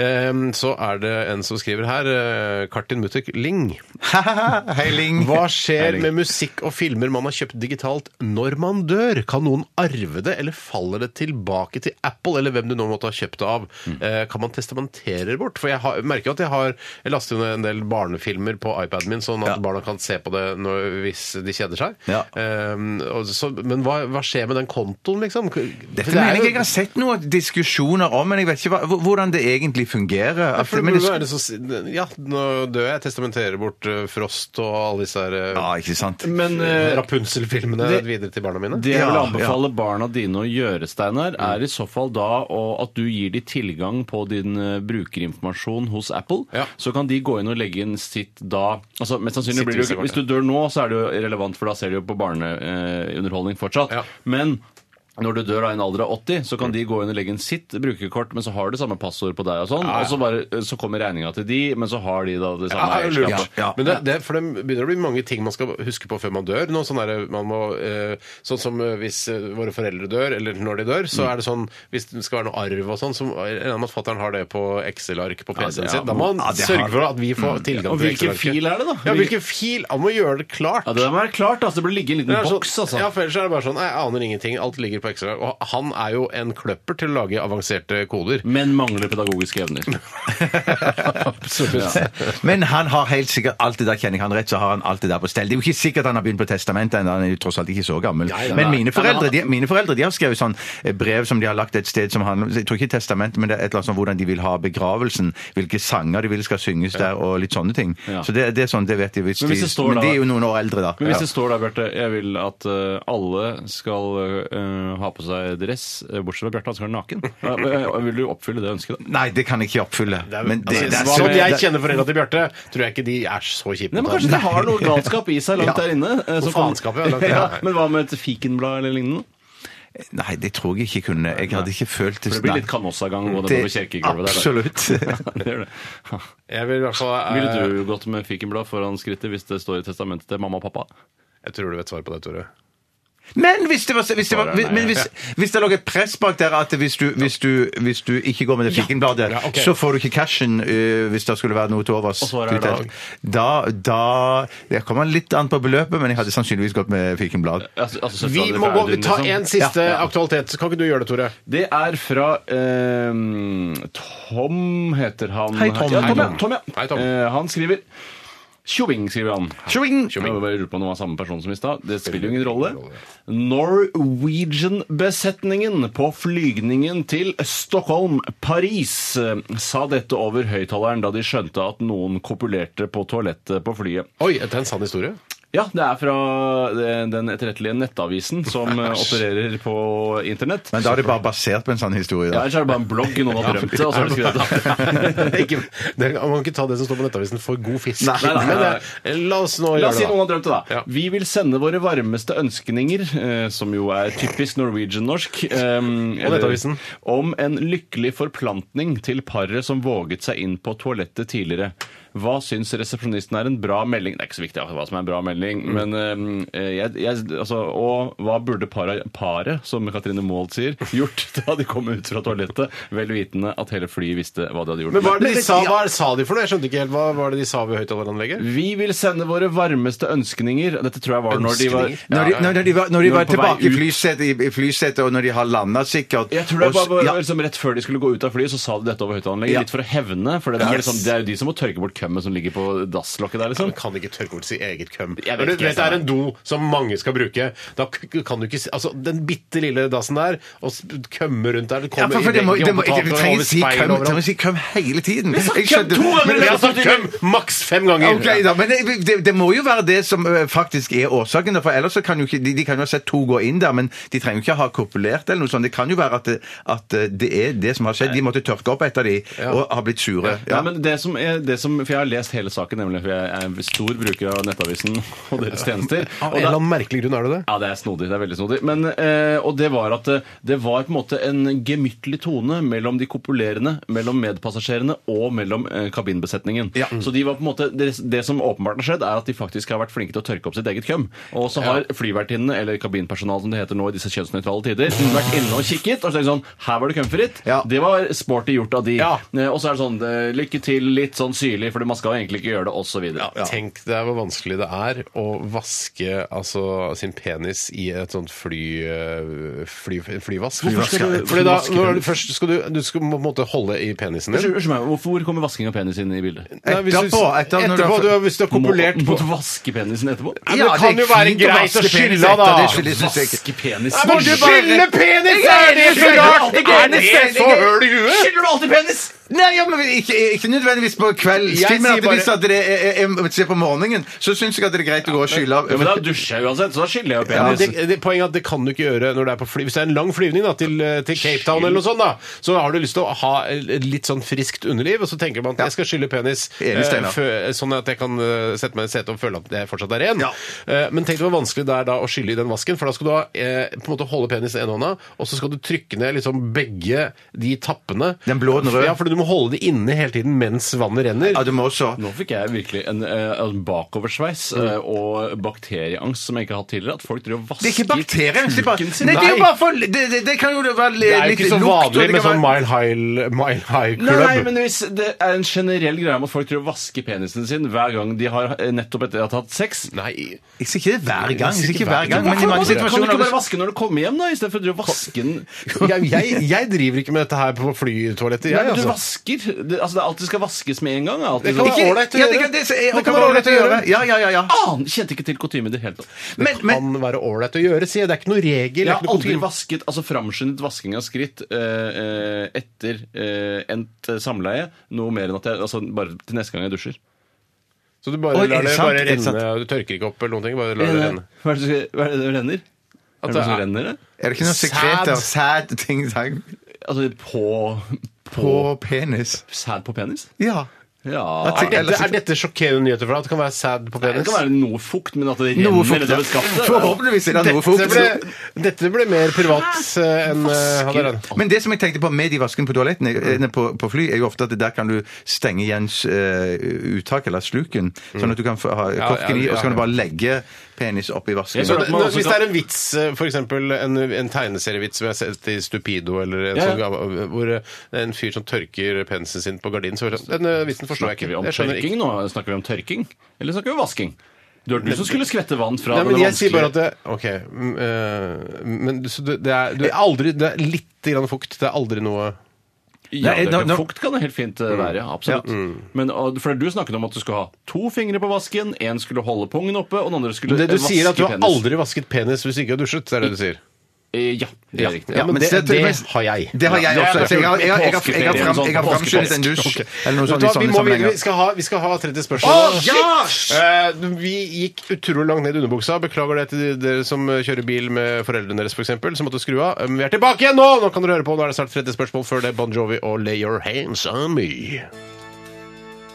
Speaker 4: Ehm, så er det en som skriver her, eh, Kartin Mutek Ling.
Speaker 5: Hei, Ling.
Speaker 4: Hva skjer med musikk og filmer man har kjøpt digitalt når man dør? Kan noen arve det, eller faller det tilbake til Apple, eller hvem du nå måtte ha kjøpt det av? Eh, Kan man testamentere bort? For jeg har, merker jo at jeg har jeg laster jo ned en del barnefilmer på iPaden min, sånn at
Speaker 5: Ja.
Speaker 4: barna kan se på det når, hvis de kjeder seg.
Speaker 5: Ja.
Speaker 4: Ehm, og så, men hva, hva skjer med den kontoen, liksom?
Speaker 5: Dette mener jeg jeg har sett noen diskusjoner om, men jeg vet ikke hva, hvordan det egentlig fungerer. At,
Speaker 4: for det
Speaker 5: men
Speaker 4: burde
Speaker 5: det,
Speaker 4: være det så, ja, nå dør død. Jeg testamenterer bort eh, Frost og alle disse her eh,
Speaker 6: Men, eh,
Speaker 4: Rapunzel-filmene
Speaker 6: det-
Speaker 4: videre til barna mine.
Speaker 6: Det jeg vil anbefale barna dine å gjøre, Steinar, er i så fall da å- at du gir de tilgang på din eh, brukerinformasjon hos Apple. Så kan de gå inn og legge inn sitt da altså mest sannsynlig
Speaker 9: Sitt
Speaker 6: blir det, jo ikke-
Speaker 9: usikkerhet.
Speaker 6: Hvis du dør nå, så er det jo relevant, for da ser du jo på barneunderholdning fortsatt. Men når du dør da i en alder av 80,
Speaker 4: Mm.
Speaker 6: så kan de gå inn og legge inn sitt brukerkort, men så har de samme passord på deg og sånn,
Speaker 4: Ja, ja.
Speaker 6: og så, bare, eh, så kommer regninga til de, men så har de da det
Speaker 4: Ja,
Speaker 6: samme.
Speaker 4: det er jo lurt.
Speaker 6: eierskapet.
Speaker 4: Men det, det, for det begynner å bli mange ting man skal huske på før man dør. Noe sånn, der, man må, eh, sånn som eh, hvis eh, våre foreldre dør, eller når de dør, så
Speaker 6: Mm.
Speaker 4: er det sånn Hvis det skal være noe arv og sånn, så regner man at fatter'n har det på Excel-ark på
Speaker 6: Ja,
Speaker 4: PC-en
Speaker 6: det- ja.
Speaker 4: sin. Da må han
Speaker 6: Ja, det har-
Speaker 4: sørge for at vi får
Speaker 6: Mm.
Speaker 4: tilgang
Speaker 6: Og
Speaker 4: til
Speaker 6: hvilken
Speaker 4: Excel-arket.
Speaker 6: fil er det, da?
Speaker 4: Ja, hvilken fil? Han må gjøre det klart.
Speaker 6: Ja, det må være klart, altså. Det burde ligge i en
Speaker 4: Det er
Speaker 6: liten
Speaker 4: sånn-
Speaker 6: boks, altså.
Speaker 4: Ja, for ellers er det bare sånn, jeg aner ingenting, alt ligger på Excel. Og han er jo en kløpper til å lage avanserte koder.
Speaker 6: Men mangler pedagogiske evner.
Speaker 4: Absolutt.
Speaker 5: Men han har helt sikkert alt det der, kjenner jeg han rett, så har han alt det der på stell. Det er jo ikke sikkert han har begynt på testamentet ennå, han er jo tross alt ikke så gammel.
Speaker 6: Nei, nei,
Speaker 5: Men
Speaker 6: nei.
Speaker 5: mine
Speaker 6: Nei,
Speaker 5: foreldre,
Speaker 6: men
Speaker 5: de, mine foreldre de har skrevet sånn eh, brev som de har lagt et sted som handler om Jeg tror ikke testament, men det er et eller annet sånn hvordan de vil ha begravelsen, hvilke sanger de vil skal synges der, og litt sånne ting.
Speaker 6: Ja.
Speaker 5: Så det, det er sånn, det vet de. Hvis
Speaker 6: Men hvis
Speaker 5: de,
Speaker 6: det står
Speaker 5: men
Speaker 6: da-
Speaker 5: de er jo noen år eldre, da.
Speaker 6: Men hvis
Speaker 5: Ja.
Speaker 6: det står der, Bjarte, jeg vil at eh, alle skal eh, ha på seg dress, eh, bortsett fra Bjarte, han skal være naken. Eh, eh, vil du oppfylle det ønsket, da?
Speaker 5: Nei, det kan jeg ikke oppfylle. Men det,
Speaker 4: Altså,
Speaker 5: det er
Speaker 4: sånn
Speaker 5: så-
Speaker 4: jeg
Speaker 5: det-
Speaker 4: kjenner foreldra til Bjarte, tror jeg ikke de er så kjipe.
Speaker 6: Nei, men Kanskje de har noe galskap i seg langt
Speaker 4: Ja.
Speaker 6: der inne? eh, som kan-
Speaker 4: Faenskap, ja, langt der.
Speaker 6: Ja, men hva med et fikenblad eller lignende?
Speaker 5: Nei, det tror jeg ikke jeg kunne. Jeg hadde ikke følt
Speaker 6: For det blir litt Kamossa-gang å gå
Speaker 5: Det-
Speaker 6: nedover kirkegulvet der.
Speaker 5: Absolutt.
Speaker 6: det gjør det.
Speaker 4: Jeg vil i hvert fall... eh,
Speaker 6: Ville du gått med fikenblad foran skrittet hvis det står i testamentet til mamma og pappa?
Speaker 4: Jeg tror du vet svaret på det, Tore.
Speaker 5: Men hvis det, var, hvis det, var,
Speaker 6: Svaret er nei.
Speaker 5: men hvis, hvis det lå et press bak der at hvis du, hvis du, hvis du ikke går med det fikenbladet,
Speaker 6: Ja, ok.
Speaker 5: så får du ikke cashen øh, hvis det skulle være noe til overs.
Speaker 6: Og svaret er da?
Speaker 5: utdelt. da? Da Det kommer litt an på beløpet, men jeg hadde sannsynligvis gått med fikenblad.
Speaker 4: Vi må gå, ta
Speaker 6: liksom-
Speaker 4: en siste
Speaker 5: Ja.
Speaker 4: aktualitet. Kan ikke du gjøre det, Tore?
Speaker 6: Det er fra ehm, Tom heter han.
Speaker 4: Hei, Tom.
Speaker 6: Ja, Tom, ja.
Speaker 4: Hei, Tom.
Speaker 6: Tom, ja.
Speaker 4: Hei, Tom.
Speaker 6: Eh, han skriver Tjoving, skriver han.
Speaker 5: Tjoving!
Speaker 6: Jeg bare lurer på om det var samme person som i stad. Det spiller jo ingen rolle. Norwegian-besetningen på flygningen til Stockholm-Paris eh, sa dette over høyttaleren da de skjønte at noen kopulerte på toalettet på flyet.
Speaker 4: Oi, er det en sann historie?
Speaker 6: Ja, det er fra eh, den etterrettelige nettavisen som eh, opererer på internett.
Speaker 5: Men da er det bare basert på en sånn historie.
Speaker 6: Ja,
Speaker 5: Da.
Speaker 6: ellers er det bare en blogg noen har drømt det, og så har de skrevet det.
Speaker 4: Ikke- det- Man kan ikke ta det som står på Nettavisen for god fisk.
Speaker 6: Nei, nei, nei,
Speaker 4: Men
Speaker 6: nei.
Speaker 4: eh, la oss nå
Speaker 6: La
Speaker 4: gjøre
Speaker 6: oss si
Speaker 4: det,
Speaker 6: noen
Speaker 4: da.
Speaker 6: har drømt det, da. Vi vil sende våre varmeste ønskninger, eh, som jo er typisk Norwegian-norsk, eh, eller-
Speaker 4: Nettavisen.
Speaker 6: om en lykkelig forplantning til paret som våget seg inn på toalettet tidligere. Hva syns resepsjonisten er en bra melding? Det er ikke så viktig altså, hva som er en bra
Speaker 4: Mm.
Speaker 6: melding, men eh, jeg, jeg, altså, Og hva burde paret, paret, som Katrine Maald sier, gjort da de kom ut fra toalettet, vel vitende at hele flyet visste hva de hadde gjort?
Speaker 4: Men hva, er det de
Speaker 6: Men-
Speaker 4: sa,
Speaker 6: Ja.
Speaker 4: hva er- sa de for noe? Jeg skjønte ikke helt. Hva var det de sa ved høyttaleranlegget?
Speaker 6: Vi vil sende våre varmeste ønskninger Dette tror jeg var når de var,
Speaker 5: Når de, når de var, når de var
Speaker 6: på vei
Speaker 5: tilbake i
Speaker 6: ut.
Speaker 5: flysetet, i- i flysetet, og når de har landa sikkert
Speaker 6: Jeg tror det
Speaker 5: og s-
Speaker 6: var, var,
Speaker 5: ja.
Speaker 6: liksom, Rett før de skulle gå ut av flyet, så sa de dette over høyttalanlegget.
Speaker 5: Ja.
Speaker 6: Litt for å hevne. For det, er
Speaker 5: Yes.
Speaker 6: liksom, det er jo de som må tørke bort kømmet som ligger på dasslokket der. liksom
Speaker 4: Kan ikke tørke bort sitt eget køm.
Speaker 6: Jeg
Speaker 4: Når
Speaker 6: vet
Speaker 4: du
Speaker 6: ikke
Speaker 4: vet det er en do som mange skal bruke, da k- kan du ikke si Altså, den bitte lille dassen der, og s- kømme rundt der det
Speaker 5: Ja,
Speaker 4: kommer
Speaker 5: for, for det må,
Speaker 4: i veggen,
Speaker 5: det må, jeg,
Speaker 4: over
Speaker 5: vi
Speaker 4: taket,
Speaker 5: trenger
Speaker 4: over
Speaker 5: å si
Speaker 4: speil,
Speaker 5: køm,
Speaker 4: overalt.
Speaker 5: trenger å si køm hele tiden. Jeg skjønner-
Speaker 4: Men jeg har sagt køm maks fem ganger!
Speaker 5: Ok, da, men det, det, det må jo være det som ø, faktisk er årsaken. da, For ellers så kan jo ikke, de, de kan jo ha sett to gå inn der, men de trenger jo ikke ha kopulert eller noe sånt. Det kan jo være at det, at ø, det er det som har skjedd. De måtte tørke opp etter de og har blitt sure.
Speaker 6: Ja. men det som er, det som, for Jeg har lest hele saken, nemlig, for jeg er en stor bruker av Nettavisen og deres tjenester.
Speaker 4: Av
Speaker 6: Og
Speaker 4: en
Speaker 6: da-
Speaker 4: eller annen merkelig grunn er det det.
Speaker 6: Ja, det er snodig. Det er veldig snodig. Men, eh, og det var at eh, det var på en måte en gemyttlig tone mellom de kopulerende, mellom medpassasjerene og mellom eh, kabinbesetningen. Så de var på en måte, det, det som åpenbart har skjedd, er at de faktisk har vært flinke til å tørke opp sitt eget køm. Og så har flyvertinnene, eller kabinpersonalet som det heter nå i disse kjønnsnøytrale tider, vært inne og kikket og tenkt sånn Her var det kømfritt. Det var sporty gjort av de. Eh, og så er det sånn eh, Lykke til, litt sånn syrlig, for man skal jo egentlig ikke gjøre det, osv. Ja.
Speaker 4: Tenk deg hvor vanskelig det er å vaske altså, sin penis i et sånt fly, øh, fly, flyvask.
Speaker 6: Hvorfor skal du-
Speaker 4: Fordi da,
Speaker 6: hvorfor vasker
Speaker 4: når
Speaker 6: du-
Speaker 4: du først skal du, du skal på en måte holde i penisen din.
Speaker 6: Unnskyld meg, hvorfor hvor kommer vasking av penis inn i bildet?
Speaker 4: Nei, hvis du- Etterpå, etter- når du har- etterpå, du har- hvis du har kopulert
Speaker 6: må, må
Speaker 4: på-
Speaker 6: du vaske penisen etterpå?
Speaker 4: Ja, men det kan jo være greit å skylde, da!
Speaker 6: Vaske penis
Speaker 4: Nei, men du
Speaker 6: Skylle
Speaker 4: bare-
Speaker 6: penis!
Speaker 4: Jeg er enig, jeg skylder alltid penis, jeg er enig.
Speaker 6: Skyller du alltid penis?
Speaker 5: Nei, ja, men ikke, ikke nødvendigvis på
Speaker 6: Jeg
Speaker 5: kveldstid, men
Speaker 6: sier
Speaker 5: at
Speaker 6: bare-
Speaker 5: hvis at det er, er, er, ser på morgenen, så syns jeg at det er greit å gå og skylle av.
Speaker 6: Ja, men da dusjer jeg uansett, så da skylder jeg jo
Speaker 4: Ja, men
Speaker 6: penis.
Speaker 4: det, det, poenget er at det kan du ikke gjøre når det er på fly. Hvis det er en lang flyvning da, til, eh, til Cape Town eller noe sånt, da, så har du lyst til å ha eh, litt sånn friskt underliv, og så tenker man at jeg skal skylle penis eh,
Speaker 5: Enig, Steinar.
Speaker 4: fø- sånn at jeg kan eh, sette meg i setet og føle at jeg fortsatt er ren. Eh, Men tenk deg hvor vanskelig det er da å skylle i den vasken, for da skal du ha, eh, på en måte holde penis i ene hånda, og så skal du trykke ned liksom begge de tappene. Den blå og den røde? Ja, for du må holde det inne hele tiden mens vannet renner.
Speaker 5: Ja, du må også.
Speaker 6: Nå fikk jeg virkelig en, eh, en bakoversveis eh, og bakterieangst som jeg ikke har hatt tidligere. At folk driver og vasker
Speaker 5: Det er ikke bakterier. Det, er bare,
Speaker 6: kuken sin.
Speaker 5: nei, det, er jo bare for, det, det, det kan jo være
Speaker 4: Det er jo
Speaker 5: litt
Speaker 4: ikke så
Speaker 5: lukt, og
Speaker 4: vanlig
Speaker 5: det
Speaker 4: med
Speaker 5: kan
Speaker 4: sånn Mile High, mile high
Speaker 6: Nei,
Speaker 4: Club.
Speaker 6: nei, men hvis det er en generell greie om at folk driver og vasker penisen sin hver gang de har eh, nettopp etter at de har hatt sex
Speaker 4: Nei,
Speaker 5: Jeg sier ikke det hver gang. Jeg sier ikke hver gang,
Speaker 6: Hvorfor
Speaker 5: men i mange
Speaker 6: kan du- Kan du
Speaker 5: situasjoner
Speaker 6: ikke bare vaske når du kommer hjem, da, istedenfor å drive og vaske den
Speaker 4: jeg, jeg, jeg driver ikke med dette her på flytoaletter.
Speaker 6: Nei,
Speaker 4: Jeg,
Speaker 6: men du
Speaker 4: altså.
Speaker 6: vasker. Det, altså, det er alt det skal vaskes med en gang. er
Speaker 4: Det
Speaker 6: alltid
Speaker 4: kan
Speaker 6: sånn-
Speaker 4: være ålreit å
Speaker 6: Ja,
Speaker 4: gjøre.
Speaker 6: det kan- det-
Speaker 4: Det kan
Speaker 6: og kan være
Speaker 4: være
Speaker 6: ålreit å gjøre.
Speaker 4: ålreit å gjøre. Ja, ja, ja, ja.
Speaker 6: An, kjente ikke til kutyme i det hele tatt.
Speaker 4: Det kan være ålreit å gjøre, sier jeg. Det er ikke noe regel.
Speaker 6: Jeg
Speaker 4: det er
Speaker 6: har
Speaker 4: ikke noe
Speaker 6: aldri
Speaker 4: kutyme.
Speaker 6: vasket, altså framskyndet vasking av skritt eh, eh, etter eh, endt eh, samleie noe mer enn at jeg altså, bare til neste gang jeg dusjer.
Speaker 4: Så du bare
Speaker 6: Oi,
Speaker 4: lar
Speaker 6: er det
Speaker 4: det
Speaker 6: sant?
Speaker 4: bare
Speaker 6: Er det sant? Eh,
Speaker 4: renne, og du tørker ikke opp eller noen ting? Bare
Speaker 6: Hva
Speaker 4: lar det
Speaker 6: er
Speaker 4: renne.
Speaker 6: det som skal- hva er det som renner?
Speaker 4: At
Speaker 6: Er det
Speaker 4: det
Speaker 6: noe som
Speaker 4: er-
Speaker 6: renner? det?
Speaker 5: Er det ikke noe sekret av sæd ting
Speaker 6: Altså på
Speaker 5: På penis.
Speaker 6: Sæd på penis?
Speaker 5: Ja.
Speaker 6: Ja
Speaker 4: Er, dette, er dette sjokkerende nyheter for deg? At det kan være sad på penis?
Speaker 6: Det kan være noe fukt, men at det renner utover skaftet
Speaker 4: Dette ble- Dette ble mer privat eh, enn eh, han er redd.
Speaker 5: Men det som jeg tenkte på med de vasken på toaletten eh, nei, på, på fly, er jo ofte at der kan du stenge igjen eh, uttak eller sluken, sånn at du kan få, ha
Speaker 4: Ja,
Speaker 5: korken i,
Speaker 4: ja,
Speaker 5: og så kan
Speaker 4: ja.
Speaker 5: du bare legge penis oppi vasken.
Speaker 4: Så det- nå- Hvis det er en vits, f.eks. en, en tegneserievits som jeg har sett i Stupido, eller en
Speaker 5: Ja, ja.
Speaker 4: sånn gammel- hvor eh, det er en fyr som tørker penisen sin på gardinen så er det sånn, Den eh, vitsen forstår jeg
Speaker 6: Snakker vi
Speaker 4: ikke.
Speaker 6: om
Speaker 4: Jeg skjønner ikke.
Speaker 6: tørking nå? Snakker vi om tørking? Eller snakker vi om vasking? Du, du som skulle skvette vann fra
Speaker 4: Nei, men
Speaker 6: den
Speaker 4: jeg sier bare
Speaker 6: vanskelige-
Speaker 4: at det, OK. mm, eh, Men så det, det, er, du er aldri, det er litt grann fukt. Det er aldri noe
Speaker 6: Ja,
Speaker 4: Nei,
Speaker 6: det
Speaker 4: nå-
Speaker 6: kan,
Speaker 4: nå-
Speaker 6: fukt kan det helt fint eh,
Speaker 4: Mm.
Speaker 6: være. ja, Absolutt.
Speaker 4: Ja. Mm.
Speaker 6: Men, og, for Du snakket om at du skulle ha to fingre på vasken. Én skulle holde pungen oppe, og den andre skulle
Speaker 4: Det
Speaker 6: eh,
Speaker 4: du
Speaker 6: vaske
Speaker 4: sier er at du har
Speaker 6: penis. Eh,
Speaker 4: aldri vasket penis hvis du ikke har dusjet. Det er det du sier.
Speaker 6: Ja, det
Speaker 4: Ja.
Speaker 6: er riktig.
Speaker 4: Ja, men det- det har jeg.
Speaker 5: Det har jeg
Speaker 4: Ja, det er
Speaker 5: også. Så jeg har, jeg har, jeg har, jeg har,
Speaker 6: sånn
Speaker 5: fram- jeg har
Speaker 4: Påskeferien,
Speaker 5: framskyndet en dusj
Speaker 4: Ok.
Speaker 5: eller noe
Speaker 4: Vet
Speaker 5: sånt
Speaker 4: du sånn liksom hva, vi,
Speaker 5: i sånne
Speaker 4: må, vi,
Speaker 5: sammenhenger.
Speaker 4: vi, skal ha, vi skal ha 30 spørsmål.
Speaker 5: Å, shit!
Speaker 4: Eh, vi gikk utrolig langt ned i underbuksa. Beklager det til de- dere som kjører bil med foreldrene deres, f.eks., som måtte skru av. Men vi er tilbake igjen nå! Nå kan dere høre på. Nå er det snart 30 spørsmål før det. Bon Jovi og Lay Your Hands On Me. Ja,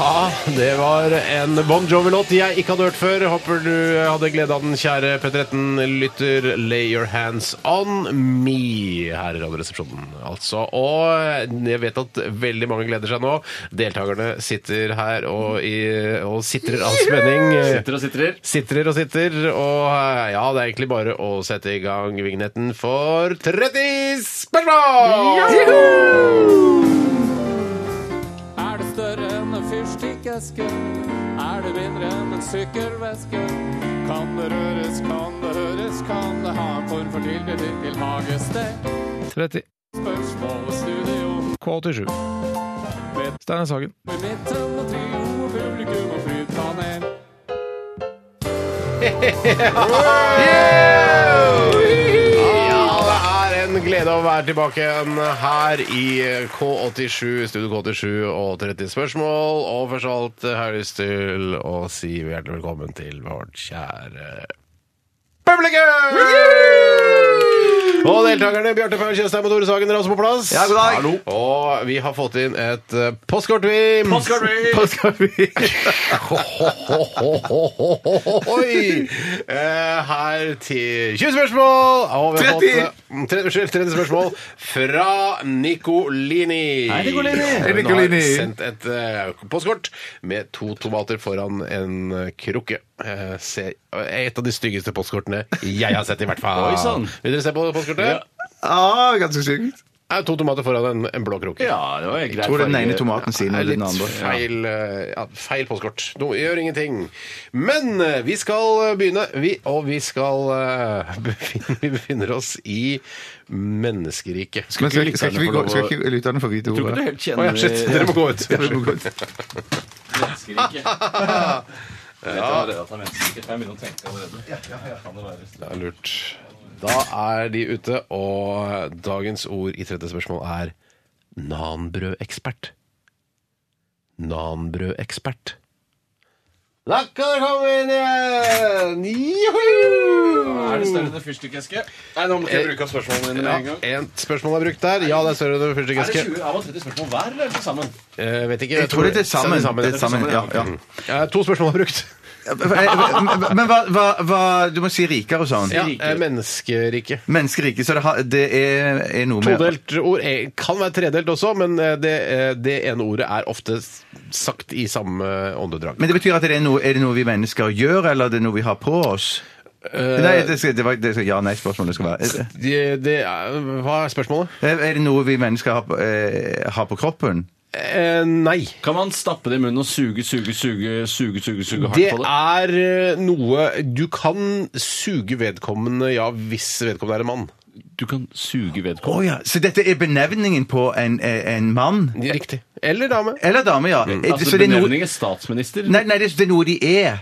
Speaker 4: Ah, det var en Bon Jovi-låt jeg ikke hadde hørt før. Håper du hadde glede av den, kjære P13-lytter. Lay your hands on me her i Radioresepsjonen, altså. Og jeg vet at veldig mange gleder seg nå. Deltakerne sitter her og, i, og sitrer av spenning.
Speaker 6: Sitter og sitrer.
Speaker 4: Sitrer og sitter. Og eh, ja, det er egentlig bare å sette i gang vignetten for 30 spørsmål!
Speaker 14: Er det større enn en fyrstikkeske? Er det mindre enn en sykkelveske? Kan det røres, kan det høres, kan det ha en form for tilknytning til hagested?
Speaker 16: 30.
Speaker 14: Spørsmål og studio
Speaker 16: K87. Steinar Sagen.
Speaker 14: i midten og trio og publikum og flypanel.
Speaker 4: Ja, det er en glede å være tilbake igjen her i K87, Studio K87 og 30 spørsmål. Og først av alt har jeg lyst til å si hjertelig velkommen til vårt kjære publikum! Og deltakerne Bjarte Paul Tjøstheim og Tore Sagen er også på plass.
Speaker 5: Ja, god dag.
Speaker 4: Hallo. Og vi har fått inn et eh, postkort, vi.
Speaker 5: Postkort, vi.
Speaker 4: Postkort, vi. Oi. Eh, Her til 20 spørsmål. Og vi har
Speaker 5: 30.
Speaker 4: fått, eh, tre- Unnskyld, 30 spørsmål fra Nicolini.
Speaker 5: Hei, Nicolini. Hei,
Speaker 4: Hun
Speaker 5: Nicolini.
Speaker 4: har sendt et eh, postkort med to tomater foran en eh, krukke. Eh, se, et av de styggeste postkortene jeg har sett, i hvert fall.
Speaker 6: Oi, sann.
Speaker 4: Vil dere se på postkortet?
Speaker 6: Ja.
Speaker 5: Ah, ganske sykt.
Speaker 4: Er to tomater foran en, en blå krukke.
Speaker 6: Ja, det var helt greit
Speaker 5: Jeg tror den
Speaker 6: farge.
Speaker 5: ene tomaten siden
Speaker 4: er
Speaker 5: eller
Speaker 4: litt
Speaker 5: den andre.
Speaker 4: feil, eh, ja, feil postkort. No, gjør ingenting. Men eh, vi skal eh, begynne, vi, og vi skal eh, befinne, Vi befinner oss i menneskeriket.
Speaker 5: Skal, skal, skal, ikke vi gå, skal ikke lytterne få vite
Speaker 4: Tror ikke
Speaker 5: ordet?
Speaker 4: du helt kjenner- Å, ja, shit, dere må gå ut.
Speaker 5: Ja, dere må gå ut.
Speaker 6: Jeg vet allerede at han venter ikke, for jeg begynner å tenke allerede.
Speaker 4: Det er lurt. Da er de ute, og dagens ord i tredje spørsmål er nanbrødekspert. Nanbrødekspert. Lakker kom inn igjen!
Speaker 16: Er det større enn en fyrstikkeske? Nei, nå måtte jeg bruke opp spørsmålene mine med en gang.
Speaker 4: Ja, Ett spørsmål er brukt der. Ja, det er større enn en
Speaker 16: Er det
Speaker 4: fyrstikkeske.
Speaker 16: 20 av og 30 spørsmål hver, eller er det til sammen?
Speaker 4: Eh, vet ikke.
Speaker 5: Jeg tror det er til sammen. Det er til sammen, ja, ja. Eh,
Speaker 4: Mm. Eh, To spørsmål er brukt.
Speaker 5: Men men hva, hva, hva Du må si rikere og sånn.
Speaker 4: Ja, eh, menneskerike.
Speaker 5: Menneskerike. Så det, har, det er, er noe med
Speaker 4: Todelt ord eh, kan være tredelt også, men eh, det, eh, det ene ordet er ofte s- sagt i samme åndedrag.
Speaker 5: Men det betyr at det er, noe, er det noe vi mennesker gjør, eller er det noe vi har på oss? Nei, det skal, det var, det skal, ja, nei, spørsmålet skal være er det-
Speaker 4: Det, det er, hva er spørsmålet?
Speaker 5: Er det noe vi mennesker har på, eh, har på kroppen?
Speaker 4: Eh, nei.
Speaker 6: Kan man stappe det i munnen og suge, suge, suge, suge, suge, suge hardt
Speaker 4: Det
Speaker 6: på det?
Speaker 4: er eh, noe Du kan suge vedkommende, ja, hvis vedkommende er en mann.
Speaker 6: Du kan suge vedkommende?
Speaker 5: Å ja, Så dette er benevningen på en, eh, en mann?
Speaker 4: Riktig. Eller dame.
Speaker 5: Eller dame, ja. Eh,
Speaker 6: Altså,
Speaker 5: så det er noe-
Speaker 6: benevning er statsminister.
Speaker 5: Nei, nei, det er- det er noe de er.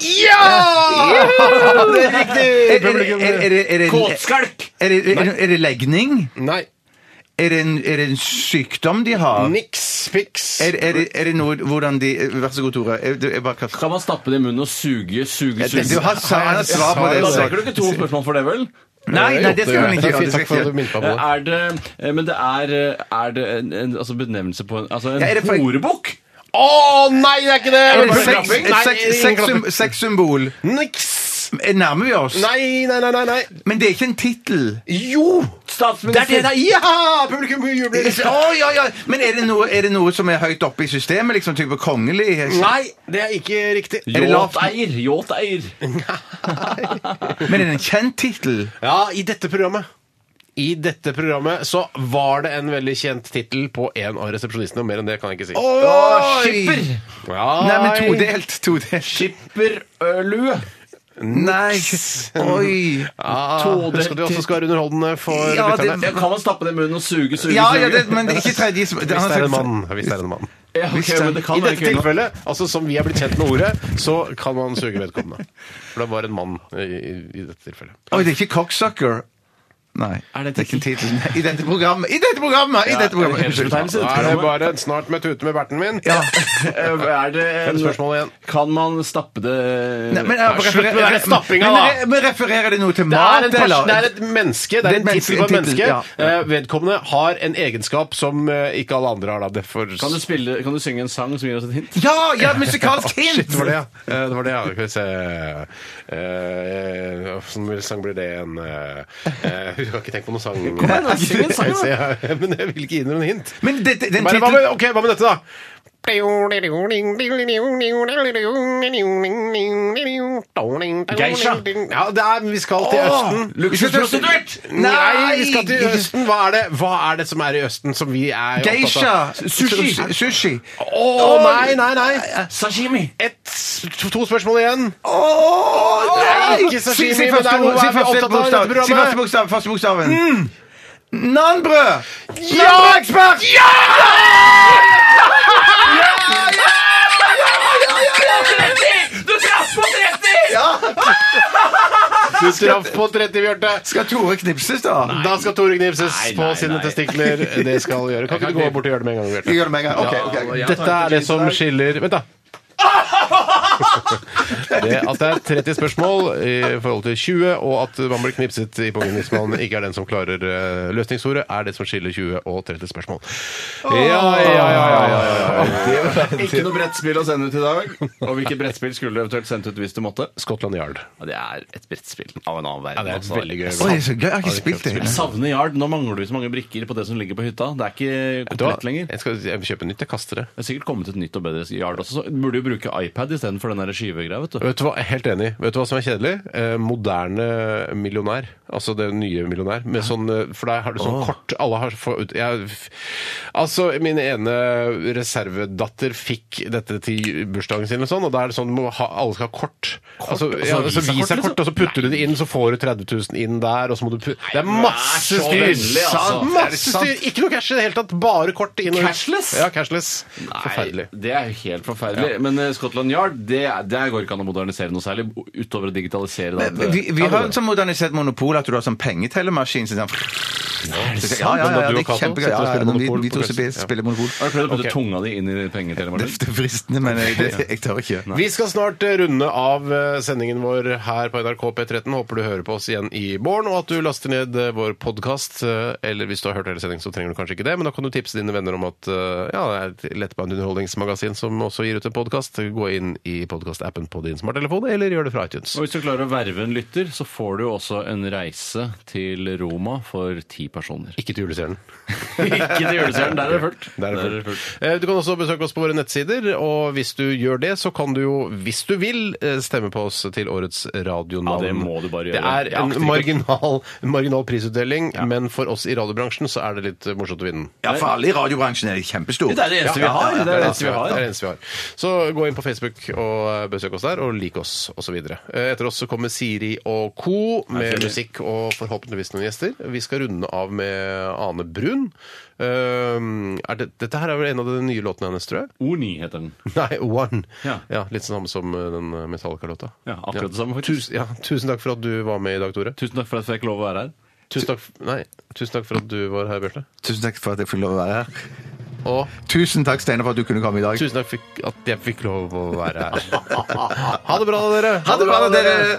Speaker 4: Ja!
Speaker 5: Det er riktig! Er, er, Eh, er, er, det- er, det-
Speaker 4: Kåtskalk!
Speaker 5: Er, det- er, det- er det legning?
Speaker 4: eh, Nei.
Speaker 5: Er det, en, er det en sykdom de har?
Speaker 4: Niks fiks.
Speaker 5: Er, er, det- er det noe hvordan de Vær så god, Tore. Jeg, jeg bare kaster
Speaker 6: Kan man stappe det i munnen og suge, suge,
Speaker 5: Ja,
Speaker 6: suge?
Speaker 5: det- du har sa- han har svar på det,
Speaker 6: Da
Speaker 5: så-
Speaker 6: trenger du ikke to spørsmål for det, vel?
Speaker 5: Nei, nei, det skal man ikke gjøre, det skal
Speaker 4: eh, Takk for at du
Speaker 5: jeg
Speaker 4: minnet
Speaker 5: ikke
Speaker 4: meg på det.
Speaker 6: Er det, eh, men det er, eh, er det en, en altså benevnelse på en, altså en
Speaker 5: Ja, er det for-
Speaker 6: horebukk?
Speaker 4: Å nei, det er ikke det!
Speaker 5: Er det
Speaker 4: Bare
Speaker 5: sex-
Speaker 4: klapping?
Speaker 5: et
Speaker 4: Nei,
Speaker 5: sex-
Speaker 4: ingen klapping.
Speaker 5: sexsym- Sexsymbol?
Speaker 4: Niks!
Speaker 5: Eh, Nærmer vi oss?
Speaker 4: Nei, nei, nei, nei, nei.
Speaker 5: Men det er ikke en tittel?
Speaker 4: Jo! Det er det der. Ja! Publikum jubler.
Speaker 5: Å, ja, ja. Men er det, noe, er det noe som er høyt oppe i systemet? Liksom type kongelig?
Speaker 4: Nei, det er ikke riktig.
Speaker 5: Er det lavt?
Speaker 6: Yachteier! Yachteier!
Speaker 5: Men er det en kjent tittel?
Speaker 4: Ja, i dette programmet. I dette programmet så var det en veldig kjent tittel på en av resepsjonistene, og mer enn det kan jeg ikke si.
Speaker 5: Oi!
Speaker 4: Ja.
Speaker 5: Nei, men todelt. todelt.
Speaker 6: Skipperlue.
Speaker 5: Nei. Oi.
Speaker 4: Ja,
Speaker 6: Todelt.
Speaker 4: husk at vi også skal være underholdende for
Speaker 5: Ja, det-
Speaker 4: lytterne.
Speaker 6: Ja, Kan man stappe det i munnen og suge, suge,
Speaker 5: Ja,
Speaker 6: suge?
Speaker 5: ja det, altså- men ikke tredje som
Speaker 4: Hvis det er en mann. Hvis det er en mann.
Speaker 6: Ja, ok,
Speaker 5: Hvis det-
Speaker 6: men det kan
Speaker 4: I
Speaker 6: være
Speaker 4: dette
Speaker 6: kvinner.
Speaker 4: tilfellet, altså som vi er blitt kjent med ordet, så kan man suge vedkommende. For det var en mann i, i- i dette tilfellet.
Speaker 5: Oi, det er ikke cocksucker. Nei, det er ikke en tittel. Nei, I dette programmet! I dette programmet! I dette programmet.
Speaker 6: hedersbetegnelse?
Speaker 4: Da er
Speaker 5: Unnskyld.
Speaker 4: det bare snart med tute med berten min.
Speaker 5: Ja.
Speaker 6: Eh, Er det
Speaker 4: Fem spørsmål igjen.
Speaker 6: Kan man stappe det
Speaker 5: Nei, men, jeg-
Speaker 4: slutt med den stappinga,
Speaker 5: men,
Speaker 4: da.
Speaker 5: men, men refererer det noe til
Speaker 4: Det
Speaker 5: mat,
Speaker 4: er, en pers
Speaker 5: eller?
Speaker 4: det er et menneske. Det
Speaker 5: Det
Speaker 4: er
Speaker 5: er
Speaker 4: en
Speaker 5: et
Speaker 4: tittel på et
Speaker 5: menneske, en
Speaker 4: menneske.
Speaker 5: tittel, ja.
Speaker 4: Eh, Vedkommende har en egenskap som eh, ikke alle andre har. Da. Det får...
Speaker 6: Kan du, spille, kan du synge en sang som gir oss et hint?
Speaker 5: Ja, ja, musikalsk
Speaker 4: Å,
Speaker 5: hint!
Speaker 4: Shit, det var det, ja. Eh, Det var det, ja. Skal vi se eh, Hvilken sang blir det igjen? Eh, eh, Du har ikke tenkt på noen sang? Kom
Speaker 6: igjen, da, syng en sang, da.
Speaker 4: Men jeg vil ikke gi dere noen hint.
Speaker 5: Men det, det, den
Speaker 4: Bare, hva,
Speaker 5: tittelen
Speaker 4: med, ok, hva med dette, da?
Speaker 6: Geisha.
Speaker 4: Ja, det er, vi skal til
Speaker 5: Åh,
Speaker 4: Østen.
Speaker 5: luksusprostituert!
Speaker 4: Nei,
Speaker 5: Nei,
Speaker 4: vi skal til Østen. Hva er, det, hva er det som er i Østen som vi er
Speaker 5: Geisha!
Speaker 4: opptatt av?
Speaker 5: Sushi! Sushi.
Speaker 4: Å, nei, nei, nei.
Speaker 6: Sashimi!
Speaker 4: Et, to, to spørsmål igjen.
Speaker 5: Åh, nei!
Speaker 4: Ikke
Speaker 5: Si
Speaker 4: sashimi, men
Speaker 5: si
Speaker 4: det
Speaker 5: første
Speaker 4: er noe
Speaker 5: ord- si
Speaker 4: vi er
Speaker 5: første
Speaker 4: opptatt av i
Speaker 5: bokstav.
Speaker 4: dette
Speaker 5: Si første
Speaker 4: programmet. Mm.
Speaker 5: bokstav. Første bokstaven. Nanbrød!
Speaker 4: Ja!
Speaker 5: Nanbrødekspert! Ja!
Speaker 6: Du traff på 30!
Speaker 4: Du traff på 30, Bjarte.
Speaker 5: Skal Tore knipses, da?
Speaker 4: Da skal Tore knipses
Speaker 6: Nei,
Speaker 4: på
Speaker 6: nei,
Speaker 4: sine
Speaker 6: nei.
Speaker 4: testikler. Det skal vi gjøre. Kan ikke du gå bort og gjøre det med en gang, Bjarte?
Speaker 5: Jeg gjør det med en gang. Ok, ok.
Speaker 4: Dette er det som skiller Vent, da. Det at det er 30 spørsmål i forhold til 20, og at man blir knipset i pungen hvis man ikke er den som klarer eh, løsningsordet, er det som skiller 20 og 30 spørsmål. Ja, ja, ja, ja, ja, ja, ja.
Speaker 6: Ikke noe brettspill å sende ut i dag. Og hvilket brettspill skulle du eventuelt sendt ut hvis du måtte?
Speaker 4: Scotland Yard.
Speaker 6: Ja, det er et brettspill av en annen verden.
Speaker 4: Ja, det er
Speaker 6: altså.
Speaker 4: veldig gøy.
Speaker 5: Oi, så gøy. Jeg har ikke spilt det.
Speaker 6: Jeg savner Yard. Nå mangler du så mange brikker på det som ligger på hytta. Det er ikke
Speaker 4: Vet du hva?
Speaker 6: komplett lenger.
Speaker 4: Jeg skal jeg vil kjøpe nytt. Jeg kaster det.
Speaker 6: Det er sikkert kommet et nytt og bedre Yard også. Så burde du bruke iPad istedenfor den der skivegreia, vet du.
Speaker 4: Vet du hva, jeg er Helt enig. Vet du hva som er kjedelig? Eh, moderne millionær. Altså det nye millionær. Med sånn, eh, for der har du sånn kort Alle har få ut jeg, f- Altså, min ene reservedatter fikk dette til bursdagen sin, og sånn, og da er det sånn må ha, alle skal ha kort. Altså, ja, altså
Speaker 6: visakort,
Speaker 4: Visakort,
Speaker 6: liksom?
Speaker 4: og så putter du det inn, så får du 30 000 inn der, og så må du putte Det er masse
Speaker 6: så
Speaker 4: styr!
Speaker 6: vennlig, altså. Er det
Speaker 4: Masse
Speaker 6: sant?
Speaker 4: styr! Ikke noe cash i det hele tatt. Bare kort inn og ut.
Speaker 6: Cashless?
Speaker 4: Ja, cashless.
Speaker 6: Nei,
Speaker 4: Forferdelig.
Speaker 6: Det er jo helt forferdelig. Men eh, Scotland Yard, det det, det går ikke an å modernisere noe særlig utover å digitalisere. det.
Speaker 5: Men Vi, vi har en sånn modernisert monopol at du har sånn pengetellemaskin som sånn
Speaker 6: sant?
Speaker 5: Ja, ja, ja,
Speaker 6: Men da du
Speaker 5: det
Speaker 6: og
Speaker 5: er
Speaker 6: Cato
Speaker 5: kjempegøy. Ja,
Speaker 6: sitter og
Speaker 5: ja,
Speaker 6: spiller
Speaker 5: ja, vi,
Speaker 6: Monopol
Speaker 5: vi
Speaker 6: på
Speaker 5: to spiller,
Speaker 6: kvelden. Ja.
Speaker 5: spiller monopol.
Speaker 6: Har du prøvd å putte tunga di inn i pengetelemaskinen?
Speaker 5: Det er fristende, men jeg, det, jeg tør ikke.
Speaker 4: Vi skal snart eh, runde av eh, sendingen vår her på NRK P13. Håper du hører på oss igjen i morgen, og at du laster ned eh, vår podkast. Eller hvis du har hørt hele sendingen, så trenger du kanskje ikke det, men da kan du tipse dine venner om at eh, ja, det er et lettbeint underholdningsmagasin som også gir ut en podkast. Gå inn i podkastappen på din smarttelefon, eller gjør det fra iTunes.
Speaker 6: Og hvis du klarer å verve en lytter, så får du også en reise til Roma for ti personer.
Speaker 4: Ikke til julestjernen.
Speaker 6: Ikke til julestjernen, der er det fullt.
Speaker 4: Der er det
Speaker 6: Der er det
Speaker 4: fullt. Eh, Du kan også besøke oss på våre nettsider, og hvis du gjør det, så kan du jo, hvis du vil, eh, stemme på oss til årets radionavn.
Speaker 6: Ja, det må du bare gjøre.
Speaker 4: Det er
Speaker 6: Jeg
Speaker 4: en
Speaker 6: akter ikke.
Speaker 4: marginal, en marginal prisutdeling, men for oss i radiobransjen så er det litt eh, morsomt å vinne.
Speaker 5: Ja, for alle i radiobransjen er kjempestore.
Speaker 4: Det er det eneste vi har, det er det eneste vi har.
Speaker 5: Ja,
Speaker 4: Det er det eneste vi har. Så gå inn på Facebook og eh, besøk oss der, og lik oss, osv. Etter oss så kommer Siri og co.
Speaker 6: Hei,
Speaker 4: med
Speaker 6: Siri.
Speaker 4: musikk og forhåpentligvis noen gjester. Vi skal runde av med Ane Brun. Um, er det, dette her er vel en av de nye låtene hennes, tror jeg?
Speaker 6: Oni heter den.
Speaker 4: Nei, One. Ja.
Speaker 6: Ja.
Speaker 4: Litt sånn samme som eh, den Metallica-låta.
Speaker 6: Ja, akkurat det samme,
Speaker 4: Tusen, ja, tusen takk for at du var med i dag, Tore.
Speaker 6: Tusen takk for at jeg fikk lov å være her.
Speaker 4: Tusen takk, f- nei, tusen takk for at du var her, Bjarte.
Speaker 5: Tusen takk for at jeg fikk lov å være her.
Speaker 4: Og
Speaker 5: Tusen takk, Steinar, for at du kunne komme i dag.
Speaker 4: tusen takk for at jeg fikk lov å være her. ha det bra, da, dere.
Speaker 5: Ha det bra, da, dere.